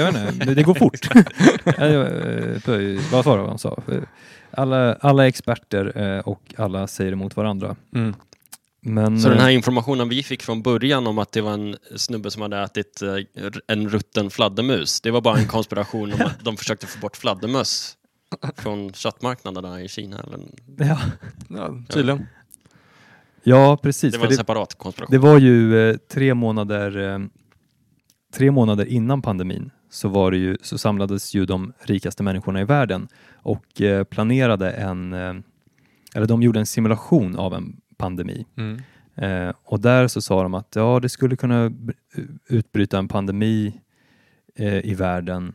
Speaker 1: jag vet inte, det, det går fort. Ja, jag, eh, böj- Vad var det han sa? Alla, alla är experter eh, och alla säger emot varandra.
Speaker 4: Mm.
Speaker 1: Men,
Speaker 3: Så den här
Speaker 1: eh,
Speaker 3: informationen vi fick från början om att det var en snubbe som hade ätit eh, r- en rutten fladdermus, det var bara en konspiration om att de försökte få bort fladdermöss från köttmarknaderna i Kina. Eller,
Speaker 1: eh, ja,
Speaker 4: Ja, tydligen.
Speaker 1: ja, precis.
Speaker 3: det
Speaker 1: för
Speaker 3: var en separat konspiration.
Speaker 1: Det var ju eh, tre månader eh, tre månader innan pandemin så, var det ju, så samlades ju de rikaste människorna i världen och eh, planerade en, eh, eller de gjorde en simulation av en pandemi.
Speaker 4: Mm.
Speaker 1: Eh, och där så sa de att ja, det skulle kunna b- utbryta en pandemi eh, i världen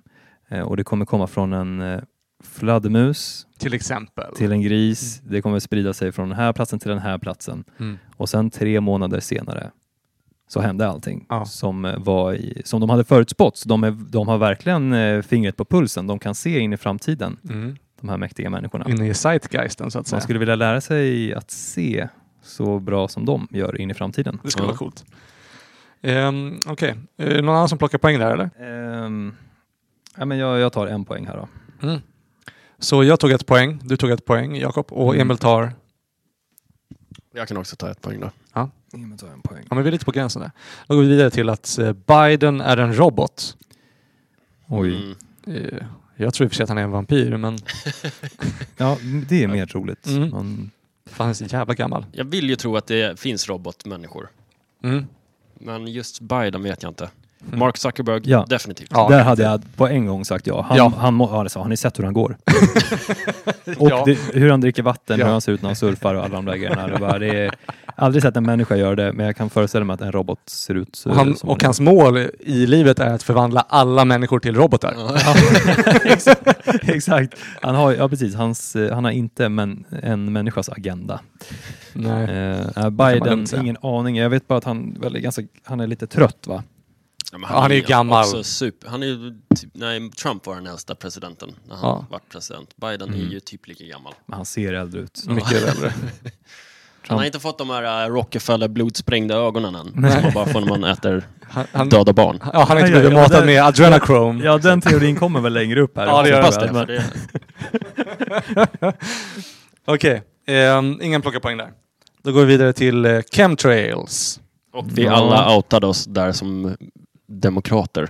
Speaker 1: eh, och det kommer komma från en eh, fladdermus
Speaker 4: Till exempel.
Speaker 1: till en gris. Det kommer sprida sig från den här platsen till den här platsen.
Speaker 4: Mm.
Speaker 1: Och sen tre månader senare så hände allting
Speaker 4: Ja.
Speaker 1: som, eh, var i, som de hade förutspått. Så de, är, de har verkligen eh, fingret på pulsen. De kan se in i framtiden,
Speaker 4: Mm.
Speaker 1: de här mäktiga människorna.
Speaker 4: Inne i zeitgeisten så att säga.
Speaker 1: Man skulle vilja lära sig att se så bra som de gör in i framtiden.
Speaker 4: Det skulle
Speaker 3: Ja.
Speaker 4: vara coolt. Um, Okej, Är det någon annan som plockar poäng där eller?
Speaker 1: Ehm, ja, men jag, jag tar en poäng här då.
Speaker 4: Så jag tog ett poäng, du tog ett poäng Jakob och
Speaker 1: Mm.
Speaker 4: Emil tar...
Speaker 3: Jag kan också ta ett poäng då.
Speaker 4: Ja.
Speaker 1: Ja, men ta en poäng.
Speaker 4: Ja, men vi är lite på gränsen där. Då går vi vidare till att eh, Biden är en robot.
Speaker 1: Oj.
Speaker 3: Mm.
Speaker 4: Eh, Jag tror i och för sig att han är en vampyr, men
Speaker 1: Ja, det är mer roligt.
Speaker 4: Mm.
Speaker 1: Man,
Speaker 4: fan, han är så jävla gammal.
Speaker 3: Jag vill ju tro att det finns robotmänniskor.
Speaker 4: Mm.
Speaker 3: Men just Biden vet jag inte.
Speaker 4: Mm.
Speaker 3: Mark Zuckerberg,
Speaker 1: Ja.
Speaker 3: definitivt.
Speaker 4: Ja.
Speaker 1: där hade jag på en gång sagt ja. Han,
Speaker 4: Ja.
Speaker 1: Han, må, ja, det sa, han har ju sett hur han går. Och
Speaker 4: Ja.
Speaker 1: det, hur han dricker vatten,
Speaker 4: Ja.
Speaker 1: hur han ser ut när han surfar och alla de där grejerna. Det är bara, det är, aldrig sett en människa göra det, men jag kan föreställa mig att en robot ser ut så,
Speaker 4: Och, han,
Speaker 1: som
Speaker 4: och
Speaker 1: en-
Speaker 4: hans mål i livet är att förvandla alla människor till robotar.
Speaker 3: Ja.
Speaker 4: <laughs>
Speaker 1: Exakt. Han har, ja, precis. Hans, eh, han har inte men, en människas agenda.
Speaker 4: Nej.
Speaker 1: Eh,
Speaker 4: lugnt
Speaker 1: Biden,
Speaker 4: säga.
Speaker 1: ingen aning. Jag vet bara att han, väl, är ganska, han är lite trött va?
Speaker 3: Ja, men
Speaker 4: Ja, han är ju gammal.
Speaker 3: Också super, han är ju typ, nej, Trump var den äldsta presidenten när han
Speaker 4: Ja.
Speaker 3: var president. Biden är
Speaker 1: Mm.
Speaker 3: ju typ lika gammal.
Speaker 1: Men han ser äldre ut.
Speaker 4: Mycket äldre.
Speaker 3: Han har inte fått de här äh, Rockefeller blodsprängda ögonen än.
Speaker 1: Nej.
Speaker 3: Som man bara får när man äter
Speaker 4: Han, <laughs> han,
Speaker 3: döda barn.
Speaker 4: ja, han har
Speaker 1: Aj,
Speaker 4: inte blivit
Speaker 1: aj, aj,
Speaker 4: matad
Speaker 1: där-
Speaker 4: med adrenochrome.
Speaker 1: Ja, den teorin kommer väl längre upp här.
Speaker 4: Ja, det gör
Speaker 1: Jag
Speaker 3: Hoppas
Speaker 1: hoppas
Speaker 3: det, för
Speaker 1: men-
Speaker 3: det.
Speaker 4: Okej, ehm, ingen plockar poäng där. Då går vi vidare till eh, chemtrails.
Speaker 3: Och vi
Speaker 1: Ja.
Speaker 3: alla outade oss där som demokrater.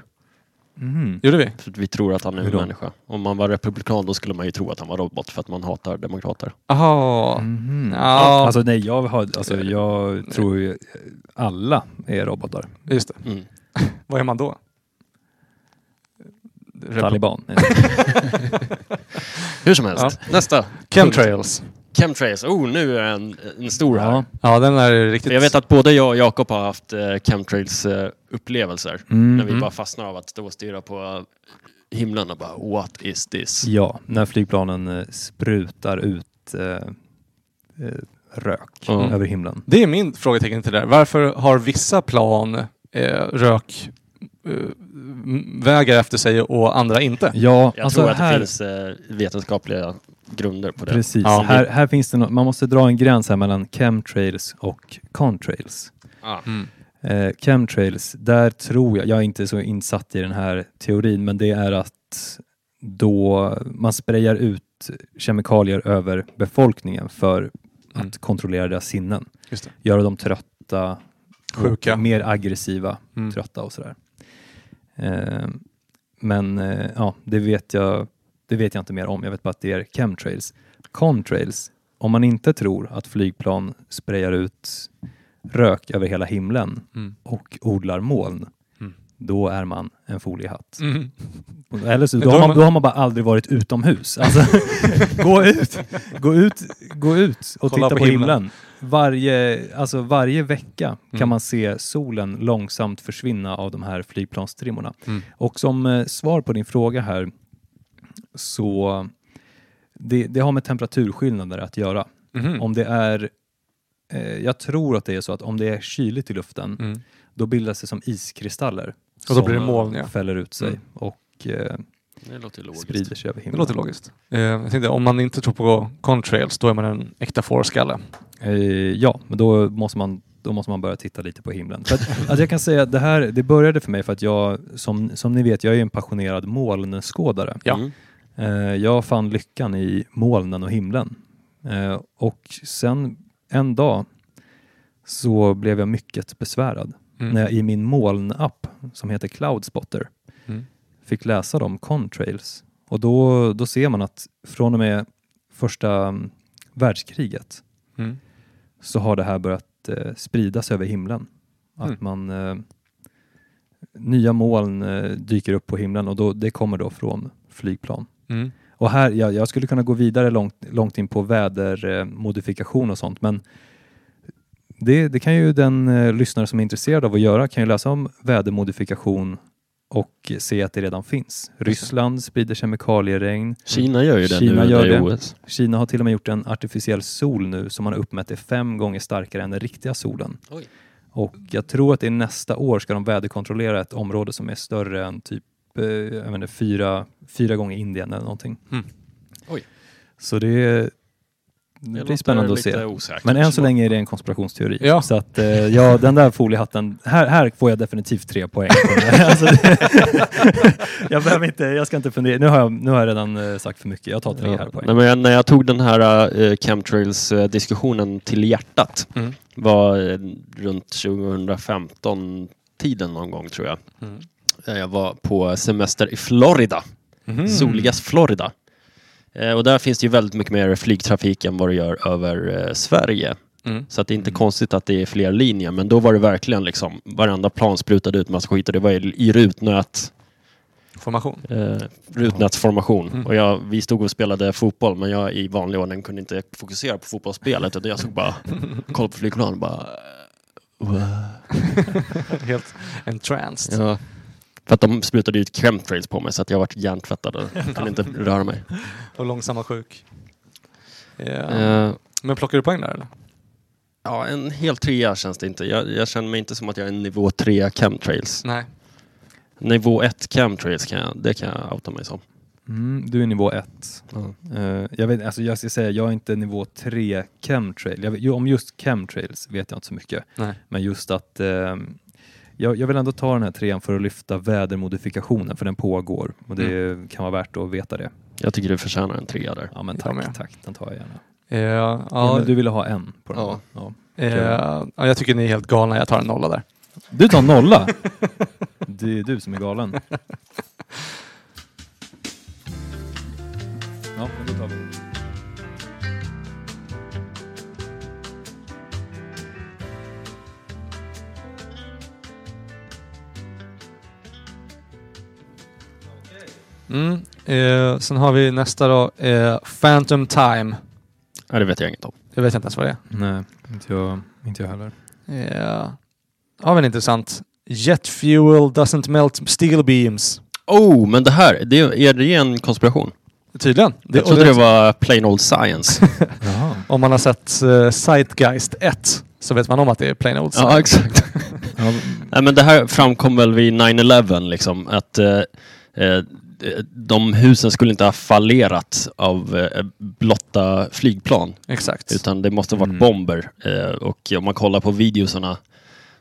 Speaker 1: Mhm.
Speaker 4: Gjorde vi?
Speaker 3: För att vi tror att han är
Speaker 1: Hur
Speaker 3: en
Speaker 1: då?
Speaker 3: människa. Om man var republikan då skulle man ju tro att han var robot för att man hatar demokrater.
Speaker 4: Jaha.
Speaker 1: Mhm.
Speaker 4: Ja.
Speaker 1: Alltså nej, jag, har, alltså, jag tror ju alla är robotar.
Speaker 4: Just det.
Speaker 3: Mm.
Speaker 4: Vad är man då? Eh, Repu-
Speaker 3: <laughs>
Speaker 1: Taliban.
Speaker 3: Hur som helst. Nästa.
Speaker 4: Chemtrails.
Speaker 3: Chemtrails. Oh, nu är en, en stor här.
Speaker 1: ja.
Speaker 4: Ja, den är riktigt...
Speaker 3: För jag vet att både jag och Jakob har haft eh, chemtrails-upplevelser.
Speaker 1: Mm.
Speaker 3: När vi bara fastnar av att stå och stirra på himlen och bara what is this?
Speaker 1: ja, när flygplanen eh, sprutar ut eh, eh, rök
Speaker 3: Ja.
Speaker 1: över himlen.
Speaker 4: Det är min frågetecken till det där. Varför har vissa plan eh, rök eh, m- vägar efter sig och andra inte?
Speaker 1: Ja,
Speaker 3: Jag
Speaker 1: alltså
Speaker 3: tror att
Speaker 1: här,
Speaker 3: det finns eh, vetenskapliga grunder på det.
Speaker 1: Precis,
Speaker 4: Ja.
Speaker 1: här, här finns det något, man måste dra en gräns här mellan chemtrails och contrails.
Speaker 4: Mm.
Speaker 1: Eh, chemtrails, där tror jag, jag är inte så insatt i den här teorin, men det är att då man sprayar ut kemikalier över befolkningen för
Speaker 4: Mm.
Speaker 1: att kontrollera deras sinnen.
Speaker 4: Just det.
Speaker 1: Göra dem trötta,
Speaker 4: Sjuka.
Speaker 1: och mer aggressiva,
Speaker 4: Mm.
Speaker 1: trötta och sådär. Eh, men eh, ja, det vet, jag, det vet jag inte mer om. Jag vet bara att det är chemtrails. Contrails, om man inte tror att flygplan sprayar ut rök över hela himlen
Speaker 4: Mm.
Speaker 1: och odlar moln,
Speaker 4: Mm.
Speaker 1: då är man en foliehatt.
Speaker 4: Mm.
Speaker 1: Eller så,
Speaker 4: Men
Speaker 1: då,
Speaker 4: då är
Speaker 1: har man,
Speaker 4: man-
Speaker 1: då har man bara aldrig varit utomhus. Alltså, <laughs> gå, ut, gå, ut, gå ut och
Speaker 4: Kolla
Speaker 1: titta
Speaker 4: på
Speaker 1: på,
Speaker 4: himlen.
Speaker 1: himlen. Varje, alltså varje vecka
Speaker 4: Mm.
Speaker 1: kan man se solen långsamt försvinna av de här flygplanstrimmorna.
Speaker 4: Mm.
Speaker 1: Och som eh, svar på din fråga här, så det, det har med temperaturskillnader att göra.
Speaker 4: Mhm.
Speaker 1: Om det är, eh, jag tror att det är så att om det är kyligt i luften,
Speaker 4: Mm.
Speaker 1: då bildas det som iskristaller.
Speaker 4: Och då blir det moln, ja.
Speaker 1: Som fäller ut sig
Speaker 4: Mm.
Speaker 1: och eh,
Speaker 3: Det låter ju logiskt.
Speaker 1: sprider sig över
Speaker 4: Det
Speaker 1: himlen.
Speaker 4: låter logiskt. Eh, jag tänkte, om man inte tror på contrails, då är man en äkta fårskalle.
Speaker 1: Eh, ja, men då måste, man, då måste man börja titta lite på himlen. För att, alltså jag kan säga att det här det började för mig för att jag, som, som ni vet, jag är ju en passionerad molnskådare.
Speaker 4: Ja.
Speaker 3: Mm.
Speaker 1: Eh, jag fann lyckan i molnen och himlen. Eh, och sen en dag så blev jag mycket besvärad när jag i min molnapp som heter Cloudspotter
Speaker 4: Mm.
Speaker 1: fick läsa om contrails. Och då, då ser man att från och med första mm, världskriget
Speaker 4: Mm.
Speaker 1: så har det här börjat eh, spridas över himlen. Att
Speaker 4: Mm.
Speaker 1: man eh, Nya moln eh, dyker upp på himlen och då, det kommer då från flygplan.
Speaker 4: Mm.
Speaker 1: Och här, ja, jag skulle kunna gå vidare långt, långt in på vädermodifikation eh, modifikation och sånt, men det, det kan ju den eh, lyssnare som är intresserad av att göra, kan ju läsa om vädermodifikation och se att det redan finns. Ryssland sprider kemikalieregn.
Speaker 3: Kina gör ju det
Speaker 1: Kina
Speaker 3: nu
Speaker 1: gör
Speaker 3: i
Speaker 1: det.
Speaker 3: OS.
Speaker 1: Kina har till och med gjort en artificiell sol nu som man har uppmätt är fem gånger starkare än den riktiga solen.
Speaker 3: Oj.
Speaker 1: Och jag tror att det är nästa år ska de väderkontrollera ett område som är större än typ eh, jag vet inte, fyra, fyra gånger Indien eller någonting.
Speaker 4: Mm.
Speaker 3: Oj.
Speaker 1: Så det är, det blir spännande att se.
Speaker 3: Osäkert.
Speaker 1: Men än så länge är det en konspirationsteori.
Speaker 4: Ja.
Speaker 1: Så att, eh, ja, den där foliehatten, här, här får jag definitivt tre poäng. <laughs> alltså, jag behöver inte, jag ska inte fundera. Nu har jag, nu har jag redan eh, sagt för mycket. Jag tar tre här
Speaker 3: Ja.
Speaker 1: poäng.
Speaker 3: Nej, men jag, när jag tog den här eh, chemtrails-diskussionen till hjärtat
Speaker 4: Mm.
Speaker 3: var eh, runt 2015-tiden någon gång tror jag.
Speaker 4: Mm.
Speaker 3: Eh, Jag var på semester i Florida,
Speaker 4: Mhm.
Speaker 1: Mm.
Speaker 3: soligas Florida. Eh, och där finns det ju väldigt mycket mer flygtrafik än vad det gör över eh, Sverige.
Speaker 4: Mm.
Speaker 3: Så att det är inte konstigt att det är fler linjer, men då var det verkligen liksom varenda plan sprutade ut massa skit och det var i, i rutnät
Speaker 4: Formation.
Speaker 3: eh, rutnätsformation.
Speaker 4: Mm.
Speaker 3: Och jag, vi stod och spelade fotboll, men jag i vanlig ordning kunde inte fokusera på fotbollsspelet. Utan jag såg bara, kollade på flygplanen och bara... "Wow."
Speaker 4: <laughs> Helt entranced.
Speaker 3: Ja. För att de sprutade ut chemtrails på mig så att jag vart hjärntvättad och kunde <laughs> inte röra mig.
Speaker 4: Och långsamma sjuk. Ja.
Speaker 3: Eh,
Speaker 4: Men plockar du poäng där eller?
Speaker 3: ja, en hel trea känns det inte. Jag, jag känner mig inte som att jag är en nivå 3 chemtrails.
Speaker 4: Nej.
Speaker 3: Nivå 1 chemtrails, kan jag, det kan jag outa mig som.
Speaker 1: Mm, du är nivå ett.
Speaker 3: Ja.
Speaker 1: Eh, jag, vet, alltså, jag ska säga, jag är inte nivå tre chemtrail. Jag vet, ju, om just chemtrails vet jag inte så mycket.
Speaker 4: Nej.
Speaker 1: Men just att eh, jag, jag vill ändå ta den här trean för att lyfta vädermodifikationen, för den pågår och det
Speaker 3: Mm.
Speaker 1: kan vara värt att veta det.
Speaker 3: Jag tycker du förtjänar en trea där.
Speaker 1: Ja men
Speaker 4: Jag med.
Speaker 1: tack, tack, den tar jag gärna.
Speaker 4: Eh, ja,
Speaker 1: Ja, men du ville ha en på den?
Speaker 3: Ja.
Speaker 1: Ja. Ja.
Speaker 4: eh, ja, jag tycker ni är helt galna. Jag tar en nolla där.
Speaker 1: Du tar nolla! <laughs> det är du som är <laughs> galen. Ja, men då tar vi.
Speaker 4: Mm. Eh, sen har vi nästa då. Eh, Phantom Time.
Speaker 3: Ja, det vet jag inget om.
Speaker 4: Jag vet inte ens vad det är.
Speaker 1: Nej, inte jag, inte jag heller.
Speaker 4: Eh, har vi en intressant. Jet fuel doesn't melt steel beams.
Speaker 3: Oh, men det här, det, är det en konspiration?
Speaker 4: Tydligen. Det,
Speaker 3: jag trodde det var plain old science.
Speaker 1: Jaha.
Speaker 4: Om man har sett eh, Zeitgeist 1 så vet man om att det är plain old
Speaker 3: ja,
Speaker 4: science.
Speaker 3: exakt.
Speaker 1: <laughs> Ja,
Speaker 3: Nej, men det här framkom väl vid 9-11, liksom, att eh, eh, de husen skulle inte ha fallerat av eh, blotta flygplan,
Speaker 4: Exakt.
Speaker 3: utan det måste ha varit
Speaker 1: Mm.
Speaker 3: bomber. Eh, och om man kollar på videosarna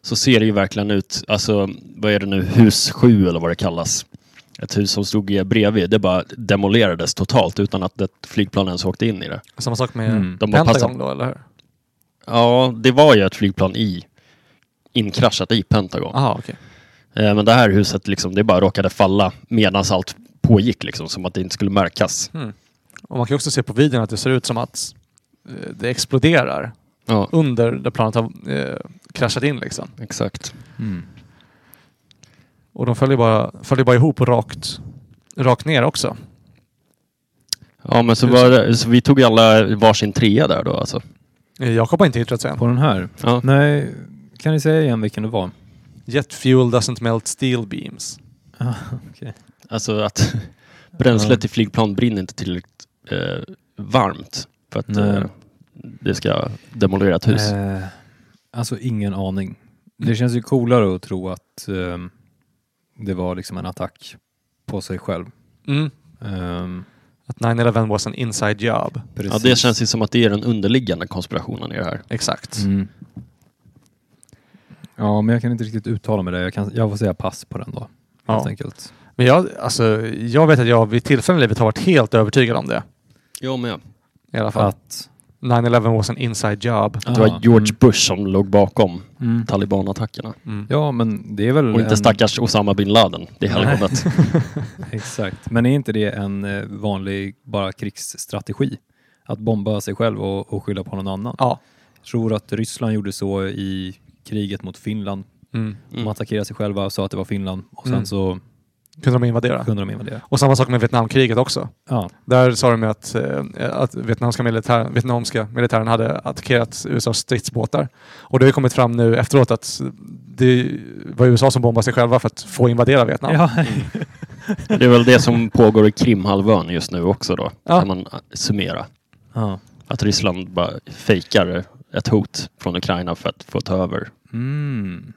Speaker 3: så ser det ju verkligen ut, alltså vad är det nu, hus 7 eller vad det kallas. Ett hus som stod bredvid, det bara demolerades totalt utan att ett flygplan ens åkte in i det.
Speaker 4: Samma sak med
Speaker 1: Mm.
Speaker 3: De bara
Speaker 4: Pentagon
Speaker 3: passade.
Speaker 4: då, eller hur?
Speaker 3: Ja, det var ju ett flygplan i, inkraschat i Pentagon.
Speaker 4: Aha, okej.
Speaker 3: Eh, Men det här huset, liksom, det bara råkade falla medan allt pågick, liksom, som att det inte skulle märkas.
Speaker 4: Hmm. Och man kan ju också se på videon att det ser ut som att eh, det exploderar
Speaker 3: Ja,
Speaker 4: under där planet har eh, kraschat in liksom.
Speaker 3: exakt.
Speaker 1: mm.
Speaker 4: Och de följer bara, följer bara ihop och rakt, rakt ner också.
Speaker 3: Ja, men så, var det, så vi tog alla varsin trea där då alltså.
Speaker 4: Eh, Jakob har inte hittat sen.
Speaker 1: På den här?
Speaker 3: Ja.
Speaker 1: Nej, kan ni säga igen vilken det var? <laughs>
Speaker 4: Jet fuel doesn't melt steel beams.
Speaker 1: Ah, okej.
Speaker 3: Alltså att <laughs> bränslet i flygplan brinner inte tillräckligt eh, varmt för att
Speaker 1: Nej.
Speaker 3: eh, det ska demolera ett hus.
Speaker 1: Eh, alltså ingen aning. Det känns ju coolare att tro att ehm, det var liksom en attack på sig själv.
Speaker 4: Mm.
Speaker 1: Ehm,
Speaker 4: Att 9-11 was an inside job.
Speaker 3: Ja, det känns ju som att det är den underliggande konspirationen i det här.
Speaker 4: Exakt.
Speaker 1: Mm. Ja, men jag kan inte riktigt uttala mig där. Jag, kan, jag får säga pass på den då, helt
Speaker 4: Ja.
Speaker 1: enkelt.
Speaker 4: Men jag, alltså, jag vet att jag vid tillfällen i livet har varit helt övertygad om det.
Speaker 3: Jag med.
Speaker 4: I alla fall.
Speaker 1: Att,
Speaker 4: 9-11 was an inside job.
Speaker 3: Det var
Speaker 1: Ah,
Speaker 3: George
Speaker 1: mm.
Speaker 3: Bush som låg bakom
Speaker 1: Mm.
Speaker 3: talibanattackerna.
Speaker 4: Mm.
Speaker 1: Ja, men det är väl...
Speaker 3: Och inte
Speaker 1: en-
Speaker 3: stackars Osama bin Laden. Det är
Speaker 1: Nej.
Speaker 3: <laughs> helgonet.
Speaker 1: Exakt. Men är inte det en eh, vanlig bara krigsstrategi? Att bomba sig själv och, och skylla på någon annan?
Speaker 4: Ja.
Speaker 1: Jag tror att Ryssland gjorde så i kriget mot Finland.
Speaker 4: Mm.
Speaker 1: De attackerade sig själva och sa att det var Finland och sen
Speaker 4: Mm.
Speaker 1: så
Speaker 4: Kunde de invadera.
Speaker 1: kunde de invadera.
Speaker 4: Och samma sak med Vietnamkriget också.
Speaker 1: Ja,
Speaker 4: Där sa de ju att, eh, att vietnamska, militär, vietnamska militären hade attackerat USAs stridsbåtar. Och det har ju kommit fram nu efteråt att det var USA som bombade sig själva för att få invadera Vietnam.
Speaker 1: ja.
Speaker 3: Det är väl det som pågår i Krimhalvön just nu också då,
Speaker 4: Ja.
Speaker 3: kan man summera.
Speaker 1: <laughs> ja.
Speaker 3: Att Ryssland bara fejkar ett hot från Ukraina för att få ta över.
Speaker 1: Mm.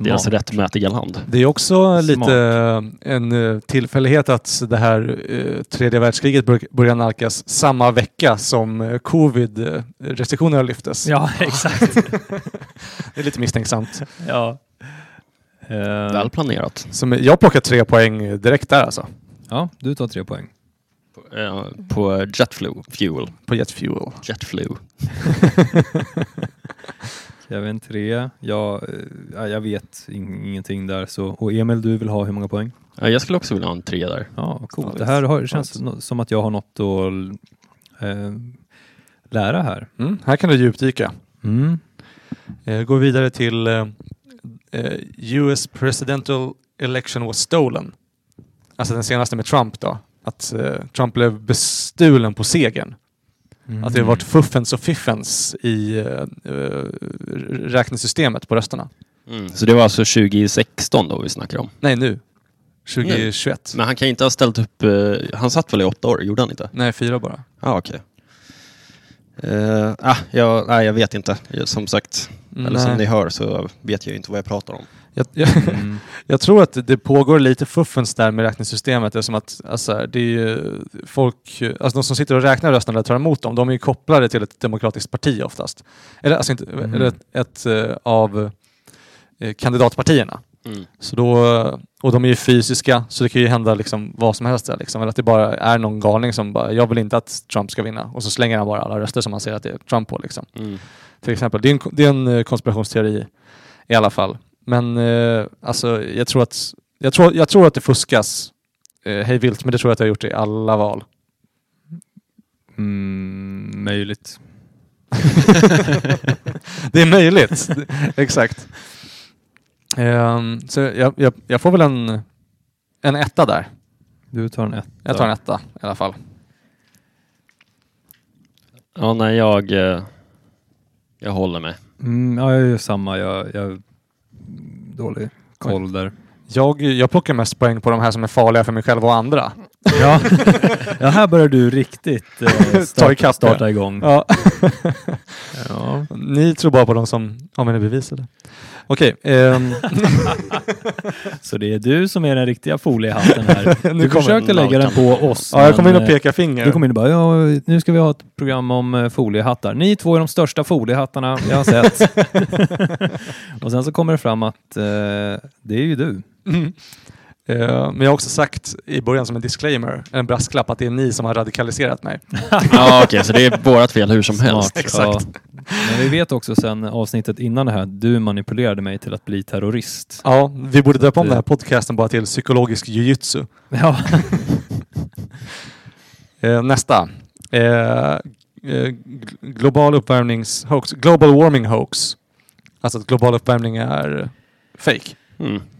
Speaker 3: deras
Speaker 1: Smart.
Speaker 3: rättmätiga land.
Speaker 4: Det är också
Speaker 1: Smart.
Speaker 4: lite eh, en eh, tillfällighet att det här eh, tredje världskriget bör- börjar nalkas samma vecka som eh, covid-restriktionerna lyftes.
Speaker 1: Ja, <laughs> exakt.
Speaker 4: Det är lite misstänksamt.
Speaker 1: ja. Eh,
Speaker 3: Väl planerat.
Speaker 4: Som, eh, jag plockar tre poäng eh, direkt där alltså,
Speaker 1: ja, du tar tre poäng.
Speaker 3: På, eh, på Jetflu, Fuel.
Speaker 4: på Jet Fuel.
Speaker 3: Jetflu.
Speaker 1: Kevin tre. Jag, eh, ja, jag vet in- ingenting där. Så. Och Emil, du vill ha hur många poäng?
Speaker 3: Ja, Eh, jag skulle också vilja ha en trea där.
Speaker 1: Ja, coolt.
Speaker 4: Ja,
Speaker 1: Det här har, det känns
Speaker 4: visst.
Speaker 1: no- som att jag har något att eh, lära här.
Speaker 4: Mm, här kan du djupdyka.
Speaker 1: Mm.
Speaker 4: Eh, går vidare till eh, eh, US presidential election was stolen. Alltså den senaste med Trump då. Att eh, Trump blev bestulen på segern.
Speaker 1: Mm.
Speaker 4: Att det har
Speaker 3: Mm.
Speaker 4: varit fuffens och fiffens i eh, eh, räknesystemet på rösterna.
Speaker 3: Mm. Så det var alltså 2016 då vi snackar om.
Speaker 4: Nej, nu. 2021.
Speaker 3: Men han kan inte ha ställt upp... Eh, han satt väl i åtta år? Gjorde han inte?
Speaker 4: Nej, fyra bara.
Speaker 3: Ja, ah, okej. Eh, ah, jag, nej, jag vet inte. Jag- Som sagt, eller som
Speaker 4: Nej.
Speaker 3: ni hör så vet jag inte vad jag pratar om.
Speaker 4: Jag, jag, <laughs>
Speaker 1: Mm.
Speaker 4: jag tror att det pågår lite fuffens där med räknesystemet eftersom att alltså, det är ju folk, alltså de som sitter och räknar rösterna eller tar emot dem, de är ju kopplade till ett demokratiskt parti oftast. Eller, alltså inte,
Speaker 1: Mm.
Speaker 4: eller ett, ett eh, av eh, kandidatpartierna.
Speaker 3: Mm,
Speaker 4: Så då, och de är ju fysiska, så det kan ju hända liksom vad som helst där. Liksom. Eller att det bara är någon galning som bara, jag vill inte att Trump ska vinna. Och så slänger han bara alla röster som han ser att det är Trump på. Liksom.
Speaker 3: Mm.
Speaker 4: Till exempel. Det är en, det är en eh, konspirationsteori i alla fall. Men eh, alltså, jag, tror att, jag, tror, jag tror att det fuskas eh, hej vilt, men det tror jag att jag har gjort i alla val.
Speaker 1: Mm, möjligt.
Speaker 4: det är möjligt. <laughs> Exakt. Ehm, så jag, jag, jag får väl en, en etta där.
Speaker 1: Du tar en etta.
Speaker 4: Jag tar en etta i alla fall.
Speaker 3: Ja, nej, jag... eh, jag håller med.
Speaker 1: Mm, ja, jag gör samma. Jag, jag dålig koll där.
Speaker 4: Jag, jag plockar mest poäng på de här som är farliga för mig själv och andra.
Speaker 1: Ja, <laughs> ja här börjar du riktigt eh, starta,
Speaker 4: ikapp det.
Speaker 1: starta igång.
Speaker 4: Ja. <laughs>
Speaker 1: Ja.
Speaker 4: Ni tror bara på de som ja, men är bevisade. Okej, ehm,
Speaker 1: <laughs> Så det är du som är den riktiga foliehatten
Speaker 4: <laughs>
Speaker 1: här.
Speaker 4: Nu
Speaker 1: Du
Speaker 4: kommer
Speaker 1: försöker
Speaker 3: den
Speaker 1: lägga den på oss.
Speaker 4: ja, jag kommer in
Speaker 1: men,
Speaker 4: och
Speaker 1: eh,
Speaker 4: pekar finger.
Speaker 1: Du kommer in och bara, ja, nu ska vi ha ett program om eh, foliehattar. Ni två är de största foliehattarna jag har
Speaker 4: <laughs>
Speaker 1: sett. och sen så kommer det fram att eh, det är ju du.
Speaker 4: Mm. Eh, men jag har också sagt i början som en disclaimer, en brasklapp, att det är ni som har radikaliserat mig.
Speaker 3: <laughs> ja, okej,
Speaker 1: <laughs>
Speaker 3: så det är vårt fel hur som helst.
Speaker 4: Exakt.
Speaker 1: Ja. Men vi vet också sen avsnittet innan det här, du manipulerade mig till att bli terrorist.
Speaker 4: Ja, vi borde döpa om
Speaker 1: Det-
Speaker 4: den här podcasten bara till psykologisk jujutsu.
Speaker 1: Ja.
Speaker 4: Eh, nästa. Eh, eh, gl- global uppvärmningshoax. Global warming hoax. Alltså att global uppvärmning är fake.
Speaker 3: Mm.
Speaker 4: <laughs>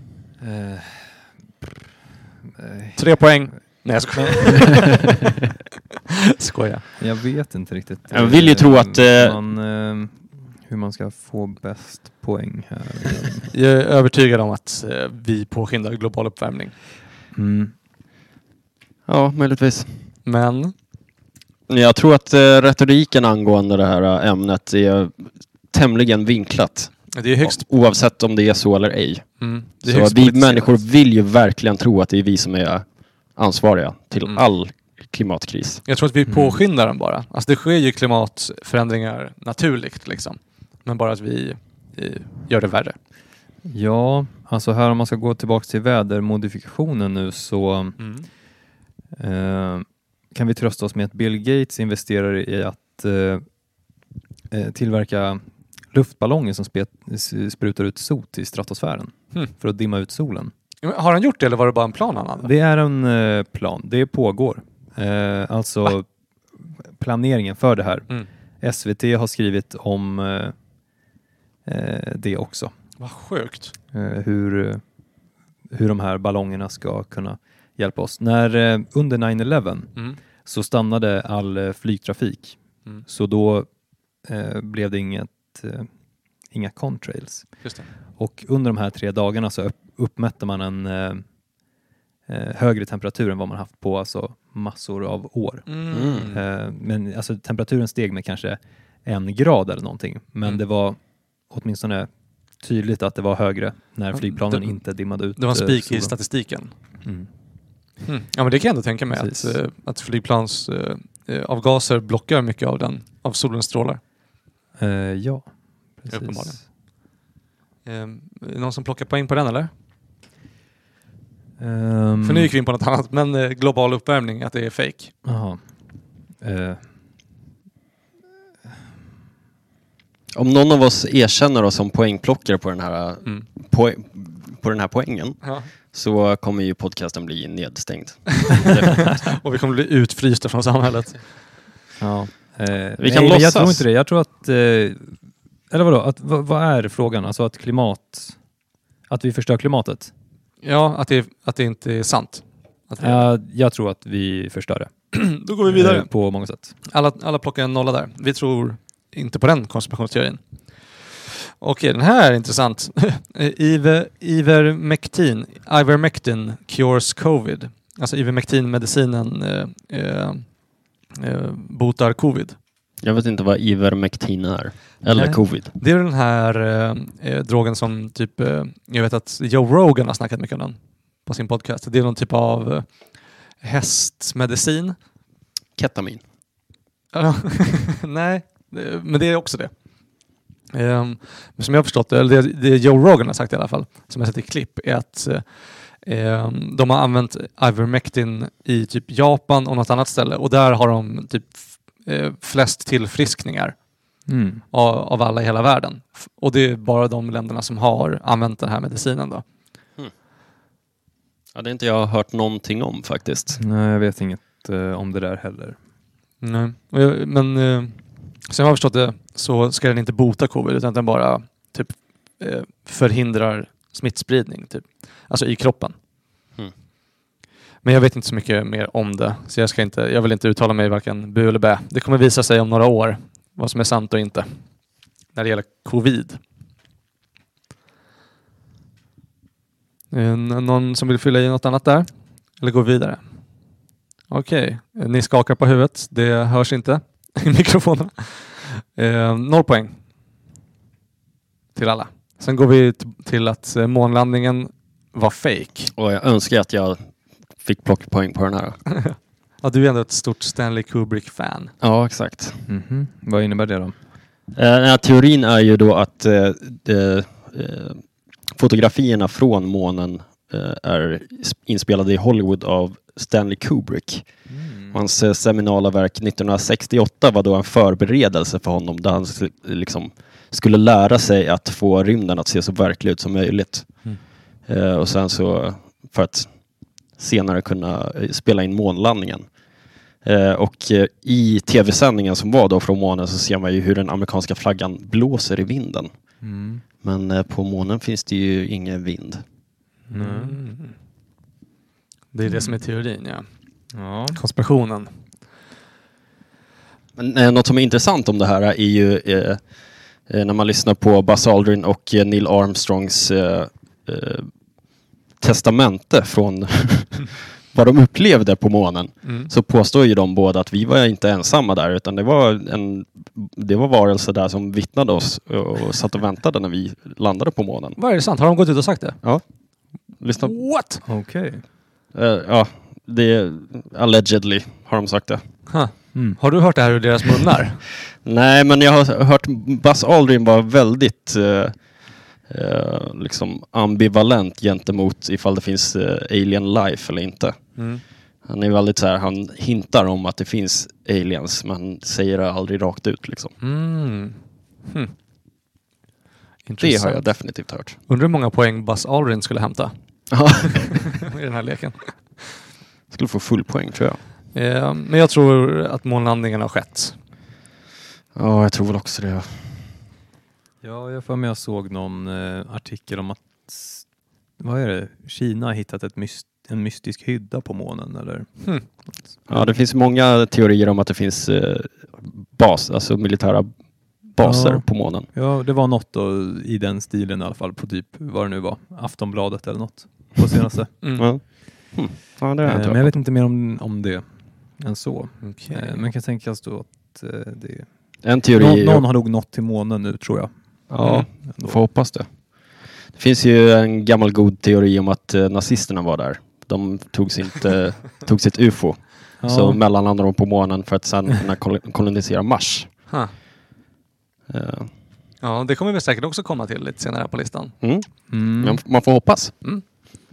Speaker 1: Eh, nej.
Speaker 4: Tre poäng. Nej,
Speaker 1: <laughs>
Speaker 4: jag skojar.
Speaker 3: <laughs>
Speaker 4: skojar.
Speaker 1: Jag vet inte riktigt.
Speaker 3: Jag vill ju
Speaker 1: eh,
Speaker 3: tro att, eh,
Speaker 1: Man, eh, hur man ska få bäst poäng
Speaker 3: <laughs>
Speaker 1: här.
Speaker 4: Jag är övertygad om att eh, vi påskyndar global uppvärmning.
Speaker 1: Mm.
Speaker 3: Ja, möjligtvis.
Speaker 4: Men
Speaker 3: Jag tror att eh, retoriken angående det här eh, ämnet är tämligen vinklat.
Speaker 4: det är högst...
Speaker 3: Oavsett om det är så eller ej.
Speaker 4: Mm, det är
Speaker 3: Så
Speaker 4: högst
Speaker 3: vi
Speaker 4: politiserat.
Speaker 3: människor vill ju verkligen tro att det är vi som är ansvariga till
Speaker 4: Mm.
Speaker 3: all klimatkris.
Speaker 4: Jag tror att vi
Speaker 1: Mm.
Speaker 4: påskyndar den bara. Alltså det sker ju klimatförändringar naturligt liksom. Men bara att vi eh, gör det värre.
Speaker 1: Ja, alltså här om man ska gå tillbaka till vädermodifikationen nu så eh, kan vi trösta oss med att Bill Gates investerar i att eh, eh, tillverka luftballonger som spe- s- sprutar ut sot i stratosfären
Speaker 3: Hm.
Speaker 4: Hmm.
Speaker 1: för att dimma ut solen.
Speaker 4: Men Har han gjort det eller var det bara en plan han hade?
Speaker 1: Det är en eh, plan, det pågår. Eh, alltså
Speaker 4: Va?
Speaker 1: planeringen för det här.
Speaker 4: Mm.
Speaker 1: SVT har skrivit om eh, eh, det också.
Speaker 4: Vad sjukt.
Speaker 1: Eh, hur, eh, hur de här ballongerna ska kunna hjälpa oss. När, eh, under 9-11
Speaker 4: Mm.
Speaker 1: så stannade all eh, flygtrafik.
Speaker 4: Mm.
Speaker 1: Så då eh, blev det inget, eh, inga contrails.
Speaker 4: Just det.
Speaker 1: Och under de här tre dagarna så upp, uppmätte man en eh, eh, högre temperatur än vad man haft på alltså massor av år.
Speaker 3: Mm.
Speaker 1: Eh, men alltså, temperaturen steg med kanske en grad eller någonting. Men
Speaker 4: Mm.
Speaker 1: det var åtminstone tydligt att det var högre när
Speaker 4: Ja,
Speaker 1: flygplanen
Speaker 4: det-
Speaker 1: inte dimmade ut.
Speaker 4: Det var en
Speaker 1: eh,
Speaker 4: spik i
Speaker 1: solen.
Speaker 4: statistiken.
Speaker 1: Mm.
Speaker 4: Mm. Ja, men det kan jag ändå tänka mig att,
Speaker 1: Precis.
Speaker 4: eh, att flygplans eh, eh, avgaser blockar mycket av, den, av solens strålar.
Speaker 1: Eh, ja, precis.
Speaker 4: Uppenbarligen. Eh, är det någon som plockar poäng på den eller?
Speaker 1: Ehm,
Speaker 4: För nu gick vi in på något annat, men eh, global uppvärmning, att det är fake.
Speaker 1: Jaha. Eh,
Speaker 3: Om någon av oss erkänner oss som poängplockare på den här, eh,
Speaker 4: Mm.
Speaker 3: poäng, på den här poängen
Speaker 4: Ja.
Speaker 3: så kommer ju podcasten bli nedstängd.
Speaker 4: <laughs> Och vi kommer bli utfrysta från samhället.
Speaker 1: ja. eh,
Speaker 3: Vi
Speaker 1: nej,
Speaker 3: kan
Speaker 1: men Jag
Speaker 3: låtsas.
Speaker 1: tror inte det. Jag tror att... Eh, eller vadå? Att, vad, vad är frågan? Alltså att klimat... Att vi förstör klimatet?
Speaker 4: Ja, att det, att det inte är sant. Att det, Mm,
Speaker 1: Ja, jag tror att vi förstör det.
Speaker 4: Då går vi
Speaker 1: Eh,
Speaker 4: vidare.
Speaker 1: På många sätt.
Speaker 4: Alla, alla plockar en nolla där. Vi tror inte på den konspirationsteorin. Okej, den här är intressant. <laughs> Eh, Iver, ivermectin, ivermectin cures covid. Alltså ivermectin-medicinen eh, eh, eh, botar covid.
Speaker 3: Jag vet inte vad Ivermectin är. Eller
Speaker 4: Nej.
Speaker 3: covid.
Speaker 4: Det är den här eh, eh, drogen som typ, eh, jag vet att Joe Rogan har snackat mycket om den på sin podcast. Det är någon typ av eh, hästmedicin.
Speaker 3: Ketamin.
Speaker 4: Ja, <laughs> Nej, eh, men det är också det. Ehm, men som jag har förstått det, eller det, det Joe Rogan har sagt i alla fall, som jag sett i klipp, är att eh, ehm, de har använt Ivermectin i typ Japan och något annat ställe och där har de typ f- eh, flest tillfriskningar
Speaker 1: Mm.
Speaker 4: av, av alla i hela världen. F- Och det är bara de länderna som har använt den här medicinen då.
Speaker 3: Ja, det är inte jag har hört någonting om faktiskt.
Speaker 1: Nej, jag vet inget eh, om det där heller.
Speaker 4: Nej. Men eh, som jag har förstått det så ska den inte bota covid utan den bara typ eh, förhindrar smittspridning typ. Alltså i kroppen.
Speaker 3: Mm.
Speaker 4: Men jag vet inte så mycket mer om det så jag, ska inte, jag vill inte uttala mig varken bu eller bä. Det kommer visa sig om några år vad som är sant och inte när det gäller covid. Eh, n- Någon som vill fylla i något annat där? Eller gå vidare? Okej, eh, ni skakar på huvudet. Det hörs inte <laughs> i mikrofonerna. Eh, noll poäng. Till alla. Sen går vi t- till att eh, månlandningen var fake.
Speaker 3: Och jag önskar att jag fick plockpoäng på den här.
Speaker 4: Ja, du är ändå ett stort Stanley Kubrick-fan.
Speaker 3: Ja, exakt.
Speaker 1: Mhm. Vad innebär det då?
Speaker 3: Eh, Den här teorin är ju då att eh, de, eh, fotografierna från månen eh, är sp- inspelade i Hollywood av Stanley Kubrick. Och
Speaker 4: Mm.
Speaker 3: Hans eh, seminala verk 1968 var då en förberedelse för honom där han s- liksom skulle lära sig att få rymden att se så verklig ut som möjligt.
Speaker 4: Mm.
Speaker 3: Eh, och sen så för att senare kunna eh, spela in månlandningen. Eh, och eh, i tv-sändningen som var då från månen så ser man ju hur den amerikanska flaggan blåser i vinden.
Speaker 1: Mm.
Speaker 3: Men eh, på månen finns det ju ingen vind.
Speaker 1: Mm.
Speaker 4: Det är det som är teorin, ja.
Speaker 1: Ja.
Speaker 4: Konspirationen.
Speaker 3: Men, eh, något som är intressant om det här är ju eh, eh, när man lyssnar på Buzz Aldrin och eh, Neil Armstrongs eh, eh, testamente från <laughs> vad de upplevde på månen.
Speaker 4: Mm.
Speaker 3: så påstår ju de båda att vi var inte ensamma där utan det var, en, det var varelser där som vittnade oss och satt och väntade när vi landade på månen.
Speaker 4: Vad är det sant? Har de gått ut och sagt det?
Speaker 3: Lyssna.
Speaker 4: What?
Speaker 1: Okej.
Speaker 3: Eh, ja, det allegedly har de sagt det.
Speaker 4: Huh.
Speaker 1: Mm.
Speaker 4: Har du hört det här ur deras munnar?
Speaker 3: Nej, men jag har hört Buzz Aldrin var väldigt eh, eh, liksom ambivalent gentemot ifall det finns eh, alien life eller inte.
Speaker 4: <laughs> Mm.
Speaker 3: Han är väldigt så här, han hintar om att det finns aliens men säger det aldrig rakt ut liksom.
Speaker 4: Hm.
Speaker 3: Det har
Speaker 4: Intressant.
Speaker 3: jag definitivt hört.
Speaker 4: Undrar hur många poäng Buzz Aldrin skulle hämta
Speaker 3: <laughs> Ja.
Speaker 4: i den här leken.
Speaker 3: Skulle få full poäng tror jag.
Speaker 4: Eh, men jag tror att månlandningen har skett.
Speaker 3: Ja, jag tror väl också det.
Speaker 1: Ja, jag får med jag såg någon eh, artikel om att vad är det? Kina har hittat ett myst, en mystisk hydda på månen eller?
Speaker 4: Hmm.
Speaker 3: Ja, det finns många teorier om att det finns eh, bas, alltså militära baser
Speaker 1: Ja.
Speaker 3: på månen.
Speaker 1: Ja, det var något då, i den stilen i alla fall på typ vad det nu var, Aftonbladet eller något på senaste.
Speaker 4: Mm.
Speaker 3: <laughs> Ja. Hmm. Ja, det
Speaker 1: eh,
Speaker 3: har jag inte
Speaker 1: men
Speaker 3: hört.
Speaker 1: jag vet inte mer om, om det än så.
Speaker 4: Okej.
Speaker 1: Eh, men kan tänkas då att eh, det...
Speaker 3: En teori
Speaker 1: Någon,
Speaker 3: är
Speaker 1: någon har nog nått till månen nu tror jag.
Speaker 3: Ja,
Speaker 1: Ändå.
Speaker 3: Mm. får hoppas det. Det finns ju en gammal god teori om att eh, nazisterna var där. De tog, sitt, eh, tog sitt ufo,
Speaker 1: Ja.
Speaker 3: så mellanlandade de på månen för att sedan kunna kol- kolonisera Mars.
Speaker 4: Huh.
Speaker 3: Eh,
Speaker 4: Ja, det kommer vi säkert också komma till lite senare på listan.
Speaker 3: Mm.
Speaker 1: Mm.
Speaker 3: Men Man får hoppas.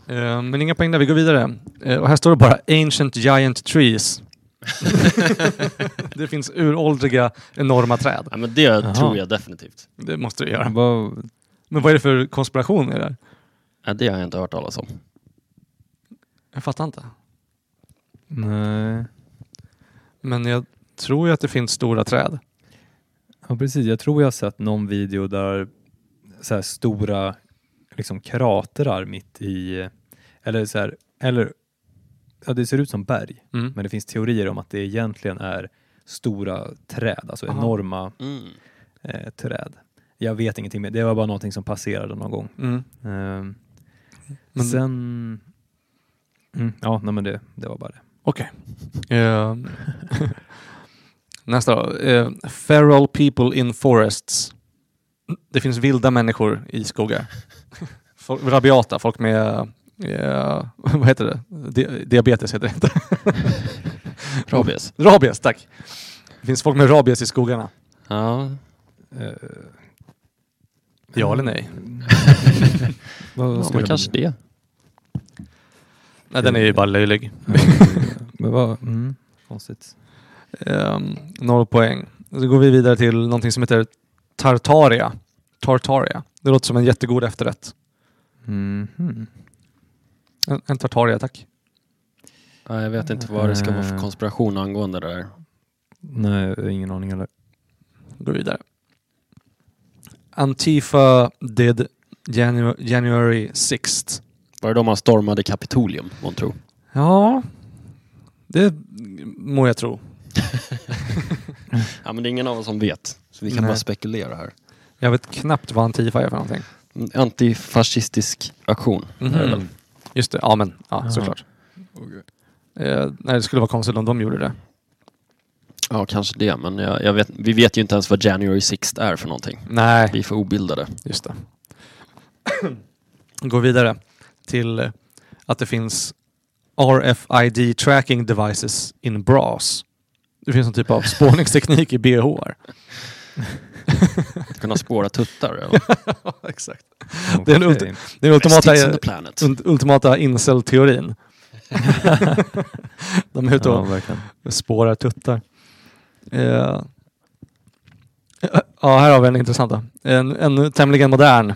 Speaker 4: Eh, men inga poäng där, vi går vidare. Eh, och här står det bara Ancient Giant Trees. <laughs> det finns uråldriga enorma träd.
Speaker 3: Ja, men det tror jag definitivt.
Speaker 4: Det måste du göra.
Speaker 1: Vad-
Speaker 4: Men vad är det för konspiration i det här?
Speaker 3: Ja, det har jag inte hört talas om.
Speaker 4: Jag fattar inte.
Speaker 1: nej.
Speaker 4: Men jag tror ju att det finns stora träd.
Speaker 1: Ja, precis. Jag tror jag har sett någon video där så här stora liksom, kratrar mitt i, eller så här, eller ja, det ser ut som berg,
Speaker 4: Mm.
Speaker 1: men det finns teorier om att det egentligen är stora träd, alltså
Speaker 4: Aha.
Speaker 1: enorma eh, träd. Jag vet ingenting mer, det var bara någonting som passerade någon gång.
Speaker 4: Mm.
Speaker 1: Ehm,
Speaker 4: Men-
Speaker 1: sen, mm, ja, nej, men det, det var bara det.
Speaker 4: <laughs> Okej. Eh, <laughs> Nästa då. Eh, feral people in forests. Det finns vilda människor i <laughs> skogar. Folk, rabiata, folk med... eh, <laughs> vad heter det? Di- diabetes heter det inte.
Speaker 3: Rabies.
Speaker 4: <laughs> Rabies, tack. Det finns folk med rabies i skogarna.
Speaker 3: Ja.
Speaker 1: Eh,
Speaker 4: Ja eller nej?
Speaker 1: <laughs> vad skulle
Speaker 3: Ja, men
Speaker 1: man-
Speaker 3: kanske det.
Speaker 4: Nej, den är ju bara löjlig.
Speaker 1: <laughs> Men vad, mm, konstigt.
Speaker 4: Ehm, noll poäng. Så går vi vidare till någonting som heter Tartaria. Tartaria. Det låter som en jättegod efterrätt.
Speaker 1: Mhm.
Speaker 4: En, en tartaria, tack.
Speaker 3: Ja, jag vet inte vad det ska vara för
Speaker 1: Eh.
Speaker 3: konspiration angående det där.
Speaker 1: Nej, jag har ingen aning
Speaker 3: <laughs>
Speaker 1: heller.
Speaker 4: Går vidare. Antifa did Janu- January 6th.
Speaker 3: Var det då man stormade Kapitolium, man tror?
Speaker 4: Ja, det må jag tro.
Speaker 3: Ja, men det är ingen av oss som vet. Så vi kan
Speaker 4: Nej.
Speaker 3: bara spekulera här.
Speaker 4: Jag vet knappt vad Antifa är för någonting.
Speaker 3: En Antifascistisk aktion.
Speaker 4: Mhm.
Speaker 3: är det väl?
Speaker 4: Just det, ja men ja,
Speaker 1: Jaha.
Speaker 4: såklart. Eh, nej, det skulle vara konstigt om de gjorde det.
Speaker 3: Ja, kanske det. Men jag, jag vet, vi vet ju inte ens vad January 6 är för någonting. Vi
Speaker 4: Nej,
Speaker 3: är för obildade.
Speaker 4: just det. Gå vidare till eh, att det finns RFID tracking devices in bras. Det finns någon typ <laughs> av spårningsteknik i BHR.
Speaker 3: Att kunna spåra tuttar.
Speaker 4: <laughs>
Speaker 3: eller?
Speaker 4: Exakt. Det är en
Speaker 1: Okej.
Speaker 4: Den ultimata,
Speaker 3: Sticks on the planet.
Speaker 4: ult- ultimata incel-teorin. <laughs> De är ute
Speaker 1: Ja,
Speaker 4: och
Speaker 1: verkligen.
Speaker 4: spårar tuttar. Eh, ja, här har vi en intressant. då. En, en tämligen modern.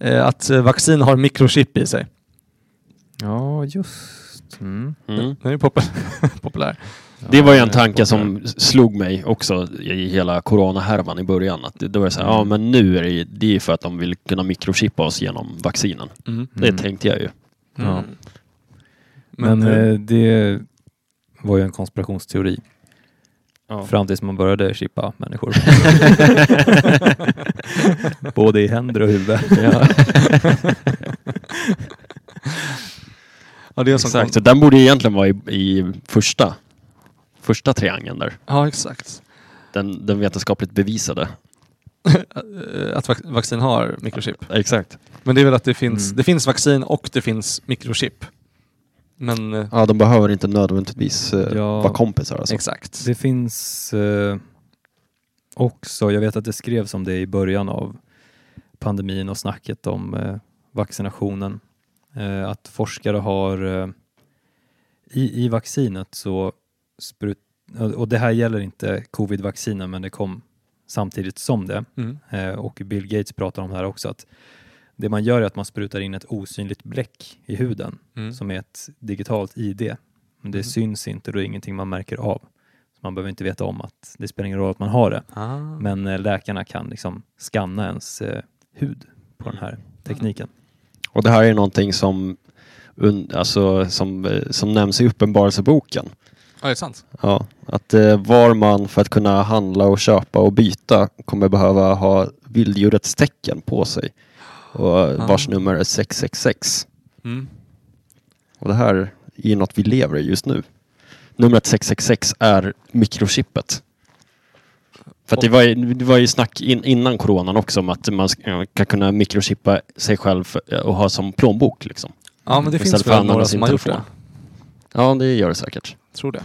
Speaker 4: Eh, att eh, vaccin har mikrochip i sig.
Speaker 1: Ja, just. Mm.
Speaker 3: Mm.
Speaker 4: Den är ju popul- <laughs> populär.
Speaker 3: Det var ju
Speaker 1: Ja,
Speaker 3: en tanke
Speaker 1: jag
Speaker 3: som slog mig också i hela coronahärvan i början. Att det, då var det så här, ja men nu är det, ju- det är ju för att de vill kunna mikrochippa oss genom vaccinen. Det
Speaker 1: Mm.
Speaker 3: tänkte jag ju.
Speaker 1: Ja.
Speaker 4: Mm.
Speaker 1: Men,
Speaker 4: Men, eh,
Speaker 1: eh, det var ju en konspirationsteori fram tills man började chippa <laughs> människor. Både i händer och huvud.
Speaker 4: ja, det är en sån
Speaker 3: Exakt, så
Speaker 4: kon-
Speaker 3: den borde ju egentligen vara i, i första, första triangeln där.
Speaker 4: Ja, exakt. <laughs>
Speaker 3: Den, den vetenskapligt bevisade.
Speaker 4: Eh, Att vac- vaccin har mikrochip.
Speaker 3: Exakt.
Speaker 4: Men det är väl att det finns,
Speaker 1: Mm.
Speaker 4: det finns vaccin och det finns mikrochip. Men eh,
Speaker 3: Ja, de behöver inte nödvändigtvis eh,
Speaker 1: Ja.
Speaker 3: vara kompisar alltså.
Speaker 4: exakt.
Speaker 1: Det finns eh, också, jag vet att det skrevs om det i början av pandemin och snacket om eh, vaccinationen. Eh, att forskare har eh, i, i vaccinet så sprut, och det här gäller inte covid-vaccinen men det kom samtidigt som det
Speaker 4: Mm.
Speaker 1: eh, och Bill Gates pratar om det här också att det man gör är att man sprutar in ett osynligt bläck i huden
Speaker 4: Mm.
Speaker 1: som är ett digitalt ID. Men det
Speaker 4: Mm.
Speaker 1: syns inte och det är ingenting man märker av. Så man behöver inte veta om att det spelar ingen roll att man har det.
Speaker 4: Ah.
Speaker 1: Men eh, läkarna kan liksom skanna ens eh, hud på den här tekniken.
Speaker 3: Och det här är någonting som, un, alltså, som, eh, som nämns i Uppenbarelseboken.
Speaker 4: Ja, det är sant.
Speaker 3: Ja, att eh, var man för att kunna handla och köpa och byta kommer behöva ha vilddjurets tecken på sig. Och eh, vars
Speaker 4: Ah.
Speaker 3: nummer är 666.
Speaker 4: Mm.
Speaker 3: Och det här är ju något vi lever i just nu. Numret 666 är mikrochippet. För att det, var ju, det var ju snack in, innan coronan också om att man ska, kan kunna mikrochippa sig själv för- och ha som plånbok. Liksom.
Speaker 4: Ja, men det
Speaker 3: Istället
Speaker 4: finns
Speaker 3: för
Speaker 4: väl
Speaker 3: att använda
Speaker 4: några
Speaker 3: sin
Speaker 4: som har gjort det.
Speaker 3: telefon. Ja, det gör det säkert.
Speaker 4: Tror det.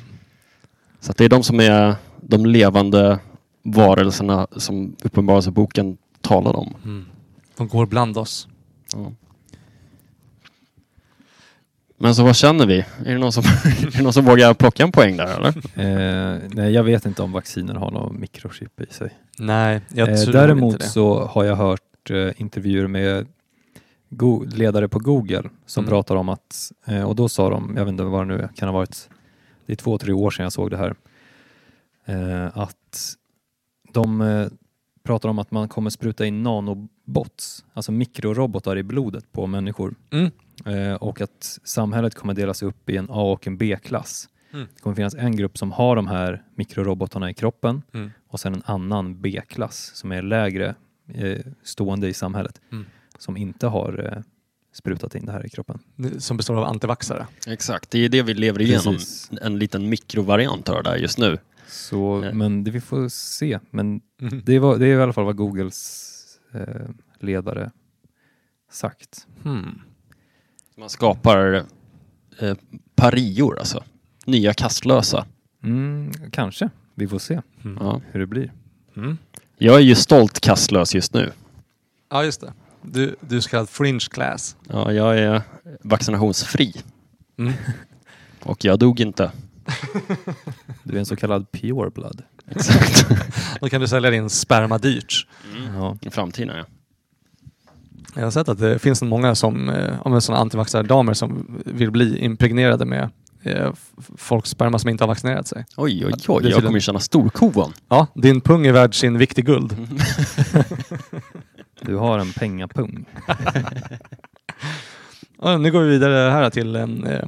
Speaker 3: Så att det är de som är de levande varelserna som Uppenbarelseboken talar om.
Speaker 4: Mm. De går bland oss.
Speaker 3: Ja. Men så vad känner vi? Är det någon som, <laughs> är det någon som vågar plocka en poäng där eller?
Speaker 1: Eh, nej, jag vet inte om vacciner har någon mikrochip i sig.
Speaker 4: Nej, jag
Speaker 1: Eh,
Speaker 4: tror
Speaker 1: däremot
Speaker 4: inte det.
Speaker 1: så har jag hört eh, intervjuer med go- ledare på Google som
Speaker 4: Mm.
Speaker 1: pratar om att, eh, och då sa de, jag vet inte vad det nu är, kan ha varit, det är två, tre år sedan jag såg det här, eh, att de eh, pratar om att man kommer spruta in nanobots, alltså mikrorobotar i blodet på människor
Speaker 4: Mm.
Speaker 1: eh, och att samhället kommer delas upp i en A och en B-klass.
Speaker 4: Mm.
Speaker 1: Det kommer finnas en grupp som har de här mikrorobotarna i kroppen
Speaker 4: Mm.
Speaker 1: och sen en annan B-klass som är lägre eh, stående i samhället
Speaker 4: Mm.
Speaker 1: som inte har eh, sprutat in det här i kroppen.
Speaker 4: Det- Som består av antivaxxare.
Speaker 3: Exakt, det är det vi lever igenom.
Speaker 1: Precis.
Speaker 3: En liten mikrovariant av det där just nu.
Speaker 1: Så,
Speaker 3: Eh.
Speaker 1: Men det vi får se. Men
Speaker 4: Mm.
Speaker 1: det, var, det är i alla fall vad Googles eh, ledare sagt.
Speaker 4: Hmm.
Speaker 3: Man skapar eh, parior alltså. Nya kastlösa.
Speaker 1: Mm, kanske. Vi får se
Speaker 3: Ja.
Speaker 1: hur det blir.
Speaker 4: Hmm. Mm.
Speaker 3: Jag är ju stolt kastlös just nu.
Speaker 4: Ja, just det. Du, du är så kallad fringe class.
Speaker 3: Ja, jag är vaccinationsfri
Speaker 4: Mm.
Speaker 3: och jag dog inte.
Speaker 1: Du är en så kallad pure blood.
Speaker 4: <laughs>
Speaker 3: Exakt.
Speaker 4: Då kan du sälja din sperma dyrt.
Speaker 1: Ja.
Speaker 3: I framtiden ja.
Speaker 4: Jag har sett att det finns många som, eh, ja, men såna antivaxxardamer som vill bli impregnerade med eh, f- folks sperma som inte har vaccinerat sig.
Speaker 3: Oj, oj,
Speaker 4: Det är
Speaker 3: oj. Jag
Speaker 4: tydligen-
Speaker 3: kommer ju känna storkovan.
Speaker 4: Ja, din pung är värd sin vikt i guld.
Speaker 1: Du har en pengapung.
Speaker 4: Ja, nu går vi vidare här till en, eh,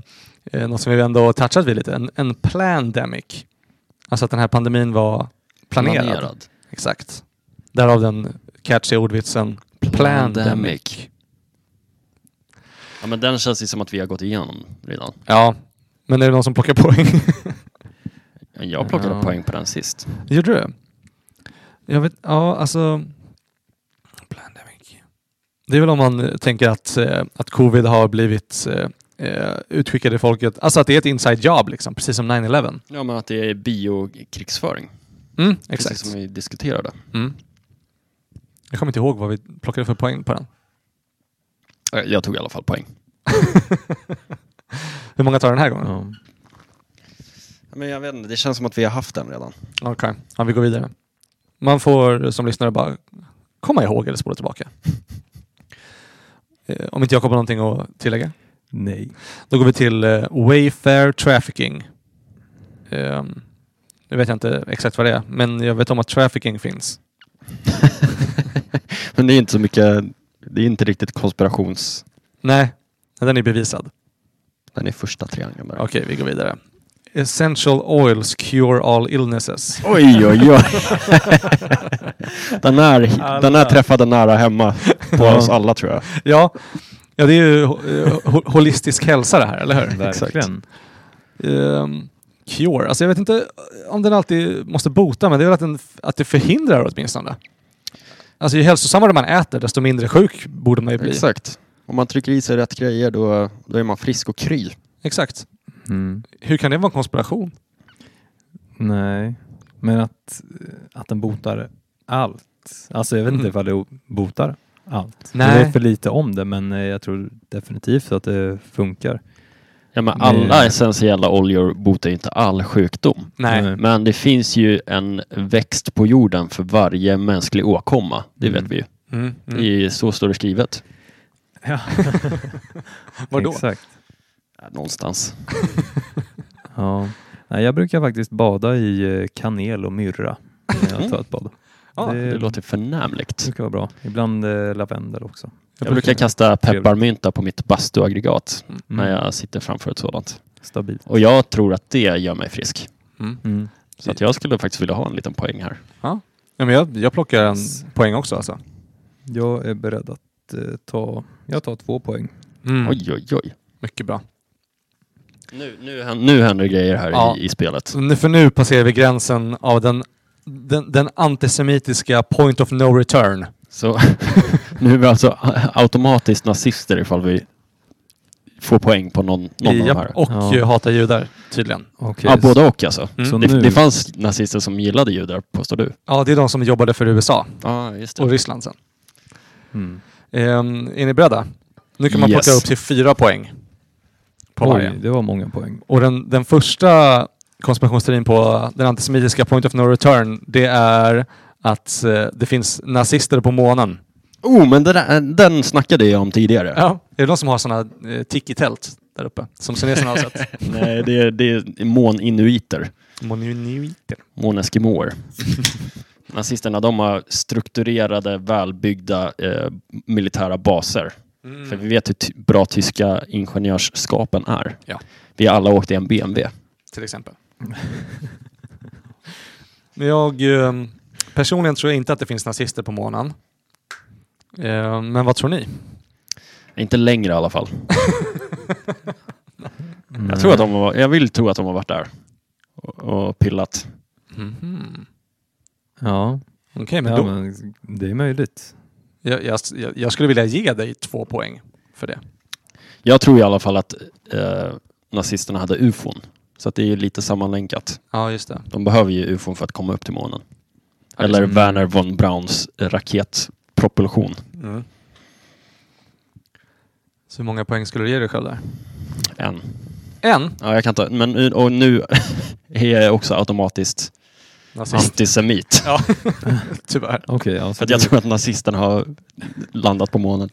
Speaker 4: eh, något som vi ändå har touchat vid lite. En, en pandemic. Alltså att den här pandemin var planerad. Exakt. Därav den catchiga ordvitsen pandemic.
Speaker 3: Ja, men den känns ju som att vi har gått igenom redan.
Speaker 4: Ja, men är det någon som plockar poäng? <laughs>
Speaker 3: Jag plockade
Speaker 4: Ja.
Speaker 3: poäng på den sist.
Speaker 4: Gjorde du? Jag vet, ja alltså... Pandemic. Det är väl om man eh, tänker att, eh, att covid har blivit eh, eh, utskickad i folket. Alltså att det är ett inside job liksom, precis som 9-11.
Speaker 3: Ja, men att det är biokrigsföring.
Speaker 4: Mm,
Speaker 3: Precis som vi diskuterade.
Speaker 4: Mm. Jag kommer inte ihåg vad vi plockade för poäng på den. <laughs>
Speaker 3: Eh, Jag tog i alla fall poäng.
Speaker 4: Hur många tar den här gången?
Speaker 1: Ja.
Speaker 3: Men jag vet inte, det känns som att vi har haft den redan.
Speaker 4: Okej, ja, vi går vidare. Man får som lyssnare bara komma ihåg eller spola tillbaka. <laughs> Eh, Om inte jag kommer någonting att tillägga.
Speaker 3: <laughs>
Speaker 1: Nej.
Speaker 4: Då går vi till eh, Wayfair Trafficking. Ehm, nu vet jag inte exakt vad det är, men jag vet om att trafficking finns.
Speaker 3: <laughs> Men det är inte så mycket, det är inte riktigt konspirations...
Speaker 4: Nej, den är bevisad.
Speaker 3: Den är första triangeln där.
Speaker 4: Okej, vi går vidare. Essential oils cure all illnesses.
Speaker 3: Oj, oj, oj. <laughs> den, här, den här träffade nära hemma på
Speaker 4: Ja.
Speaker 3: oss alla tror jag.
Speaker 4: Ja, ja det är ju eh, ho- holistisk hälsa det här, eller hur?
Speaker 1: Verkligen.
Speaker 4: Ehm, cure, alltså jag vet inte om den alltid måste bota, men det är väl att, den, att det förhindrar åtminstone. Alltså ju hälsosammare man äter, desto mindre sjuk borde man ju bli.
Speaker 3: Exakt. Om man trycker i sig rätt grejer då, då är man frisk och kry.
Speaker 4: Exakt.
Speaker 1: Mm.
Speaker 4: Hur kan det vara en konspiration?
Speaker 1: Nej, men att, att den botar allt. Alltså jag vet inte
Speaker 4: Mm.
Speaker 1: ifall det botar allt.
Speaker 4: Nej.
Speaker 1: Jag vet för lite om det men eh, jag tror definitivt att det funkar.
Speaker 3: Ja, men
Speaker 1: Mm.
Speaker 3: alla essentiella oljor botar ju inte all sjukdom.
Speaker 4: Nej.
Speaker 1: Mm.
Speaker 3: Men det finns ju en växt på jorden för varje mänsklig åkomma. Det vet
Speaker 1: Mm.
Speaker 3: vi ju.
Speaker 4: Mm. Mm.
Speaker 3: I, så står det skrivet.
Speaker 1: Ja.
Speaker 4: Var då?
Speaker 1: Exakt.
Speaker 3: Ja, Någonstans.
Speaker 1: Ja. Nej, jag brukar faktiskt bada i eh, kanel och myrra när jag tar ett bad.
Speaker 4: Ja,
Speaker 1: det,
Speaker 3: Det låter förnämligt.
Speaker 1: brukar vara bra. Ibland eh, lavendel också.
Speaker 3: Jag brukar kasta pepparmynta på mitt bastuaggregat
Speaker 1: Mm.
Speaker 3: när jag sitter framför ett sådant.
Speaker 1: Stabilt.
Speaker 3: Och jag tror att det gör mig frisk.
Speaker 4: Mm.
Speaker 1: Mm.
Speaker 3: Så att jag skulle faktiskt vilja ha en liten poäng här.
Speaker 4: Ja, men jag, jag plockar en
Speaker 1: Yes.
Speaker 4: poäng också alltså.
Speaker 1: Jag är beredd att eh, ta, jag tar två poäng.
Speaker 4: Oj.
Speaker 3: Oj, oj, oj.
Speaker 4: Mm. Mycket bra.
Speaker 3: Nu, nu, hän- nu händer grejer här
Speaker 4: Ja.
Speaker 3: i, i spelet.
Speaker 4: Så nu, för nu passerar vi gränsen av den den, den antisemitiska point of no return.
Speaker 3: Så <laughs> nu är vi alltså automatiskt nazister ifall vi får poäng på någon, någon av de
Speaker 4: Japp,
Speaker 3: här.
Speaker 4: och
Speaker 1: Ja.
Speaker 4: eh, hatar judar, tydligen.
Speaker 1: Okej,
Speaker 3: Ja,
Speaker 1: så-
Speaker 3: både och alltså.
Speaker 4: Mm.
Speaker 1: Så
Speaker 3: Det,
Speaker 1: nu,
Speaker 3: det fanns nazister som gillade judar, påstår du?
Speaker 4: Ja, det är de som jobbade för USA
Speaker 3: Ja, just
Speaker 4: och Ryssland sen.
Speaker 1: mm.
Speaker 4: Ehm, är ni beredda? Nu kan man
Speaker 3: Yes.
Speaker 4: plocka upp till fyra poäng på varje.
Speaker 1: Oj, det var många poäng.
Speaker 4: Och den, den första konspirationsteorin på den antisemitiska point of no return, det är att eh, det finns nazister på månen.
Speaker 3: Oh, men det där, den snackade jag om tidigare.
Speaker 4: Ja. Är det de som har sådana eh, tiki-tält där uppe? Som kineserna har sett?
Speaker 3: <laughs> Nej, det är, det är måninuiter.
Speaker 4: Monuniter.
Speaker 3: Måneskimåer. <laughs> Nazisterna, de har strukturerade, välbyggda eh, militära baser. För
Speaker 4: Mm.
Speaker 3: vi vet hur ty- bra tyska ingenjörsskapen är.
Speaker 4: Ja.
Speaker 3: Vi har alla åkt i en BMW.
Speaker 4: Till exempel. Men <laughs> jag... Eh, personligen tror jag inte att det finns nazister på månen. Eh, men vad tror ni?
Speaker 3: Inte längre i alla fall.
Speaker 1: Mm.
Speaker 3: Jag, tror att de har, jag vill tro att de har varit där och, och pillat.
Speaker 1: Mm. Ja,
Speaker 4: Okej, Mhm. men,
Speaker 1: ja
Speaker 4: då,
Speaker 1: men det är möjligt.
Speaker 4: Jag, jag, jag- jag skulle vilja ge dig två poäng för det.
Speaker 3: Jag tror i alla fall att eh, nazisterna hade ufon. Så att det är ju lite sammanlänkat.
Speaker 4: Ja, just det.
Speaker 3: De behöver ju ufon för att komma upp till månen. Eller
Speaker 1: Mm.
Speaker 3: Werner von Brauns raketpropulsion.
Speaker 4: Mm. Så hur många poäng skulle du ge dig själv där?
Speaker 3: En.
Speaker 4: En
Speaker 3: Ja, jag kan ta, men, nu- och nu <laughs> är jag också automatiskt
Speaker 4: nazist,
Speaker 3: antisemit.
Speaker 4: tyvärr.
Speaker 1: Okej, ja, så
Speaker 3: För att jag
Speaker 1: du-
Speaker 3: tror att nazisterna har landat på månen.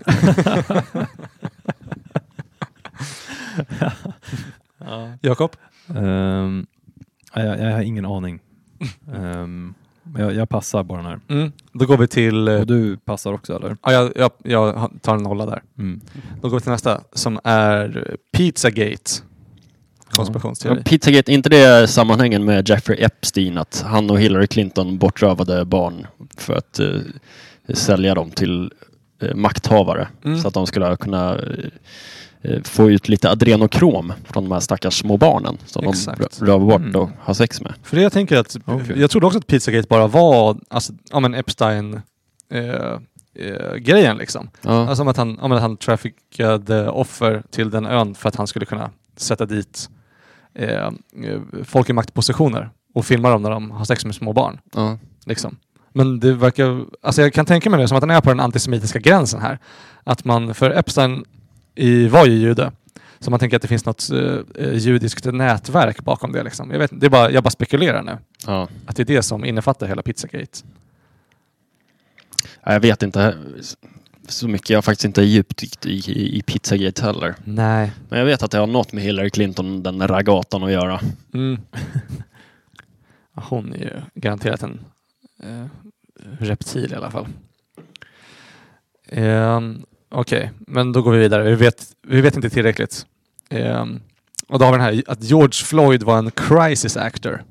Speaker 4: Jakob?
Speaker 1: Ehm, nej, jag, jag har ingen
Speaker 4: <laughs>
Speaker 1: aning. Ehm, men jag, jag passar bara den här.
Speaker 4: Mm. Då går vi till... eh,
Speaker 1: Och du passar också eller?
Speaker 4: Ja, jag, jag, jag tar en nolla där.
Speaker 1: Mm.
Speaker 4: Då går vi till nästa som är eh, Pizzagate.
Speaker 3: Ja,
Speaker 4: Konspirationsteori.
Speaker 3: Pizzagate, inte det sammanhängen med Jeffrey Epstein att han och Hillary Clinton bortrövade barn för att eh, sälja dem till eh, makthavare
Speaker 4: Mm.
Speaker 3: så att de skulle kunna eh, få ut lite adrenokrom från de här stackars små barnen som
Speaker 4: Exakt.
Speaker 3: de rö- rövar bort
Speaker 1: Mm.
Speaker 3: och har sex med.
Speaker 4: För det jag tänker att...
Speaker 1: Okej.
Speaker 4: Jag trodde också att Pizzagate bara var alltså, ja, men Epstein... Eh, eh, grejen liksom.
Speaker 3: Ja.
Speaker 4: Alltså om att han, om att han traffickade offer till den ön för att han skulle kunna sätta dit eh, eh, folk i maktpositioner och filma dem när de har sex med små barn.
Speaker 3: ja.
Speaker 4: Liksom. Men det verkar, alltså jag kan tänka mig det som att han är på den antisemitiska gränsen här. Att man, för Epstein i, var ju jude. Så man tänker att det finns något eh, judiskt nätverk bakom det. Liksom. Jag, vet, inte, det är bara, jag bara spekulerar nu.
Speaker 3: Ja.
Speaker 4: Att det är det som innefattar hela Pizzagate.
Speaker 3: Ja, Jag vet inte så mycket. Jag har faktiskt inte djupdykt i, i, i Pizzagate heller.
Speaker 4: Nej.
Speaker 3: Men jag vet att det har något med Hillary Clinton, den ragatan, att göra.
Speaker 4: Mm. <laughs> Ja, Hon är ju garanterat en eh, reptil i alla fall. Ehm, Okej, men då går vi vidare. Vi vet, vi vet inte tillräckligt. Ehm, och då har vi den här att George Floyd var en crisis actor.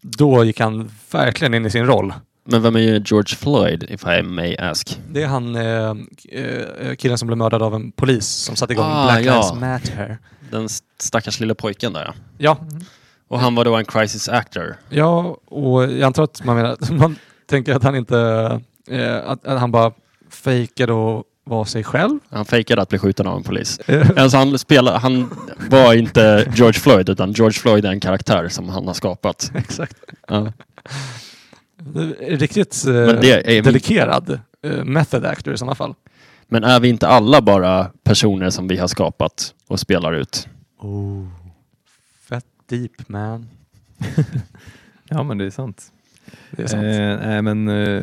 Speaker 4: Då gick han verkligen in i sin roll.
Speaker 3: Men vem är ju George Floyd, if I may ask?
Speaker 4: Det är han eh, eh, killen som blev mördad av en polis som satte igång
Speaker 3: Ah,
Speaker 4: Black
Speaker 3: ja.
Speaker 4: Lives Matter.
Speaker 3: Den st- stackars lilla pojken där ja.
Speaker 4: Ja,
Speaker 3: Och han var då en crisis actor.
Speaker 4: Ja, och jag antar att man menar <laughs> man tänker att han inte, eh, att, att han bara fejkade och var sig själv.
Speaker 3: Han fejkade att bli skjuten av en polis.
Speaker 4: Eh,
Speaker 3: Alltså han, spelade, han var inte George Floyd, utan George Floyd är en karaktär som han har skapat.
Speaker 4: Exakt.
Speaker 3: Ja.
Speaker 4: Riktigt eh,
Speaker 3: Men, det är,
Speaker 4: delikerad eh, method actor i sådana fall.
Speaker 3: men är vi inte alla bara personer som vi har skapat och spelar ut?
Speaker 4: Oh. Fett deep man.
Speaker 1: Ja men det är sant.
Speaker 4: Det är sant.
Speaker 1: Eh, nej men eh,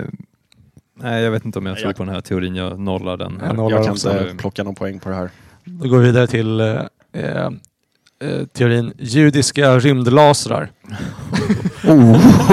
Speaker 1: nej, jag vet inte om jag
Speaker 3: Nej,
Speaker 1: tror
Speaker 3: jag-
Speaker 1: på den här teorin. Jag nollar den.
Speaker 4: Jag
Speaker 1: Här.
Speaker 4: nollar
Speaker 3: Jag kan
Speaker 4: också.
Speaker 3: inte plocka någon poäng på det här.
Speaker 4: Då går vi vidare till eh, eh, eh, teorin judiska rymdlasrar.
Speaker 3: Oh.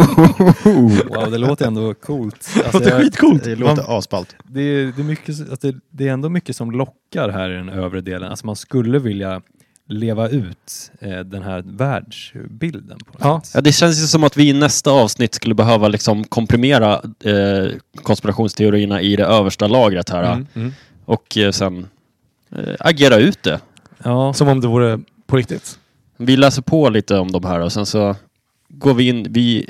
Speaker 1: Wow, det låter ändå coolt. Alltså,
Speaker 4: Det är
Speaker 1: jag-
Speaker 4: skitcoolt!
Speaker 3: Det
Speaker 1: låter
Speaker 3: asballt.
Speaker 1: det, är, det, är mycket, så- alltså, det, det är ändå mycket som lockar här i den övre delen. Alltså man skulle vilja leva ut eh, den här världsbilden. På något
Speaker 4: Ja.
Speaker 1: sätt.
Speaker 3: Ja, det känns ju som att vi i nästa avsnitt skulle behöva liksom komprimera eh, konspirationsteorierna i det översta lagret här.
Speaker 4: Mm. Mm.
Speaker 3: och eh, sen eh, agera ut det.
Speaker 1: Ja.
Speaker 4: Som om det vore på riktigt.
Speaker 3: Vi läser på lite om de här och sen så går vi in, vi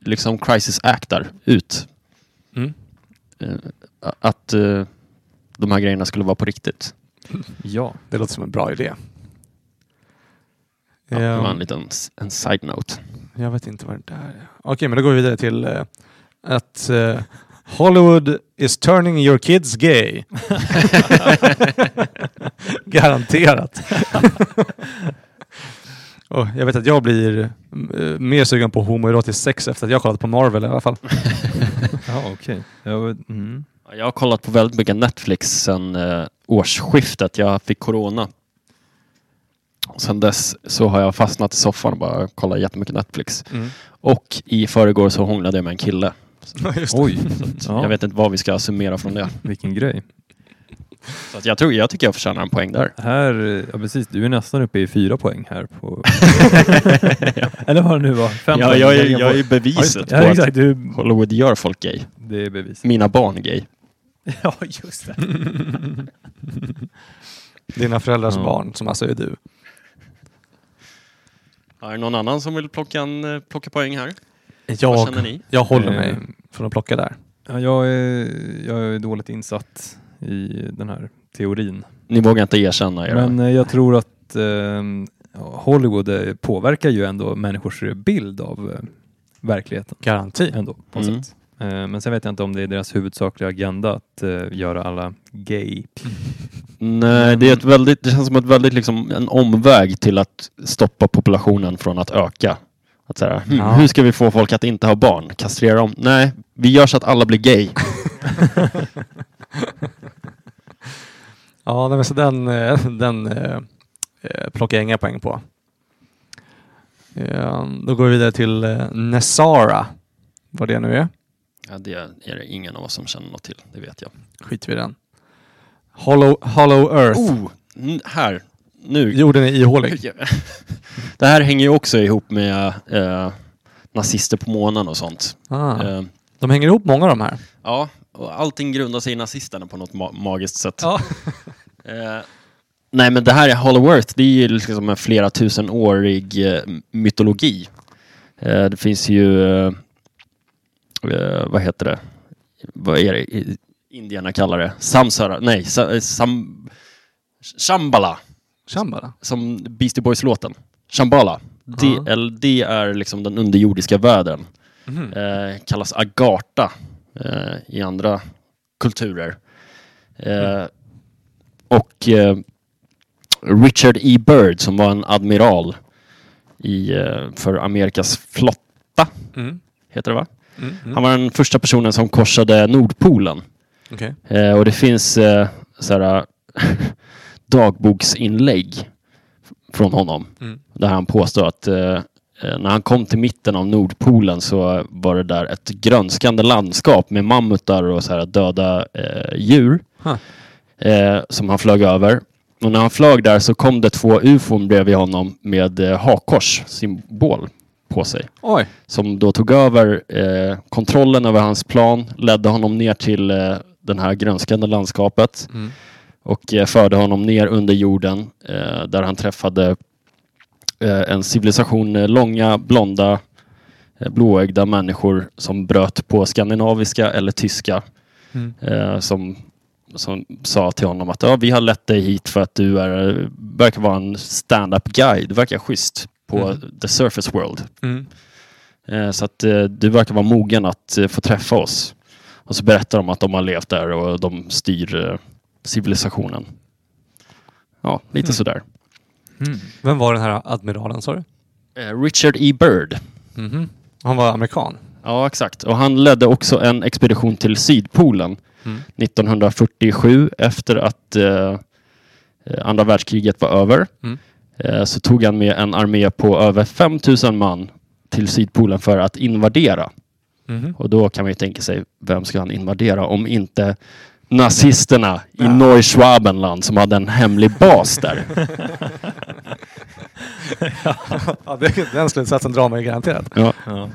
Speaker 3: liksom crisis actar ut.
Speaker 4: Mm.
Speaker 3: Eh, att eh, de här grejerna skulle vara på riktigt.
Speaker 1: Ja.
Speaker 4: Det låter som en bra idé.
Speaker 3: Ja, det
Speaker 4: Ehm,
Speaker 3: var en liten en side note.
Speaker 4: Jag vet inte vad det där är. Okej, men då går vi vidare till eh, att eh, Hollywood is turning your kids gay. <laughs> Garanterat. <laughs> Och jag vet att jag blir eh, mer sugen på homoerotiskt sex efter att jag kollat på Marvel i alla fall.
Speaker 1: Ja, okej. Ja, men- mm.
Speaker 3: Ja, Jag har kollat på väldigt mycket Netflix sedan eh, årsskiftet. Jag fick corona. Och sen dess så har jag fastnat i soffan och bara kollat jättemycket Netflix.
Speaker 4: <laughs>
Speaker 3: Och i förrgår så hånglade jag med en kille.
Speaker 4: <laughs>
Speaker 1: Oj,
Speaker 3: Så
Speaker 1: ja,
Speaker 3: Jag vet inte vad vi ska summera från det. <laughs>
Speaker 1: vilken grej.
Speaker 3: Så att jag, tror, jag tycker jag förtjänar en poäng där.
Speaker 1: Här, eh, ja precis, du är nästan uppe i fyra poäng här på... <laughs> <laughs> Eller vad det nu var, fem
Speaker 3: Ja,
Speaker 1: poäng.
Speaker 3: jag, är-
Speaker 1: Lägga
Speaker 3: jag
Speaker 1: på-
Speaker 3: är beviset
Speaker 1: Ja,
Speaker 3: på att
Speaker 1: exakt. Du,
Speaker 3: Hollywood gör folk gay.
Speaker 1: det är bevis.
Speaker 3: Mina barn gay.
Speaker 1: ja, just det.
Speaker 4: Dina föräldrars
Speaker 1: Ja.
Speaker 4: barn, som alltså är du.
Speaker 3: Är det någon annan som vill plocka, en, eh, plocka poäng här? Vad känner
Speaker 4: Jag,
Speaker 3: ni?
Speaker 4: jag håller mig
Speaker 1: Ehm,
Speaker 4: från att plocka där.
Speaker 1: Ja, jag, är, jag är dåligt insatt i den här teorin.
Speaker 3: Ni vågar inte erkänna era...
Speaker 1: Men eh, jag tror att eh, Hollywood eh, påverkar ju ändå människors bild av eh, verkligheten.
Speaker 4: Garanti.
Speaker 1: ändå på något
Speaker 3: Mm.
Speaker 1: sätt. Eh, Men sen vet jag inte om det är deras huvudsakliga agenda att eh, göra alla gay.
Speaker 3: Nej, det, är ett väldigt, det känns som ett väldigt, liksom, en omväg till att stoppa populationen från att öka. Att så här, hm,
Speaker 4: Ja.
Speaker 3: Hur ska vi få folk att inte ha barn? Kastrera dem? Nej, vi gör så att alla blir gay.
Speaker 4: Ja, nej, men så den, eh, den eh, eh, plockar jag inga poäng på. Eh, Då går vi vidare till eh, Nessara, vad det nu är.
Speaker 3: Ja, det är det ingen av oss som känner något till, det vet jag.
Speaker 4: Skit vi i den. Hollow, hollow Earth.
Speaker 3: Oh, n- här. Nu. <laughs>
Speaker 4: Jorden är ihålig.
Speaker 3: Det här hänger ju också ihop med eh, nazister på månen och sånt.
Speaker 4: Ah,
Speaker 3: Eh,
Speaker 4: de hänger ihop många av de här.
Speaker 3: ja, och allting grundar sig i nazisterna på något ma- magiskt sätt.
Speaker 4: Ja.
Speaker 3: <laughs> Eh, nej, men det här är Hollow Earth. Det är ju liksom en flera tusenårig eh, mytologi. Eh, det finns ju, eh, eh, vad heter det? Vad är det i- indierna kallar det? Samsara? Nej, sa, eh, sam, Shambhala,
Speaker 4: Shambhala.
Speaker 3: som Beastie Boys-låten. Shambhala.
Speaker 4: Ja.
Speaker 3: Det, eller, det är liksom den underjordiska världen.
Speaker 4: Mhm.
Speaker 3: Eh, kallas agarta eh, i andra kulturer. Eh, Och eh, Richard E. Byrd som var en admiral i, eh, för Amerikas flotta,
Speaker 4: Mm.
Speaker 3: heter det va?
Speaker 4: Mm. Mm.
Speaker 3: Han var den första personen som korsade Nordpolen.
Speaker 4: Okej.
Speaker 3: Eh, och det finns eh, såhär, <laughs> dagboksinlägg från honom
Speaker 4: Mm.
Speaker 3: där han påstår att eh, eh, när han kom till mitten av Nordpolen så var det där ett grönskande landskap med mammutar och så här döda eh, djur
Speaker 4: Huh.
Speaker 3: eh, som han flög över. Och när han flög där så kom det två ufon bredvid honom med eh, hakkors symbol på sig
Speaker 4: Oj.
Speaker 3: som då tog över eh, kontrollen över hans plan, ledde honom ner till eh, den här grönskande landskapet
Speaker 4: Mm.
Speaker 3: och eh, förde honom ner under jorden eh, där han träffade eh, en civilisation eh, långa, blonda, eh, blåögda människor som bröt på skandinaviska eller tyska
Speaker 4: Mm.
Speaker 3: eh, som, som sa till honom att ja, vi har lett dig hit för att du är, eh, verkar vara en stand-up guy. Du verkar schysst på
Speaker 4: Mhm.
Speaker 3: the surface world.
Speaker 4: Mm.
Speaker 3: Eh, Så att eh, du verkar vara mogen att eh, få träffa oss. Och så berättar de att de har levt där och de styr eh, civilisationen. Ja, lite
Speaker 4: Mm.
Speaker 3: sådär.
Speaker 4: Vem var den här admiralen sa du?
Speaker 3: Eh, Richard E. Byrd.
Speaker 4: Mhm. Han var amerikan.
Speaker 3: Ja, exakt. Och han ledde också en expedition till Sydpolen
Speaker 4: Mm.
Speaker 3: 1947 efter att eh, eh, andra världskriget var över.
Speaker 4: Mm.
Speaker 3: Eh, så tog han med en armé på över 5000 man till Sydpolen för att invadera.
Speaker 4: Mhm.
Speaker 3: Och då kan man ju tänka sig, vem ska han invadera om inte nazisterna i
Speaker 4: Ja.
Speaker 3: Neuschwabenland som hade en hemlig bas
Speaker 1: <laughs>
Speaker 3: där.
Speaker 4: ja, det, den slutsatsen drar man ju garanterat.
Speaker 3: ja.
Speaker 1: Ja.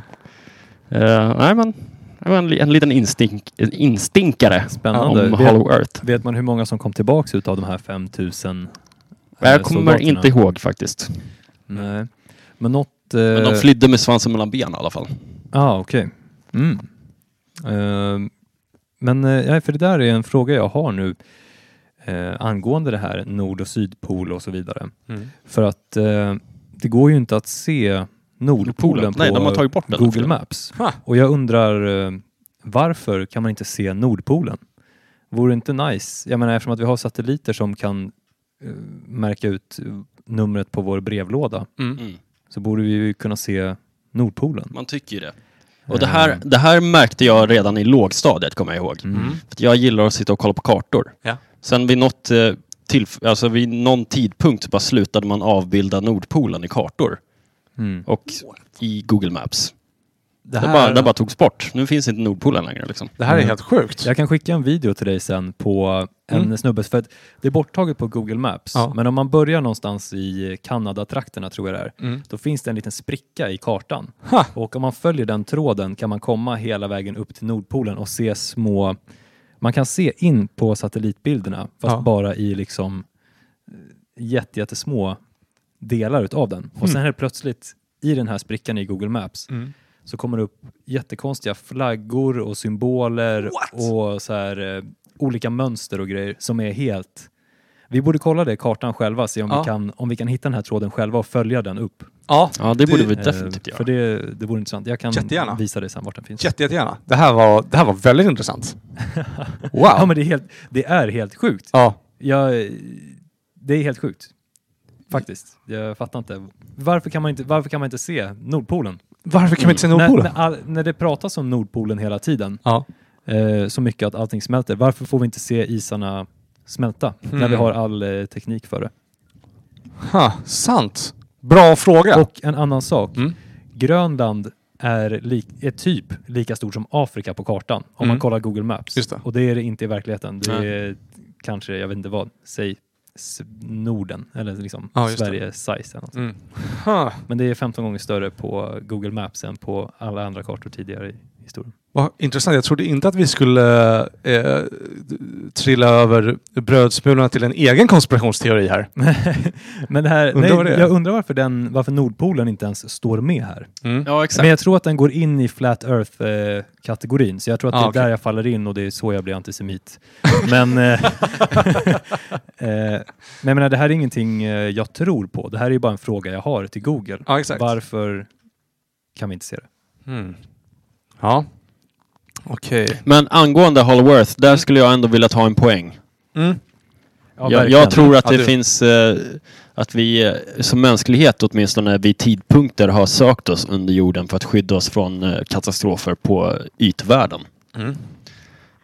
Speaker 3: Eh, nej, men, det var en, li- en liten instink, en instinkare
Speaker 1: Spännande.
Speaker 3: om
Speaker 1: Vet-
Speaker 3: Hollow Earth.
Speaker 1: Vet man hur många som kom tillbaks utav de här 5000 eh,
Speaker 3: Jag kommer
Speaker 1: soldaterna?
Speaker 3: inte ihåg faktiskt.
Speaker 1: Nej. Men något...
Speaker 3: Men
Speaker 1: eh,
Speaker 3: de flydde med svansen mellan benen i alla fall.
Speaker 1: Ja, ah, okej. Mm. Eh, men eh, ja, för det där är en fråga jag har nu eh, angående det här nord och sydpol och så vidare. För att eh, det går ju inte att se Nordpolen på
Speaker 3: Nej, de har tagit bort den.
Speaker 1: Google Maps.
Speaker 4: Ha.
Speaker 1: Och jag undrar eh, varför kan man inte se Nordpolen? Vore det inte nice? Jag menar eftersom att vi har satelliter som kan eh, märka ut eh, numret på vår brevlåda
Speaker 4: Mm.
Speaker 3: Mm.
Speaker 1: så borde vi ju kunna se Nordpolen.
Speaker 3: Man tycker ju det. Och det här, det här märkte jag redan i lågstadiet, kommer jag ihåg.
Speaker 1: Mm.
Speaker 3: För att jag gillar att sitta och kolla på kartor.
Speaker 4: Ja.
Speaker 3: Sen vid, något, eh, tillf- alltså vid någon tidpunkt bara slutade man avbilda Nordpolen i kartor
Speaker 1: Mm.
Speaker 3: och i Google Maps.
Speaker 4: Det,
Speaker 3: Det, bara, det bara togs bort. Nu finns inte Nordpolen längre. Liksom.
Speaker 4: det här är helt sjukt.
Speaker 1: Jag kan skicka en video till dig sen på en
Speaker 4: Mm.
Speaker 1: snubbe, för att det är borttaget på Google Maps,
Speaker 4: Ja.
Speaker 1: men om man börjar någonstans i Kanada-trakterna tror jag det är,
Speaker 4: Mm.
Speaker 1: då finns det en liten spricka i kartan.
Speaker 4: Ha.
Speaker 1: Och om man följer den tråden kan man komma hela vägen upp till Nordpolen och se små... Man kan se in på satellitbilderna, fast
Speaker 4: Ja.
Speaker 1: bara i liksom eh, jätte, jättesmå delar utav den. Och
Speaker 4: Hmm.
Speaker 1: sen helt plötsligt, i den här sprickan i Google Maps,
Speaker 4: Mm.
Speaker 1: så kommer det upp jättekonstiga flaggor och symboler och så här, eh, olika mönster och grejer som är helt... Vi borde kolla det i kartan själva, se om,
Speaker 4: Ja.
Speaker 1: vi kan, om vi kan hitta den här tråden själva och följa den upp.
Speaker 4: Ja,
Speaker 3: Ja, det borde vi
Speaker 1: Eh,
Speaker 3: definitivt göra.
Speaker 1: För det, det vore intressant. Jag kan
Speaker 4: Jättegärna.
Speaker 1: visa dig sen vart den finns.
Speaker 4: jätte, jättegärna. Det här var, det här var väldigt intressant. Wow.
Speaker 1: Ja, men det är helt, det är helt sjukt.
Speaker 4: ja.
Speaker 1: Jag, det är helt sjukt. Faktiskt. Jag fattar inte. Varför kan man inte, varför kan man inte se Nordpolen?
Speaker 4: Varför kan vi inte se Nordpolen?
Speaker 1: När, när, all, när det pratas om Nordpolen hela tiden,
Speaker 4: Ja.
Speaker 1: eh, så mycket att allting smälter. Varför får vi inte se isarna smälta när
Speaker 4: Mm.
Speaker 1: vi har all eh, teknik för det?
Speaker 4: Ha, sant. Bra fråga.
Speaker 1: Och en annan sak.
Speaker 4: Mm.
Speaker 1: Grönland är, lik, är typ lika stort som Afrika på kartan om
Speaker 4: Mm.
Speaker 1: man kollar Google Maps.
Speaker 4: Just det.
Speaker 1: Och det är det inte i verkligheten. Det
Speaker 3: Nej.
Speaker 1: är kanske, jag vet inte vad, säg s- Norden eller liksom
Speaker 4: Ja, just det.
Speaker 1: Sverige size. Eller något.
Speaker 4: Mm. Ha.
Speaker 1: Men det är 15 gånger större på Google Maps än på alla andra kartor tidigare i historien. <laughs>
Speaker 4: Vad intressant. Jag trodde inte att vi skulle eh, trilla över brödsmulorna till en egen konspirationsteori här.
Speaker 1: Men det här,
Speaker 4: Undrar vad det
Speaker 1: nej,
Speaker 4: är.
Speaker 1: jag undrar varför, den, varför Nordpolen inte ens står med här.
Speaker 4: Mm.
Speaker 3: Ja,
Speaker 1: Men
Speaker 3: exakt.
Speaker 1: jag tror att den går in i flat earth-kategorin, så jag tror att
Speaker 4: Ah,
Speaker 1: det är
Speaker 4: okej.
Speaker 1: där jag faller in och det är så jag blir antisemit. men eh, <laughs> eh, men jag menar, det här är ingenting eh, jag tror på, det här är ju bara en fråga jag har till Google.
Speaker 4: Ja, exakt.
Speaker 1: Varför kan vi inte se det?
Speaker 4: Mm. Ja. Okej.
Speaker 3: Men angående Holloworth, där skulle jag ändå vilja ta en poäng.
Speaker 4: Mm.
Speaker 1: Ja,
Speaker 3: jag,
Speaker 1: verkligen.
Speaker 3: jag tror att
Speaker 4: Ja,
Speaker 3: det
Speaker 4: du-
Speaker 3: finns... Eh, att vi eh, som mänsklighet åtminstone vid tidpunkter har sökt oss under jorden för att skydda oss från eh, katastrofer på eh, ytvärlden.
Speaker 4: Mm.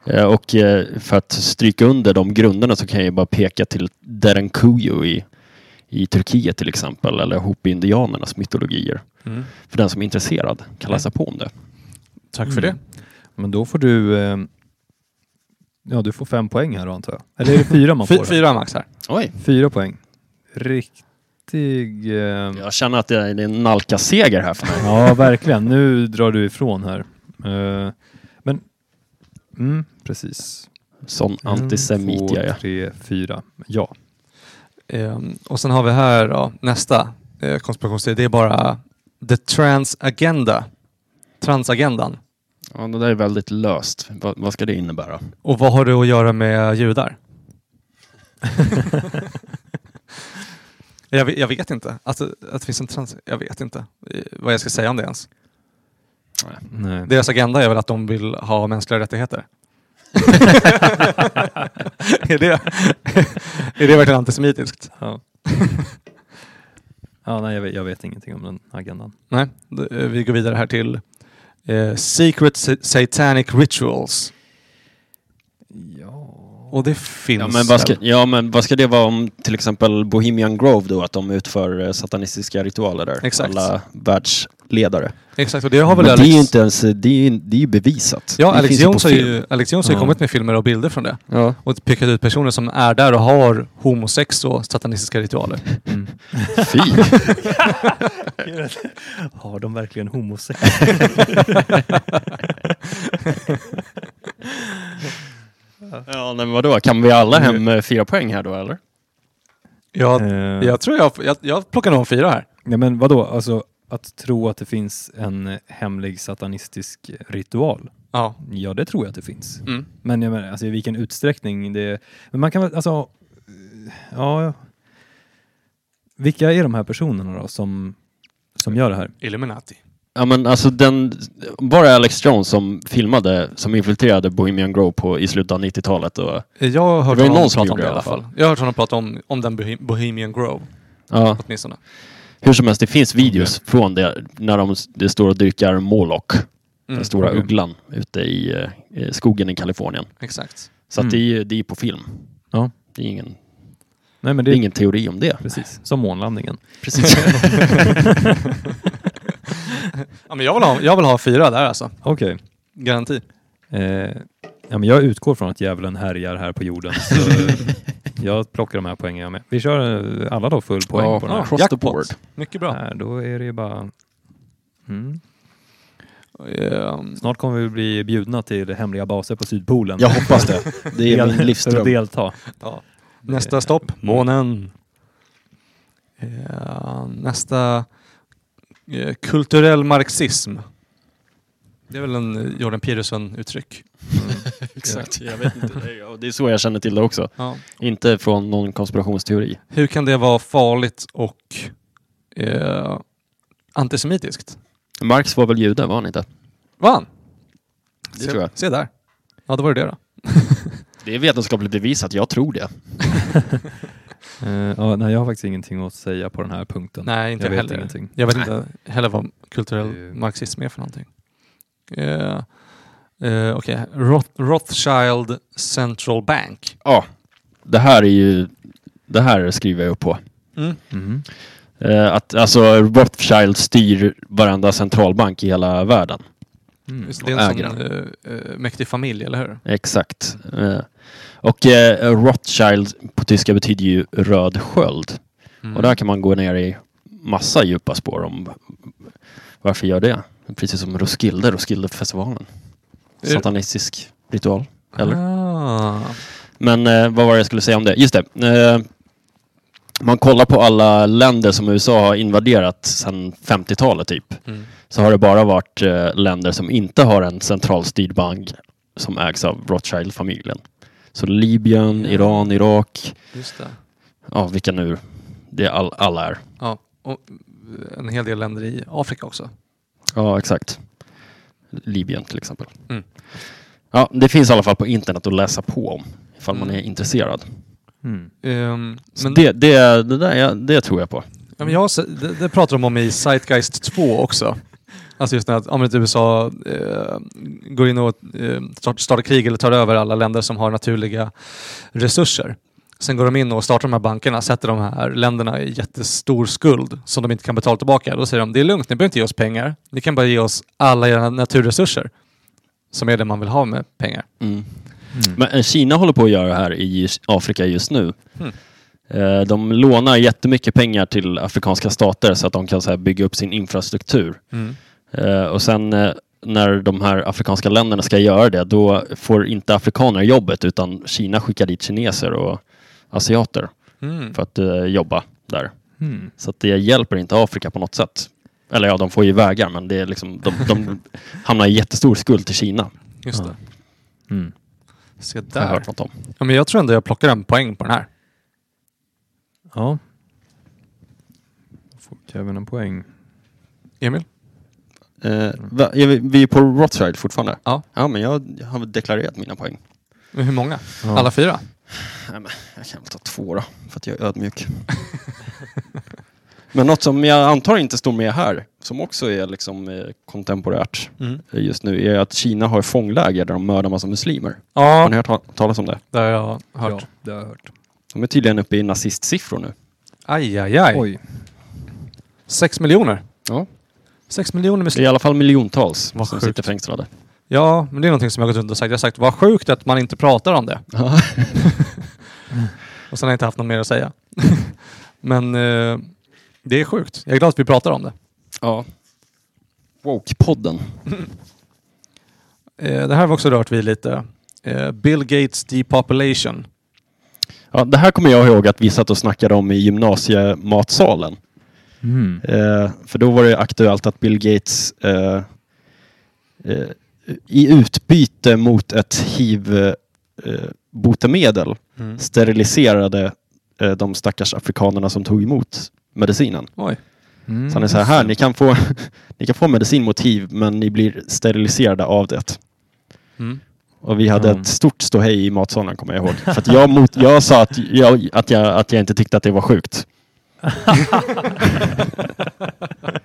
Speaker 3: Eh, Och eh, för att stryka under de grunderna så kan jag ju bara peka till Derinkuyu i, i Turkiet till exempel, eller Hopi-indianernas mytologier.
Speaker 4: Mm.
Speaker 3: För den som är intresserad kan läsa på om det.
Speaker 4: Tack för
Speaker 1: Mm.
Speaker 4: det.
Speaker 1: Men då får du... Eh, ja, du får fem poäng här då antar jag. Eller är det fyra man
Speaker 4: Fy,
Speaker 1: får?
Speaker 4: fyra max här.
Speaker 3: Oj!
Speaker 1: Fyra poäng. Riktig... Eh,
Speaker 3: Mm. Jag känner att det är det är en nalkaseger här för mig.
Speaker 1: Ja, verkligen. Nu drar du ifrån här. Eh, men, mm, precis.
Speaker 3: Sån
Speaker 1: En,
Speaker 3: antisemit
Speaker 1: två,
Speaker 3: jag är.
Speaker 1: tre, fyra. Ja.
Speaker 4: Ehm, och sen har vi här då, nästa eh, konspirationsteori. Det är bara the trans agenda. Transagendan.
Speaker 3: Ja, det där är väldigt löst. Vad, vad ska det innebära?
Speaker 4: Och vad har det att göra med judar? <laughs> jag, vet, jag vet inte. Att, att det finns en trans... Jag vet inte eh, vad jag ska säga om det ens.
Speaker 1: Nej.
Speaker 4: Deras agenda är väl att de vill ha mänskliga rättigheter. <laughs> är, det, <laughs> är det verkligen antisemitiskt?
Speaker 1: Ja. ja, nej, jag vet, jag vet ingenting om den agendan.
Speaker 4: Nej, då, eh, vi går vidare här till eh, Secret sa- Satanic Rituals.
Speaker 1: Ja.
Speaker 4: Och det finns
Speaker 3: Ja men, vad ska,
Speaker 4: väl?
Speaker 3: ja, men vad ska det vara om till exempel Bohemian Grove då? Att de utför eh, satanistiska ritualer där?
Speaker 4: Exakt.
Speaker 3: Alla världsledare.
Speaker 4: Exakt, och det har väl
Speaker 3: Men
Speaker 4: Alex...
Speaker 3: det är ju inte ens, det är ju, det är ju bevisat.
Speaker 4: Ja,
Speaker 3: det
Speaker 4: Alex
Speaker 3: finns ju på
Speaker 4: Jones har
Speaker 3: film.
Speaker 4: ju, Alex Jones har ju
Speaker 1: Ja.
Speaker 4: kommit med filmer och bilder från det.
Speaker 3: Ja.
Speaker 4: och pekat ut personer som är där och har homosex och satanistiska ritualer.
Speaker 1: Mm.
Speaker 3: Fy!
Speaker 1: <laughs> Har de verkligen homosex?
Speaker 3: ja, nej, men vadå? Kan vi alla hem eh, fyra poäng här då eller?
Speaker 4: Jag,
Speaker 1: Eh,
Speaker 4: jag tror jag, jag, jag plockar nog en fyra här.
Speaker 1: Nej Eh, men vadå, alltså att tro att det finns en hemlig satanistisk ritual.
Speaker 4: Ja.
Speaker 1: Ja, det tror jag att det finns.
Speaker 4: Mm.
Speaker 1: Men jag menar, alltså, i vilken utsträckning det... Men man kan väl, alltså... eh, Ja. Vilka är de här personerna då som, som gör det här?
Speaker 4: Illuminati.
Speaker 3: Ja men alltså den, var det Alex Jones som filmade, som infiltrerade Bohemian Grove på, i slutet av 90-talet? Och,
Speaker 4: Eh, Jag har hört
Speaker 3: Det var ju
Speaker 4: honom
Speaker 3: någon som
Speaker 4: prata om
Speaker 3: gjorde
Speaker 4: det i alla fall. Jag har hört honom prata om, om den Bohe- Bohemian Grove,
Speaker 3: ja,
Speaker 4: åtminstone.
Speaker 3: hur som helst, det finns videos från det när de det står och dyrkar Moloch,
Speaker 4: Mm,
Speaker 3: den stora
Speaker 1: okej.
Speaker 3: ugglan, ute i eh, skogen i Kalifornien.
Speaker 4: Exakt.
Speaker 3: Så
Speaker 1: Mm.
Speaker 3: att det, är, ju- det är på film.
Speaker 1: Ja.
Speaker 3: Det är ingen,
Speaker 1: Nej, men
Speaker 3: det
Speaker 1: det
Speaker 3: är ingen teori om det.
Speaker 1: Precis, som månlandningen.
Speaker 3: Precis.
Speaker 4: Ja, men jag, vill ha, jag vill ha fyra där alltså.
Speaker 1: Okej.
Speaker 4: Garanti.
Speaker 1: Eh, ja, men jag utgår från att djävulen härjar här på jorden. Så
Speaker 3: <laughs>
Speaker 1: eh, jag plockar de här poängen jag med. Vi kör eh, alla då full poäng på den här.
Speaker 3: Across the board.
Speaker 4: Mycket bra.
Speaker 1: här. Då är det ju bara... Mm.
Speaker 4: Ehm,
Speaker 1: Snart kommer vi bli bjudna till hemliga baser på Sydpolen.
Speaker 3: Jag hoppas det. Det
Speaker 1: <laughs>
Speaker 3: är
Speaker 1: Del-
Speaker 3: min
Speaker 1: För att
Speaker 3: livsdröm.
Speaker 1: delta.
Speaker 4: ja. Nästa stopp. Månen. Ehm, nästa. eh, kulturell marxism. Det är väl en eh, Jordan Peterson-uttryck.
Speaker 3: Exakt, jag vet inte. Det är- och Det är så jag känner till det också.
Speaker 4: Ja.
Speaker 3: Inte från någon konspirationsteori.
Speaker 4: Hur kan det vara farligt och eh, antisemitiskt?
Speaker 3: Marx var väl jude, var han inte?
Speaker 4: Vann!
Speaker 3: Det
Speaker 4: se,
Speaker 3: tror jag.
Speaker 4: Se där. Ja, då var det det då.
Speaker 3: Det är vetenskapligt bevisat, jag tror det.
Speaker 1: Eh, ja, nej, jag har faktiskt ingenting att säga på den här punkten.
Speaker 4: Nej, inte
Speaker 1: jag
Speaker 4: jag
Speaker 1: vet
Speaker 4: heller.
Speaker 1: ingenting.
Speaker 4: Jag vet inte heller vad kulturell
Speaker 1: Det är ju-
Speaker 4: marxism är för någonting. Eh, eh, Okej, Roth, Rothschild Central Bank.
Speaker 3: Ja, det här är ju... Det här skriver jag upp på.
Speaker 4: Mm.
Speaker 1: Mhm.
Speaker 3: Eh, att alltså Rothschild styr varenda centralbank i hela världen.
Speaker 1: Mm.
Speaker 4: Just det, det är en
Speaker 3: Ägaren.
Speaker 4: sån eh, eh, mäktig familj, eller hur?
Speaker 3: Exakt. Eh, och eh, Rothschild på tyska betyder ju röd sköld.
Speaker 4: Mm.
Speaker 3: Och där kan man gå ner i massa djupa spår om varför gör det? Precis som Roskilde, Roskildefestivalen.
Speaker 4: Är-
Speaker 3: Satanistisk ritual. Eller?
Speaker 4: Ah.
Speaker 3: Men eh, vad var det jag skulle säga om det? Just det. Eh, man kollar på alla länder som USA har invaderat sedan 50-talet typ.
Speaker 4: Mm.
Speaker 3: Så har det bara varit eh, länder som inte har en centralstyrd bank som ägs av Rothschild-familjen. Så Libyen,
Speaker 4: Ja.
Speaker 3: Iran, Irak,
Speaker 4: Just det.
Speaker 3: ja vilka nu det all, alla är.
Speaker 4: Ja, och eh, en hel del länder i Afrika också.
Speaker 3: Ja, exakt. Libyen till exempel.
Speaker 4: Mm.
Speaker 3: Ja, det finns i alla fall på internet att läsa på om ifall man
Speaker 4: Mm.
Speaker 3: är intresserad.
Speaker 1: Mm.
Speaker 4: Ehm,
Speaker 3: Men
Speaker 4: men,
Speaker 3: det, det, det, där, jag- det tror jag på.
Speaker 4: ja, men jag, har se- det, det pratar de om i Zeitgeist 2 också. Alltså just det här att om ett USA eh, går in och eh, start- startar krig eller tar över alla länder som har naturliga resurser. Sen går de in och startar de här bankerna, sätter de här länderna i jättestor skuld som de inte kan betala tillbaka. Då säger de, det är lugnt, ni behöver inte ge oss pengar. Ni kan bara ge oss alla era naturresurser. Som är det man vill ha med pengar.
Speaker 1: Mm.
Speaker 3: Men eh, Kina håller på att göra det här i Afrika just nu.
Speaker 4: Mm.
Speaker 3: Eh, De lånar jättemycket pengar till afrikanska stater så att de kan så här, bygga upp sin infrastruktur. Eh, och sen eh, när de här afrikanska länderna ska göra det, då får inte afrikaner jobbet utan Kina skickar dit kineser och asiater
Speaker 4: Mm.
Speaker 3: för att eh, jobba där.
Speaker 1: Mm.
Speaker 3: Så att det hjälper inte Afrika på något sätt. Eller ja, de får ju vägar men det är liksom, de, de <laughs> hamnar i jättestor skuld till Kina.
Speaker 4: Just
Speaker 1: Ja.
Speaker 4: det.
Speaker 1: Mm.
Speaker 4: Se
Speaker 3: Har jag
Speaker 4: där.
Speaker 3: hört något om.
Speaker 4: Ja, men jag tror ändå jag plockar en poäng på den här.
Speaker 1: Ja. Då får Kevin en poäng.
Speaker 4: Emil?
Speaker 3: vi, Eh, är på Rothschild fortfarande?
Speaker 4: Ja.
Speaker 3: Ja, men jag har deklarerat mina poäng.
Speaker 4: Hur många?
Speaker 1: Ja.
Speaker 4: Alla fyra?
Speaker 3: Jag kan väl ta två då, för att jag
Speaker 4: <laughs>
Speaker 3: är ödmjuk. men något som jag antar inte står med här, som också är liksom eh, kontemporärt eh, just nu, är att Kina har fångläger där de mördar massa muslimer. Har
Speaker 4: Ja,
Speaker 3: ni hört ta- talas om det?
Speaker 4: det har jag
Speaker 1: Ja,
Speaker 4: hört.
Speaker 1: det har jag hört.
Speaker 3: De är tydligen uppe i nazistsiffror nu.
Speaker 4: Aj, aj, aj.
Speaker 1: Oj.
Speaker 4: Sex miljoner.
Speaker 3: Ja.
Speaker 4: Sex miljoner
Speaker 3: Det är i
Speaker 4: muslimer.
Speaker 3: alla fall miljontals
Speaker 4: Vad
Speaker 3: som
Speaker 4: sjukt.
Speaker 3: sitter
Speaker 4: <laughs>
Speaker 3: fängslade.
Speaker 4: Ja, men det är någonting som jag har gått runt och sagt. Jag har sagt, vad sjukt att man inte pratar om det. och sen har jag inte haft något mer att säga. <laughs> men eh, det är sjukt. Jag är glad att vi pratar om det.
Speaker 3: Ja. Woke-podden.
Speaker 4: Eh, det här har vi också rört vid lite. Eh, Bill Gates depopulation.
Speaker 3: Ja, det här kommer jag ihåg att vi satt och snackade om i gymnasiematsalen.
Speaker 1: Mm.
Speaker 3: Eh, för då var det aktuellt att Bill Gates eh, eh, i utbyte mot ett eh, hiv-botemedel steriliserade eh, de stackars afrikanerna som tog emot medicinen.
Speaker 4: Oj.
Speaker 1: Mm.
Speaker 3: Så han är så här, här ni, kan få, <laughs> ni kan få medicin mot hiv men ni blir steriliserade av det. Och vi hade
Speaker 1: Mm.
Speaker 3: ett stort ståhej i matsalen kommer <laughs> jag ihåg. För att jag, mot, jag sa att jag, att, jag, att jag inte tyckte att det var <laughs> sjukt.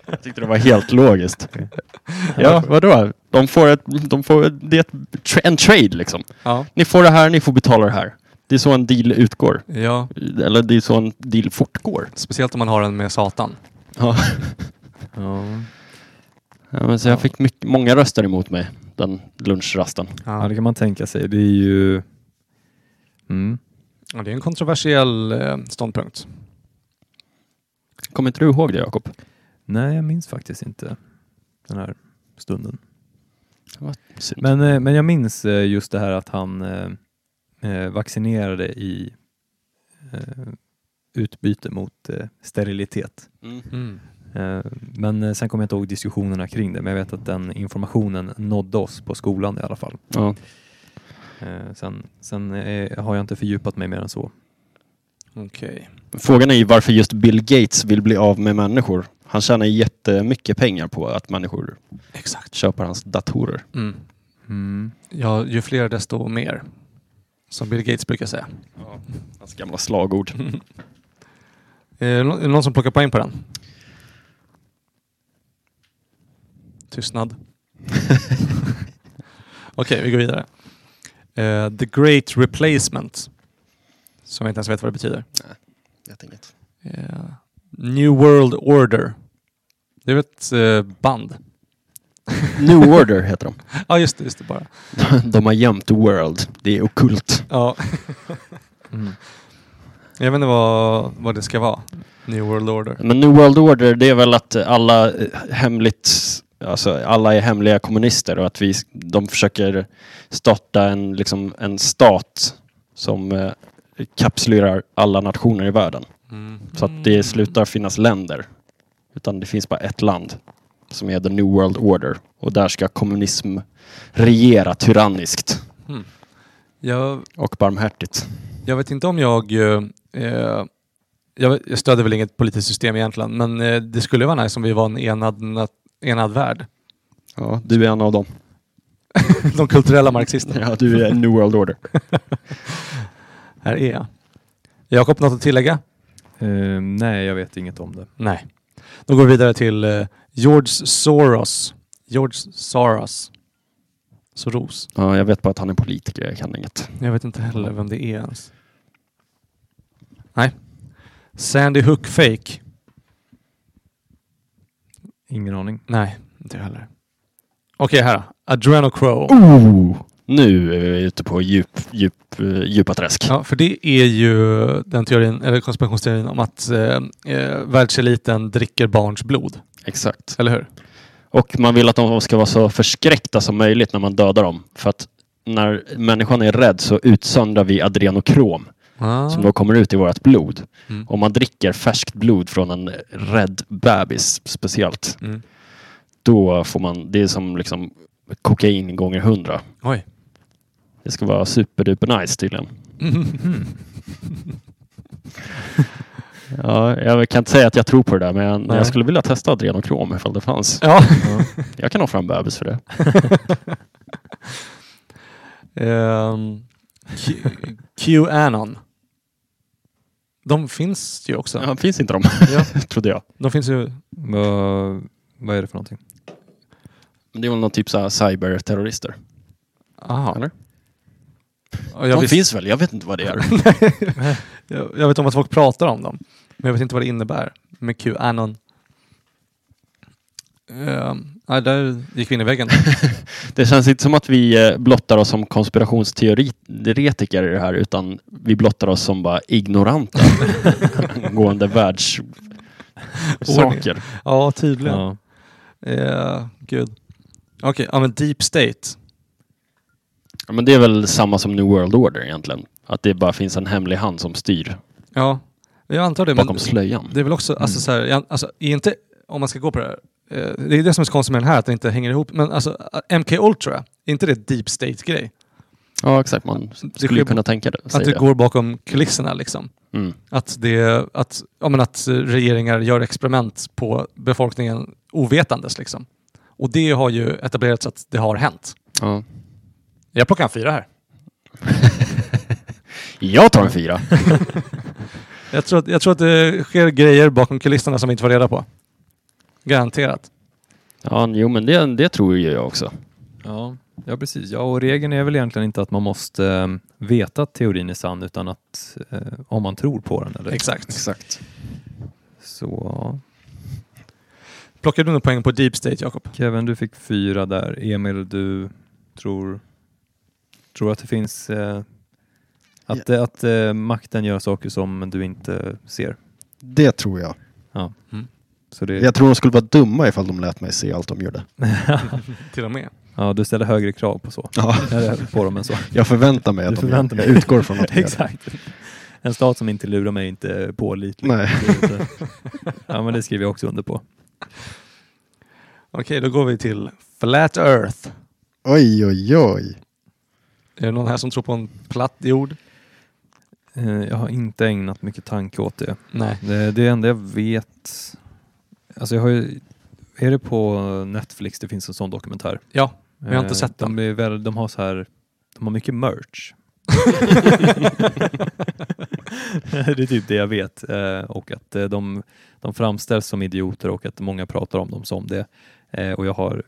Speaker 3: jag tyckte det var helt logiskt. Ja, vadå? De får, ett, de får ett, det är ett, tra- en trade liksom.
Speaker 4: Ja.
Speaker 3: Ni får det här, ni får betala det här. Det är så en deal utgår.
Speaker 4: ja,
Speaker 3: Eller det är så en deal fortgår.
Speaker 4: speciellt om man har den med Satan.
Speaker 3: Ja.
Speaker 1: Ja.
Speaker 3: <laughs> Ja, men så jag fick mycket, många röster emot mig den lunchrasten.
Speaker 1: ja, det kan man tänka sig. Det är ju... Mm.
Speaker 4: Ja, det är en kontroversiell eh, ståndpunkt.
Speaker 3: Kommer inte du ihåg det Jakob?
Speaker 1: Nej, jag minns faktiskt inte den här stunden.
Speaker 3: Synd.
Speaker 1: Men, eh, men jag minns eh, just det här att han eh, eh, vaccinerade i eh, utbyte mot eh, sterilitet.
Speaker 3: Mm.
Speaker 1: Eh, Men eh, sen kommer jag inte ihåg diskussionerna kring det, men jag vet att den informationen nådde oss på skolan i alla fall.
Speaker 3: Ja.
Speaker 1: Eh, Sen, sen eh, har jag inte fördjupat mig mer än så.
Speaker 4: Okej.
Speaker 3: Frågan är ju varför just Bill Gates vill bli av med människor. Han tjänar jättemycket pengar på att människor
Speaker 4: Exakt.
Speaker 3: köper hans datorer.
Speaker 4: Mm. Ja, ju fler desto mer. Som Bill Gates brukar säga.
Speaker 3: Hans gamla
Speaker 4: <laughs>
Speaker 3: slagord.
Speaker 4: Eh, Är det nå- är det någon som plockar poäng på den? Tystnad. Okej, vi går vidare. Eh, the Great Replacement. Som jag inte ens vet vad det betyder.
Speaker 3: Vet inget.
Speaker 4: Eh, New World Order. Det är väl ett eh, band?
Speaker 3: New Order heter de. <laughs>
Speaker 4: Ja, ah, just det. Just det bara.
Speaker 3: De har gömt World. Det är okult.
Speaker 4: Ja,
Speaker 1: Mm.
Speaker 4: jag vet inte vad, vad det ska vara. New World Order.
Speaker 3: Men New World Order det är väl att alla eh, hemligt Alltså alla är hemliga kommunister och att vi, de försöker starta en, liksom, en stat som eh, kapslerar alla nationer i världen.
Speaker 4: Mm.
Speaker 3: Så att det slutar finnas länder. Utan det finns bara ett land som är The New World Order. Och där ska kommunism regera tyranniskt
Speaker 4: Mm. Jag
Speaker 3: och barmhärtigt.
Speaker 4: Jag vet inte om jag... eh, Eh, jag, vet- jag stöder väl inget politiskt system egentligen, men eh, det skulle vara nice om vi var en enad, na- enad värld. <laughs>
Speaker 3: Ja, du är en av dem.
Speaker 4: De kulturella marxisterna.
Speaker 3: Ja, du är New
Speaker 4: <laughs>
Speaker 3: World Order.
Speaker 4: Här är jag. Jakob, något att tillägga?
Speaker 1: Eh, nej, jag vet inget om det.
Speaker 4: Nej. Då går vi vidare till eh, George Soros. George Soros. Soros.
Speaker 3: Ja, jag vet bara att han är politiker, jag kan inget.
Speaker 4: Jag vet inte heller vem det är ens. Nej. Sandy Hook Fake.
Speaker 1: Ingen aning.
Speaker 4: Nej, inte jag heller. Okej, här. Adrenochrome.
Speaker 3: Oh! Nu är vi ute på djup, djup, eh, djupa träsk.
Speaker 4: Ja, för det är ju den teorin, eller konspirationsteorin om att eh, eh, världseliten dricker barns blod.
Speaker 3: Exakt.
Speaker 4: Eller hur?
Speaker 3: Och man vill att de ska vara så förskräckta som möjligt när man dödar dem. För att när människan är rädd så utsöndrar vi adrenokrom som då kommer ut i vårt blod.
Speaker 4: Mm.
Speaker 3: Om man dricker färskt blod från en rädd bebis speciellt,
Speaker 4: Mm.
Speaker 3: då får man, det är som liksom kokain gånger hundra. <laughs>
Speaker 4: Oj.
Speaker 3: Det ska vara superduper nice tydligen. Ja, jag kan inte säga att jag tror på det där, men jag,
Speaker 4: Nej.
Speaker 3: jag skulle vilja testa adrenokrom ifall det fanns.
Speaker 4: Ja.
Speaker 3: Jag kan offra en bebis för det.
Speaker 4: Ehm, Q- Qanon. De finns ju också.
Speaker 3: Ja, finns inte de, <laughs>
Speaker 4: Ja.
Speaker 3: trodde jag.
Speaker 4: De finns ju...
Speaker 1: <laughs> Vad- vad är det för någonting?
Speaker 3: Men det är väl någon typ så här cyberterrorister.
Speaker 4: Aha.
Speaker 3: Eller?
Speaker 4: Och
Speaker 3: De
Speaker 4: Jag, visst,
Speaker 3: finns väl? Jag vet inte vad det är.
Speaker 4: jag, jag vet om att folk pratar om dem, men jag vet inte vad det innebär med Qanon. Ehm, nej, där gick vi in i väggen.
Speaker 3: Det känns inte som att vi eh, blottar oss som konspirationsteoretiker i det här utan vi blottar oss som bara
Speaker 4: <laughs>
Speaker 3: ignoranta angående världssaker.
Speaker 4: ja, tydligen.
Speaker 1: Ja.
Speaker 4: Ja, gud. Okej, ja men Deep State.
Speaker 3: Ja, men det är väl samma som New World Order egentligen. Att det bara finns en hemlig hand som styr.
Speaker 4: Ja. Jag antar det.
Speaker 3: bakom
Speaker 4: men
Speaker 3: slöjan.
Speaker 4: det är väl också, alltså,
Speaker 1: Mm.
Speaker 4: så här, jag, alltså, är inte, om man ska gå på det här, eh, det är det som är så konstigt med den här, att den inte hänger ihop. Men alltså, eh, MK Ultra, är inte det deep state-grej?
Speaker 3: Ja, exakt. Man skulle ju
Speaker 4: sker-
Speaker 3: kunna tänka det.
Speaker 4: Att
Speaker 3: säger
Speaker 4: det
Speaker 3: jag.
Speaker 4: går bakom kulisserna liksom.
Speaker 3: Mm.
Speaker 4: Att, det, att, ja, men att eh, regeringar gör experiment på befolkningen ovetandes liksom. Och det har ju etablerats att det har hänt.
Speaker 3: Ja.
Speaker 4: Jag plockar en fyra här.
Speaker 3: Jag tar en fyra.
Speaker 4: Jag tror, att, jag tror att det sker grejer bakom kulisserna som vi inte får reda på. Garanterat.
Speaker 3: Ja, jo, men det, det tror ju jag också.
Speaker 1: Ja, ja precis. Ja, och regeln är väl egentligen inte att man måste eh, veta att teorin är sann utan att eh, om man tror på den. Eller?
Speaker 4: Exakt.
Speaker 3: Exakt.
Speaker 1: Så ja.
Speaker 4: Plockar du några poäng på Deep State, Jakob?
Speaker 1: Kevin, du fick fyra där. Emil, du tror, tror att det finns eh, att, att eh, makten gör saker som du inte ser.
Speaker 2: Det tror jag.
Speaker 1: Så det,
Speaker 2: Jag tror de skulle vara dumma ifall de lät mig se allt de gjorde.
Speaker 4: Till och med.
Speaker 1: <laughs> ja, du ställer högre krav på så.
Speaker 2: <laughs> Ja,
Speaker 1: Eller på dem än så.
Speaker 2: jag förväntar mig att
Speaker 1: Du
Speaker 2: de gör
Speaker 1: förväntar
Speaker 2: det. Jag
Speaker 1: dig.
Speaker 2: utgår
Speaker 1: <laughs>
Speaker 2: från att de gör det.
Speaker 1: Exakt. En stat som inte lurar mig är inte pålitlig.
Speaker 2: Nej.
Speaker 1: Det är inte- Ja, men det skriver jag också under på.
Speaker 4: Okej, då går vi till Flat Earth.
Speaker 2: Oj, oj, oj.
Speaker 4: Är det någon här som tror på en platt jord?
Speaker 1: Eh, Jag har inte ägnat mycket tanke åt det.
Speaker 4: <laughs> Nej.
Speaker 1: Det, det enda jag vet... Alltså jag har ju, är det på Netflix det finns en sån dokumentär?
Speaker 4: Ja, men jag har inte
Speaker 1: Eh,
Speaker 4: sett
Speaker 1: de
Speaker 4: den.
Speaker 1: är väl, de har så här... De har mycket merch. det är typ det jag vet. Eh, och att eh, de, de framställs som idioter och att många pratar om dem som det. Eh, och jag har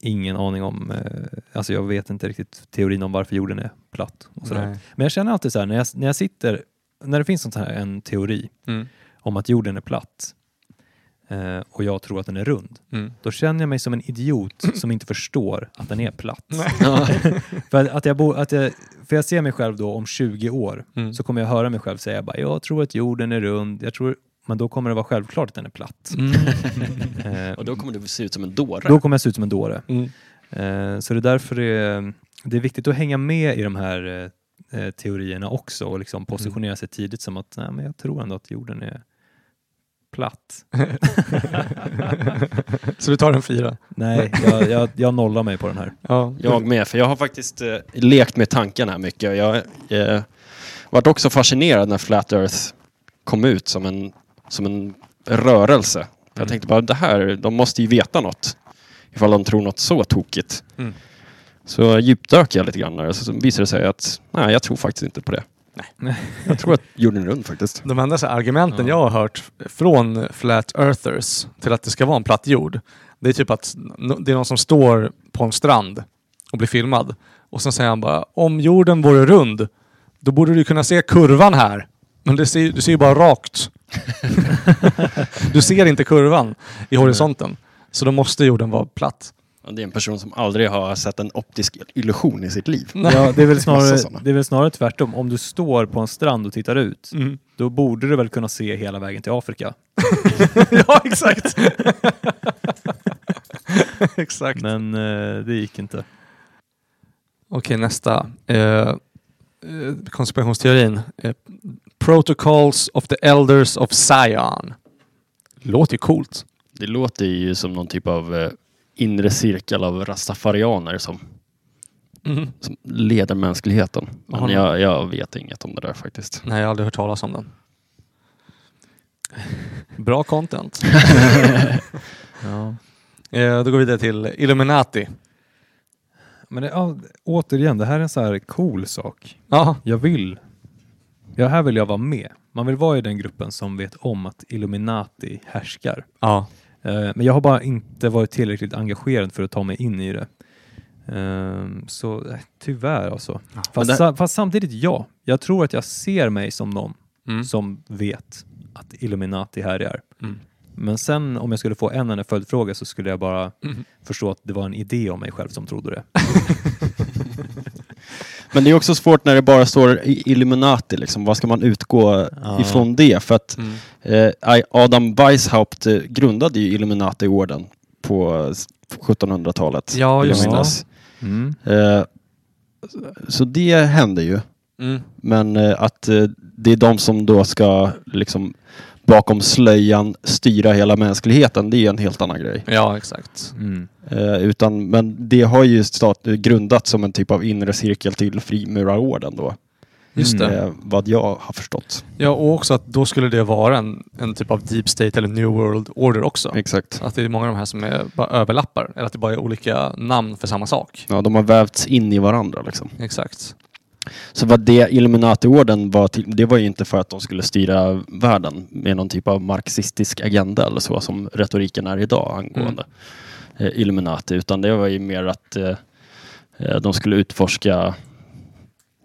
Speaker 1: ingen aning om... Eh, alltså jag vet inte riktigt teorin om varför jorden är platt. Och sådär.
Speaker 4: Nej.
Speaker 1: Men jag känner alltid så här, när jag, när jag sitter, när det finns sånt här, en teori
Speaker 4: Mm.
Speaker 1: om att jorden är platt eh, och jag tror att den är rund,
Speaker 4: Mm.
Speaker 1: då känner jag mig som en idiot som inte förstår att den är platt. <laughs> för, att jag bo, att jag, för jag ser mig själv då om 20 år,
Speaker 4: Mm.
Speaker 1: så kommer jag höra mig själv säga bara, jag tror att jorden är rund, jag tror, men då kommer det vara självklart att den är platt.
Speaker 4: Mm,
Speaker 1: Eh,
Speaker 3: Mm. <laughs> Och då kommer du se ut som en dåre.
Speaker 1: då kommer jag se ut som en dåre.
Speaker 4: <laughs> Mm.
Speaker 1: Eh, Så det är därför det är, det är viktigt att hänga med i de här eh, eh, teorierna också och liksom positionera sig tidigt som att Nej, men jag tror ändå att jorden är platt.
Speaker 4: Så du tar en fyra?
Speaker 1: Nej, jag, jag, jag nollar mig på den här.
Speaker 4: Ja.
Speaker 3: Jag med, för jag har faktiskt eh, lekt med tanken här mycket. och Jag eh, vart också fascinerad när Flat Earth kom ut som en, som en rörelse.
Speaker 1: Mm.
Speaker 3: Jag tänkte bara, det här, de måste ju veta något. Ifall de tror något så tokigt.
Speaker 4: Mm.
Speaker 3: Så djupdök jag lite grann där och så visade det sig att nej, jag tror faktiskt inte på det.
Speaker 1: Nej.
Speaker 3: Jag tror att jorden är rund faktiskt.
Speaker 4: De enda så här argumenten jag har hört från flat earthers till att det ska vara en platt jord, det är typ att no- det är någon som står på en strand och blir filmad. Och sen säger han bara, om jorden vore rund, då borde du kunna se kurvan här. Men det ser, ju- du ser ju bara rakt. <laughs> du ser inte kurvan i horisonten. Så då måste jorden vara platt.
Speaker 3: Ja, Det är en person som aldrig har sett en optisk illusion i sitt liv.
Speaker 1: Ja, det, är väl
Speaker 2: Massa
Speaker 1: snarare,
Speaker 2: sådana.
Speaker 1: det är väl snarare tvärtom. Om du står på en strand och tittar ut,
Speaker 4: <laughs> Mm. <laughs>
Speaker 1: då borde du väl kunna se hela vägen till Afrika.
Speaker 4: ja, exakt. exakt.
Speaker 1: Men eh, det gick inte.
Speaker 4: Okej, nästa. Eh, eh, konspirationsteorin. Eh, Protocols of the Elders of Zion. Låter ju coolt.
Speaker 3: Det låter ju som någon typ av eh, inre cirkel av rastafarianer som,
Speaker 4: Mm.
Speaker 3: som leder mänskligheten.
Speaker 4: Har
Speaker 3: Men
Speaker 4: ni-
Speaker 3: jag, jag vet inget om det där faktiskt.
Speaker 4: Nej, jag har aldrig hört talas om den. <laughs> Bra content.
Speaker 1: Ja.
Speaker 4: Eh, då går vi vidare till Illuminati.
Speaker 1: Men det, ja, återigen, det här är en så här cool sak.
Speaker 4: Ja,
Speaker 1: jag vill, ja här vill jag vara med. Man vill vara i den gruppen som vet om att Illuminati härskar.
Speaker 4: ja.
Speaker 1: Eh, Men jag har bara inte varit tillräckligt engagerad för att ta mig in i det. Ehm, Så eh, tyvärr alltså. Fast,
Speaker 3: det-
Speaker 1: sa- fast samtidigt ja, jag tror att jag ser mig som någon
Speaker 4: Mm.
Speaker 1: som vet att Illuminati härjar.
Speaker 4: Mm.
Speaker 1: Men sen om jag skulle få en enda följdfråga så skulle jag bara
Speaker 4: Mm.
Speaker 1: förstå att det var en idé om mig själv som trodde det.
Speaker 3: Men det är också svårt när det bara står i- Illuminati. Liksom. Vad ska man utgå
Speaker 1: Ja.
Speaker 3: ifrån det? För att
Speaker 4: Mm.
Speaker 3: eh, I- Adam Weishaupt eh, grundade ju Illuminati-orden på eh, 1700-talet.
Speaker 4: Ja,
Speaker 3: vill jag
Speaker 1: just det.
Speaker 3: minnas.
Speaker 1: Mm.
Speaker 3: Eh, så det hände ju.
Speaker 4: Mm.
Speaker 3: Men eh, att eh, det är de som då ska liksom bakom slöjan styra hela mänskligheten, det är en helt annan grej.
Speaker 4: Ja, exakt.
Speaker 1: Mm.
Speaker 3: Eh, utan, men det har ju stat- eh, grundats som en typ av inre cirkel till frimurarorden då.
Speaker 4: Just det.
Speaker 3: Eh, vad jag har förstått.
Speaker 4: Ja, och också att då skulle det vara en, en typ av Deep State eller New World Order också.
Speaker 3: Exakt.
Speaker 4: Att det är många av de här som är, bara överlappar, eller att det bara är olika namn för samma sak.
Speaker 3: Ja, de har vävts in i varandra liksom.
Speaker 4: Exakt.
Speaker 3: Så vad det Illuminati-orden var till, det var ju inte för att de skulle styra världen med någon typ av marxistisk agenda eller så som retoriken är idag angående eh, Illuminati. Utan det var ju mer att eh, eh, de skulle utforska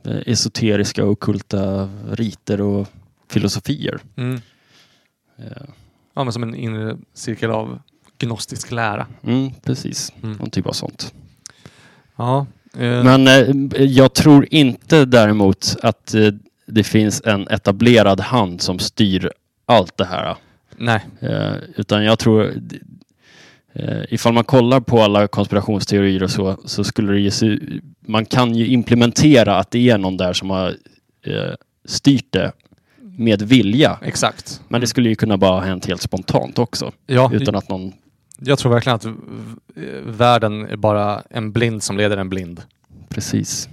Speaker 3: eh, esoteriska och okulta riter och filosofier.
Speaker 4: Mm.
Speaker 3: Eh,
Speaker 4: Ja, men som en inre cirkel av gnostisk lära.
Speaker 3: mm, precis,
Speaker 4: Mm.
Speaker 3: någon typ av sånt.
Speaker 4: Ja. Eh,
Speaker 3: Men eh, jag tror inte däremot att eh, det finns en etablerad hand som styr allt det här.
Speaker 4: Nej.
Speaker 3: Eh, utan jag tror... Eh, ifall man kollar på alla konspirationsteorier och så, så skulle det ju se, Man kan ju implementera att det är någon där som har eh, styrt det med vilja.
Speaker 4: Exakt.
Speaker 3: Men det skulle ju kunna bara ha hänt helt spontant också.
Speaker 4: Mm. Ja,
Speaker 3: Utan att någon...
Speaker 4: jag tror verkligen att v- v- världen är bara en blind som leder en blind.
Speaker 3: Precis.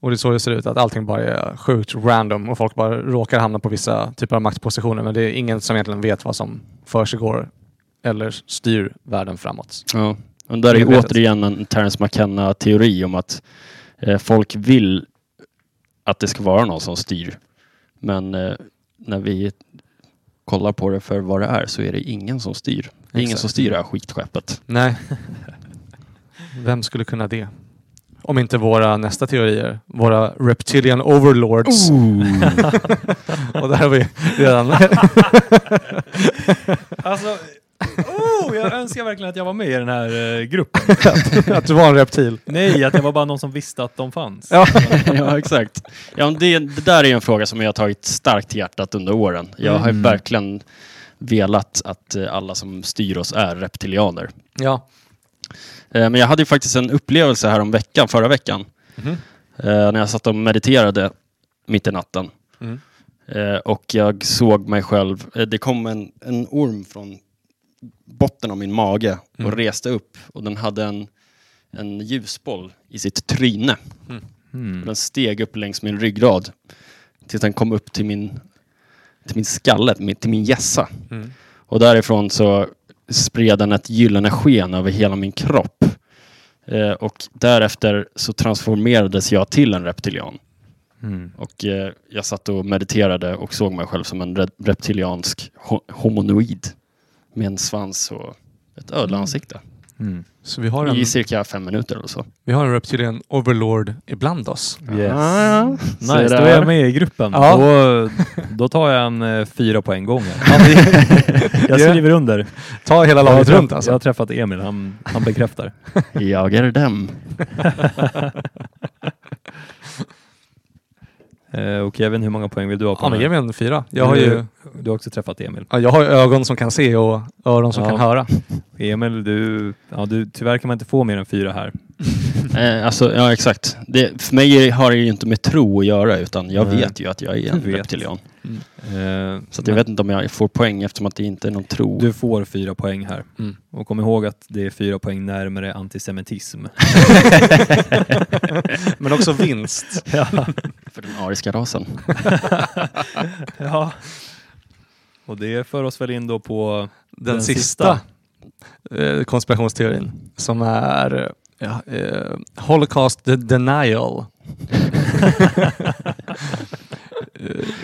Speaker 4: Och det är så det ser ut, att allting bara är sjukt random och folk bara råkar hamna på vissa typer av maktpositioner. Men det är ingen som egentligen vet vad som försiggår eller styr världen framåt.
Speaker 3: Ja, men där är ju
Speaker 4: Medvetet.
Speaker 3: återigen en Terence McKenna-teori om att eh, folk vill att det ska vara någon som styr. Men eh, när vi kollar på det för vad det är så är det ingen som styr. Det är ingen
Speaker 4: Exakt.
Speaker 3: som styr det här skitskeppet.
Speaker 4: Nej. Vem skulle kunna det? Om inte våra nästa teorier, våra reptilian overlords. <laughs> Och där har vi redan... <laughs>
Speaker 1: Alltså, oh, jag önskar verkligen att jag var med i den här eh, gruppen.
Speaker 4: att du var en reptil.
Speaker 1: Nej, att jag var bara någon som visste att de fanns.
Speaker 4: Ja.
Speaker 3: ja, exakt. Ja, men det, det där är en fråga som jag har tagit starkt till hjärtat under åren. Jag har ju
Speaker 1: Mm.
Speaker 3: verkligen velat att eh, alla som styr oss är reptilianer.
Speaker 4: Ja.
Speaker 3: Eh, Men jag hade ju faktiskt en upplevelse här om veckan, förra veckan.
Speaker 4: Mhm.
Speaker 3: Eh, när jag satt och mediterade mitt i natten.
Speaker 4: Mm.
Speaker 3: Eh, och jag såg mig själv, eh, det kom en, en orm från botten av min mage och
Speaker 4: Mm.
Speaker 3: reste upp och den hade en, en ljusboll i sitt tryne.
Speaker 1: Mm.
Speaker 3: Den steg upp längs min ryggrad tills den kom upp till min, till min skalle, till min- till min hjässa.
Speaker 4: Mm.
Speaker 3: Och därifrån så spred den ett gyllene sken över hela min kropp. Eh, och därefter så transformerades jag till en reptilian.
Speaker 1: Mm.
Speaker 3: Och eh, jag satt och mediterade och såg mig själv som en re- reptiliansk ho- homonoid. Med en svans och ett ödlansikte.
Speaker 1: Mm.
Speaker 4: Så vi har, en,
Speaker 3: I cirka fem minuter eller så.
Speaker 4: vi har en reptilian overlord ibland oss.
Speaker 1: Yes.
Speaker 3: Ah, så
Speaker 1: Nice,
Speaker 3: där.
Speaker 1: då är jag med i gruppen.
Speaker 4: Ja.
Speaker 1: Då, då tar jag en eh, fyra på en gång. här. <laughs> Jag skriver under.
Speaker 4: Ta hela
Speaker 1: Jag har,
Speaker 4: laget
Speaker 1: träffat,
Speaker 4: runt alltså.
Speaker 1: jag har träffat Emil, han, han
Speaker 4: <laughs>
Speaker 1: bekräftar.
Speaker 3: Jag är dem.
Speaker 1: Eh, och Kevin, hur många poäng vill du ha på
Speaker 4: Ja, men
Speaker 1: den
Speaker 4: ge
Speaker 1: här?
Speaker 4: mig en fyra. Jag har ju
Speaker 1: Du har också träffat Emil.
Speaker 4: ja, jag har ju ögon som kan se och öron som
Speaker 1: Ja.
Speaker 4: kan <laughs> höra.
Speaker 1: Emil, du, ja, du, tyvärr kan man inte få mer än fyra här.
Speaker 3: Eh, alltså, ja exakt. Det, för mig har det ju inte med tro att göra utan jag
Speaker 1: Nej.
Speaker 3: vet ju att jag är en
Speaker 1: Du vet.
Speaker 3: reptilian.
Speaker 1: Eh,
Speaker 3: Så att jag
Speaker 1: men
Speaker 3: vet inte om jag får poäng eftersom att det inte är någon tro.
Speaker 1: Du får fyra poäng här.
Speaker 4: Mm.
Speaker 1: Och kom ihåg att det är fyra poäng närmare antisemitism.
Speaker 4: <laughs>
Speaker 1: <laughs>
Speaker 4: Men också vinst.
Speaker 1: ja.
Speaker 3: För den
Speaker 1: <laughs>
Speaker 3: ariska rasen.
Speaker 1: ja. Och det för oss väl in då på
Speaker 4: Den,
Speaker 1: Den
Speaker 4: sista, eh, konspirationsteorin som är eh, ja, eh, Holocaust de- denial. Eh,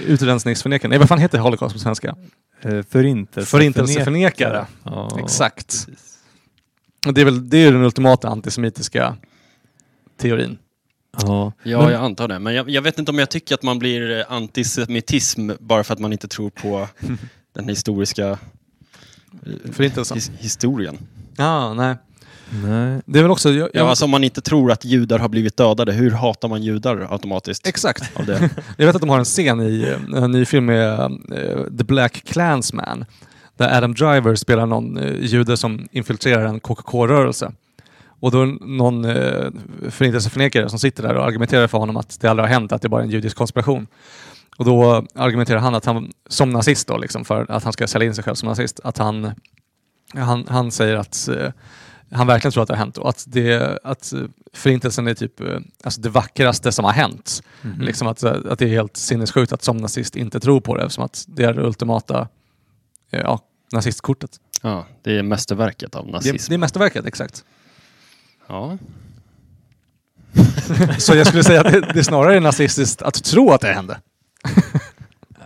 Speaker 4: Utrensningsförnekare. Nej, vad fan heter Holocaust på svenska?
Speaker 1: eh, förintelse.
Speaker 4: Förintelseförnekare.
Speaker 1: Ja.
Speaker 4: Exakt. Och Det är, väl, det är ju den ultimata antisemitiska teorin.
Speaker 1: Ja.
Speaker 3: Ja,
Speaker 1: Men-
Speaker 3: jag antar det. Men jag, jag vet inte om jag tycker att man blir eh, antisemitism bara för att man inte
Speaker 1: <laughs>
Speaker 3: tror på den historiska eh,
Speaker 4: Förintelsen.
Speaker 3: his, historien.
Speaker 4: Ja, nej.
Speaker 1: Nej.
Speaker 4: Det är väl också... Jag, jag,
Speaker 3: Ja, alltså om man inte tror att judar har blivit dödade, hur hatar man judar automatiskt?
Speaker 4: Exakt.
Speaker 1: <laughs>
Speaker 3: av det?
Speaker 4: Jag vet att de har en scen i eh, en ny film med eh, The Black Clansman där Adam Driver spelar någon eh, jude som infiltrerar en KKK-rörelse. Och då är det någon eh, förintelseförnekare som sitter där och argumenterar för honom att det aldrig har hänt, att det bara är en judisk konspiration. Och då argumenterar han att han som nazist då, liksom, för att han ska sälja in sig själv som nazist, att han, han, han säger att eh, han verkligen tror att det har hänt och att, det, att eh, förintelsen är typ eh, alltså det vackraste som har hänt.
Speaker 1: Mhm.
Speaker 4: Liksom att, att det är helt sinnessjukt att som nazist inte tror på det eftersom att det är det ultimata eh, ja, nazistkortet.
Speaker 3: Ja, det är mästerverket av
Speaker 4: Det,
Speaker 3: nazism.
Speaker 4: det är mästerverket, exakt.
Speaker 3: Ja.
Speaker 4: Så jag skulle säga att det, det är snarare är nazistiskt att tro att det hände.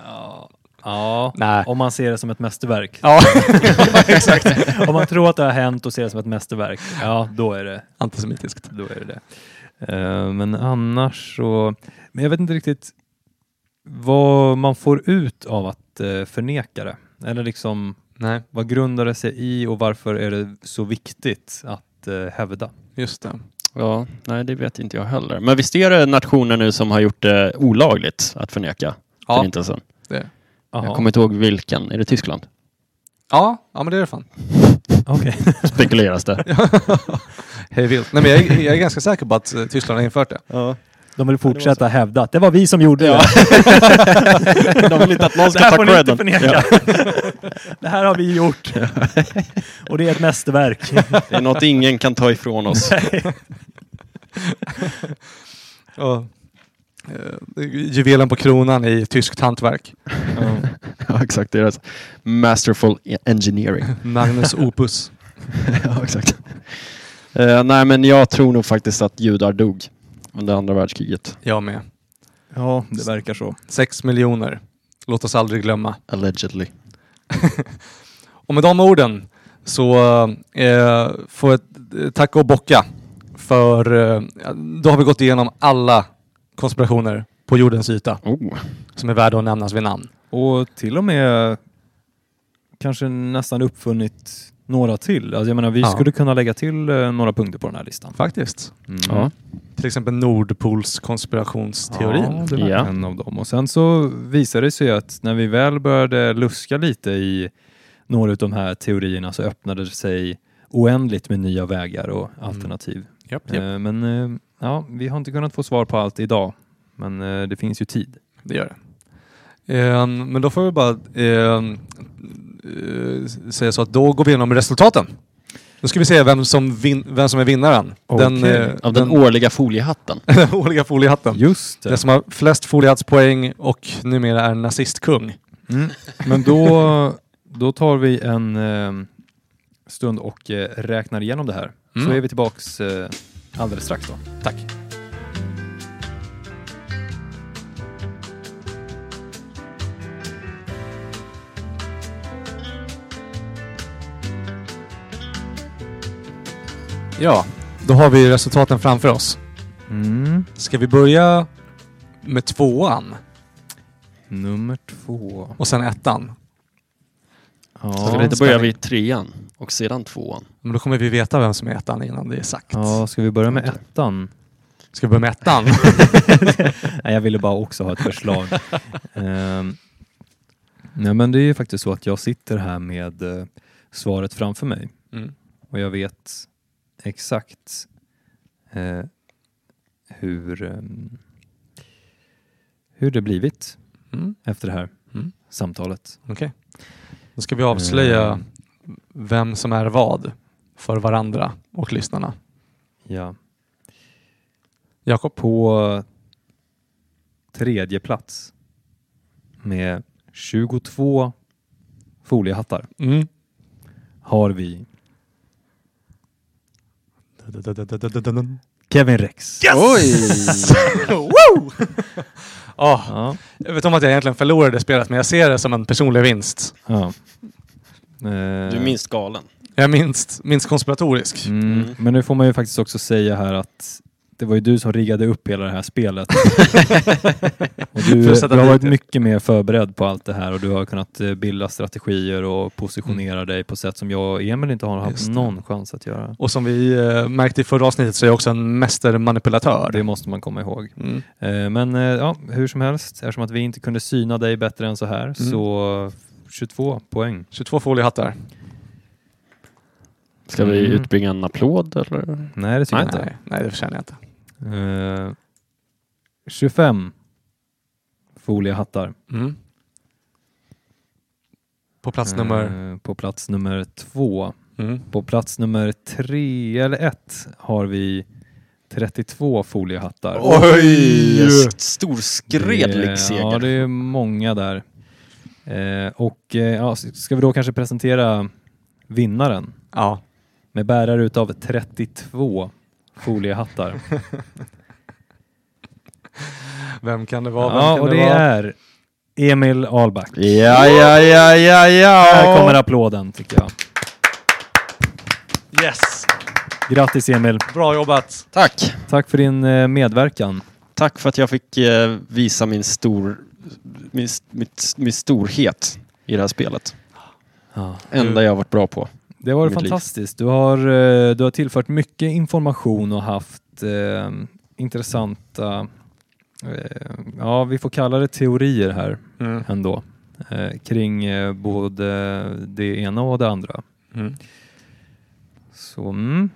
Speaker 1: Ja. ja.
Speaker 4: Nej.
Speaker 1: Om man ser det som ett mästerverk.
Speaker 4: Ja, <laughs>
Speaker 1: exakt. Om man tror att det har hänt och ser det som ett mästerverk, ja då är det
Speaker 4: antisemitiskt.
Speaker 1: då är det det. Eh, men annars så, men jag vet inte riktigt vad man får ut av att eh, förneka det. Eller liksom,
Speaker 4: Nej,
Speaker 1: vad grundar det sig i och varför är det så viktigt att eh, hävda?
Speaker 4: just det.
Speaker 3: ja, nej det vet inte jag heller. Men visst är det nationer nu som har gjort det olagligt att förneka
Speaker 4: Ja,
Speaker 3: förintelsen?
Speaker 4: det är det.
Speaker 1: Jaha,
Speaker 3: Jag kommer inte ihåg vilken. Är det Tyskland? <laughs>
Speaker 4: ja, ja, men det är det fan.
Speaker 1: okej.
Speaker 3: Spekuleras det.
Speaker 4: Hej vilt. Nej, men jag, är- jag är ganska säker på att eh, Tyskland har infört det.
Speaker 1: De vill fortsätta hävda att det var vi som gjorde
Speaker 3: Ja.
Speaker 1: det. <laughs>
Speaker 3: De vill inte att någon
Speaker 1: det
Speaker 3: ska
Speaker 1: här får
Speaker 3: ta
Speaker 1: ni inte
Speaker 3: credden.
Speaker 1: förneka. <laughs> det här har vi gjort. och det är ett mästerverk.
Speaker 3: Det är något ingen kan ta
Speaker 1: <laughs>
Speaker 3: ifrån oss.
Speaker 4: Ja. Eh, Juvelen på kronan i tyskt hantverk.
Speaker 3: <laughs> ja, exakt. Deras masterful e- engineering. <laughs>
Speaker 4: Magnus opus.
Speaker 3: ja, exakt. Eh, nej, men jag tror nog faktiskt att judar dog under andra världskriget.
Speaker 4: Jag med.
Speaker 1: ja, det verkar så.
Speaker 4: Sex miljoner. Låt oss aldrig glömma.
Speaker 3: Allegedly.
Speaker 4: Och med de orden så eh, får jag eh, tacka och bocka. För eh, då har vi gått igenom alla konspirationer på jordens yta
Speaker 3: Oh.
Speaker 4: som är värda att nämnas vid namn.
Speaker 1: Och till och med kanske nästan uppfunnit några till. Alltså jag menar, vi
Speaker 4: Ja.
Speaker 1: skulle kunna lägga till eh, några punkter på den här listan.
Speaker 4: Faktiskt.
Speaker 1: Mm.
Speaker 3: Ja.
Speaker 4: Till exempel Nordpols
Speaker 1: Ja,
Speaker 4: konspirationsteorin.
Speaker 1: det var
Speaker 3: Ja.
Speaker 1: en av dem. Och sen så visade det sig att när vi väl började luska lite i några av de här teorierna så öppnade det sig oändligt med nya vägar och alternativ.
Speaker 4: Japp, japp.
Speaker 1: Eh, Men eh, ja, vi har inte kunnat få svar på allt idag. Men eh, det finns ju tid.
Speaker 4: Det gör det. Eh, men då får vi bara eh, eh, säga så att då går vi igenom resultaten. Nu ska vi se vem som, vin- vem som är vinnaren. Den,
Speaker 1: Okej.
Speaker 4: eh,
Speaker 3: Av den
Speaker 4: den,
Speaker 3: årliga foliehatten.
Speaker 4: <laughs> den årliga foliehatten.
Speaker 1: Just det.
Speaker 4: Den som har flest foliehattspoäng och numera är nazistkung.
Speaker 1: Mm. Men då, då tar vi en eh, stund och eh, räknar igenom det här.
Speaker 4: Mm.
Speaker 1: Så är vi tillbaks eh, alldeles strax då.
Speaker 4: Tack. Ja, då har vi resultaten framför oss.
Speaker 3: Mm.
Speaker 4: Ska vi börja med tvåan
Speaker 1: Nummer två.
Speaker 4: och sen ettan?
Speaker 1: Ja.
Speaker 3: Ska
Speaker 1: Ska,
Speaker 3: vi
Speaker 1: vi
Speaker 3: inte börja vid trean och sedan tvåan?
Speaker 4: Men då kommer vi veta vem som är ettan innan det är sagt.
Speaker 1: ja, ska vi börja med ettan?
Speaker 4: Ska vi börja
Speaker 1: <laughs>
Speaker 4: med ettan?
Speaker 1: Nej, jag ville bara också ha ett
Speaker 3: <laughs>
Speaker 1: förslag. Ehm, nej, men det är ju faktiskt så att jag sitter här med eh, svaret framför mig
Speaker 4: Mm.
Speaker 1: och jag vet exakt eh, hur, eh, hur det blivit.
Speaker 4: Mm.
Speaker 1: efter det här
Speaker 4: Mm.
Speaker 1: samtalet.
Speaker 4: Då ska vi avslöja
Speaker 1: Eh,
Speaker 4: vem som är vad för varandra och lyssnarna.
Speaker 1: ja.
Speaker 4: Jakob?
Speaker 1: På tredje plats med 22 foliehattar
Speaker 4: Mm.
Speaker 1: har vi Kevin Rex.
Speaker 2: Oj!
Speaker 4: Wow! Ja,
Speaker 1: Ja,
Speaker 4: jag vet om att jag egentligen förlorade spelet, men jag ser det som en personlig vinst.
Speaker 1: ja. Eh,
Speaker 3: Du minns galen.
Speaker 4: Jag är minst, minst konspiratorisk.
Speaker 1: Mm. Men nu får man ju faktiskt också säga här att det var ju du som riggade upp hela det här
Speaker 4: <laughs>
Speaker 1: spelet. och du,
Speaker 4: För att
Speaker 1: du
Speaker 4: sätta
Speaker 1: har
Speaker 4: dit
Speaker 1: varit
Speaker 4: det.
Speaker 1: mycket mer förberedd på allt det här och du har kunnat eh, bilda strategier och positionera dig på sätt som jag och Emil inte har haft
Speaker 4: Mm. Just det.
Speaker 1: någon chans att göra.
Speaker 4: Och som vi eh, märkte i förra avsnittet så är jag också en mästermanipulatör.
Speaker 1: Det måste man komma ihåg.
Speaker 4: Mm.
Speaker 1: Eh, Men eh, ja, hur som helst, eftersom att vi inte kunde syna dig bättre än så
Speaker 4: Mm.
Speaker 1: här så 22 poäng.
Speaker 4: 22 foliehattar.
Speaker 3: Ska vi
Speaker 1: Mm.
Speaker 3: utbringa en applåd eller?
Speaker 1: Nej, det tycker jag inte.
Speaker 4: nej, nej, det förtjänar jag inte.
Speaker 1: Eh, 25 foliehattar.
Speaker 4: Mm. På plats nummer...
Speaker 1: Eh, På plats nummer två.
Speaker 4: Mm.
Speaker 1: På plats nummer tre eller ett har vi 32 foliehattar.
Speaker 3: Oj! s- Stor skredlig
Speaker 1: Det är-
Speaker 3: seger.
Speaker 1: Ja, det är många där. Eh, och eh, ja, s- ska vi då kanske presentera vinnaren
Speaker 4: Ja.
Speaker 1: med bärare utav 32 foliehattar.
Speaker 4: Vem kan det vara? Vem
Speaker 1: ja,
Speaker 4: kan
Speaker 1: och det
Speaker 4: vara?
Speaker 1: är Emil Ahlback.
Speaker 3: Ja, ja, ja, ja,
Speaker 1: Här kommer
Speaker 3: ja!
Speaker 1: applåden tycker jag.
Speaker 4: Yes!
Speaker 1: Grattis Emil!
Speaker 4: Bra jobbat!
Speaker 3: Tack!
Speaker 1: Tack för din eh, medverkan.
Speaker 3: Tack för att jag fick eh, visa min, stor, min, s- mitt, min storhet i det här spelet. Enda jag har varit bra på.
Speaker 1: Det har varit
Speaker 3: Mitt liv.
Speaker 1: fantastiskt. Du har, eh, du har tillfört mycket information och haft eh, intressanta, eh, ja vi får kalla det teorier här
Speaker 4: Mm.
Speaker 1: ändå, eh, kring eh, både det ena och det andra.
Speaker 4: Mm.
Speaker 1: Så, mm.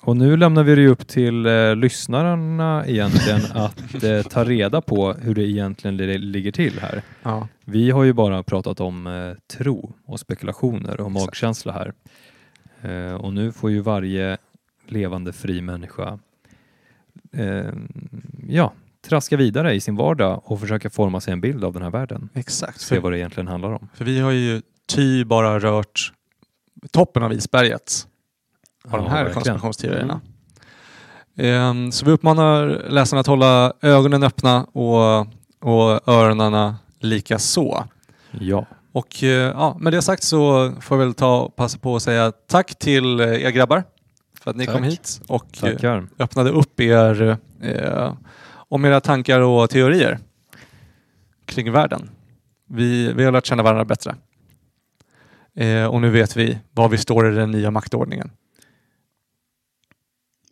Speaker 1: Och nu lämnar vi det upp till eh, lyssnarna egentligen att eh, ta reda på hur det egentligen li- ligger till här.
Speaker 4: Ja.
Speaker 1: Vi har ju bara pratat om eh, tro och spekulationer och magkänsla här. Eh, och nu får ju varje levande fri människa eh, ja, traska vidare i sin vardag och försöka forma sig en bild av den här världen.
Speaker 4: Exakt.
Speaker 1: Se
Speaker 4: För,
Speaker 1: vad det egentligen handlar om.
Speaker 4: för vi har ju ty bara rört toppen av isberget av de
Speaker 1: Ja, verkligen.
Speaker 4: här
Speaker 1: Mm.
Speaker 4: konspirationsteorierna. Ehm, så vi uppmanar läsarna att hålla ögonen öppna och, och öronen lika så.
Speaker 1: Ja.
Speaker 4: Och eh, ja, med det sagt så får jag väl ta och passa på att säga tack till eh, er grabbar för att ni
Speaker 3: Tack.
Speaker 4: kom hit och eh,
Speaker 1: Tackar.
Speaker 4: öppnade upp er eh, om era tankar och teorier kring världen. Vi, vi har lärt känna varandra bättre. Eh, och nu vet vi var vi står i den nya maktordningen.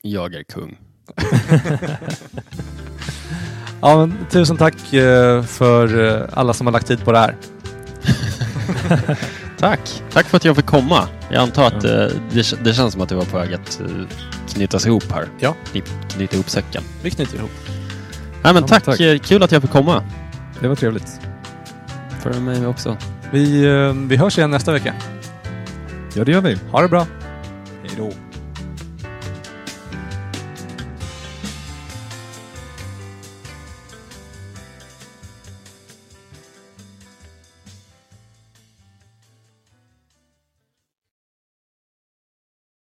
Speaker 3: Jag är kung.
Speaker 4: Ja, men, tusen tack eh, för eh, alla som har lagt tid på det här.
Speaker 3: Tack! Tack för att jag fick komma. Jag antar att eh, det, det känns som att du var på väg att eh, knytas ihop här.
Speaker 4: Ja.
Speaker 3: Knip- Knyta ihop säcken.
Speaker 4: Vi knyter ihop.
Speaker 3: Nej, men
Speaker 1: men
Speaker 3: tack.
Speaker 1: tack.
Speaker 3: Eh, Kul att jag fick komma.
Speaker 1: Det var trevligt.
Speaker 3: För mig också.
Speaker 4: Vi, eh, vi hörs igen nästa vecka.
Speaker 1: Ja, det gör vi.
Speaker 4: Ha det bra!
Speaker 1: Hej då.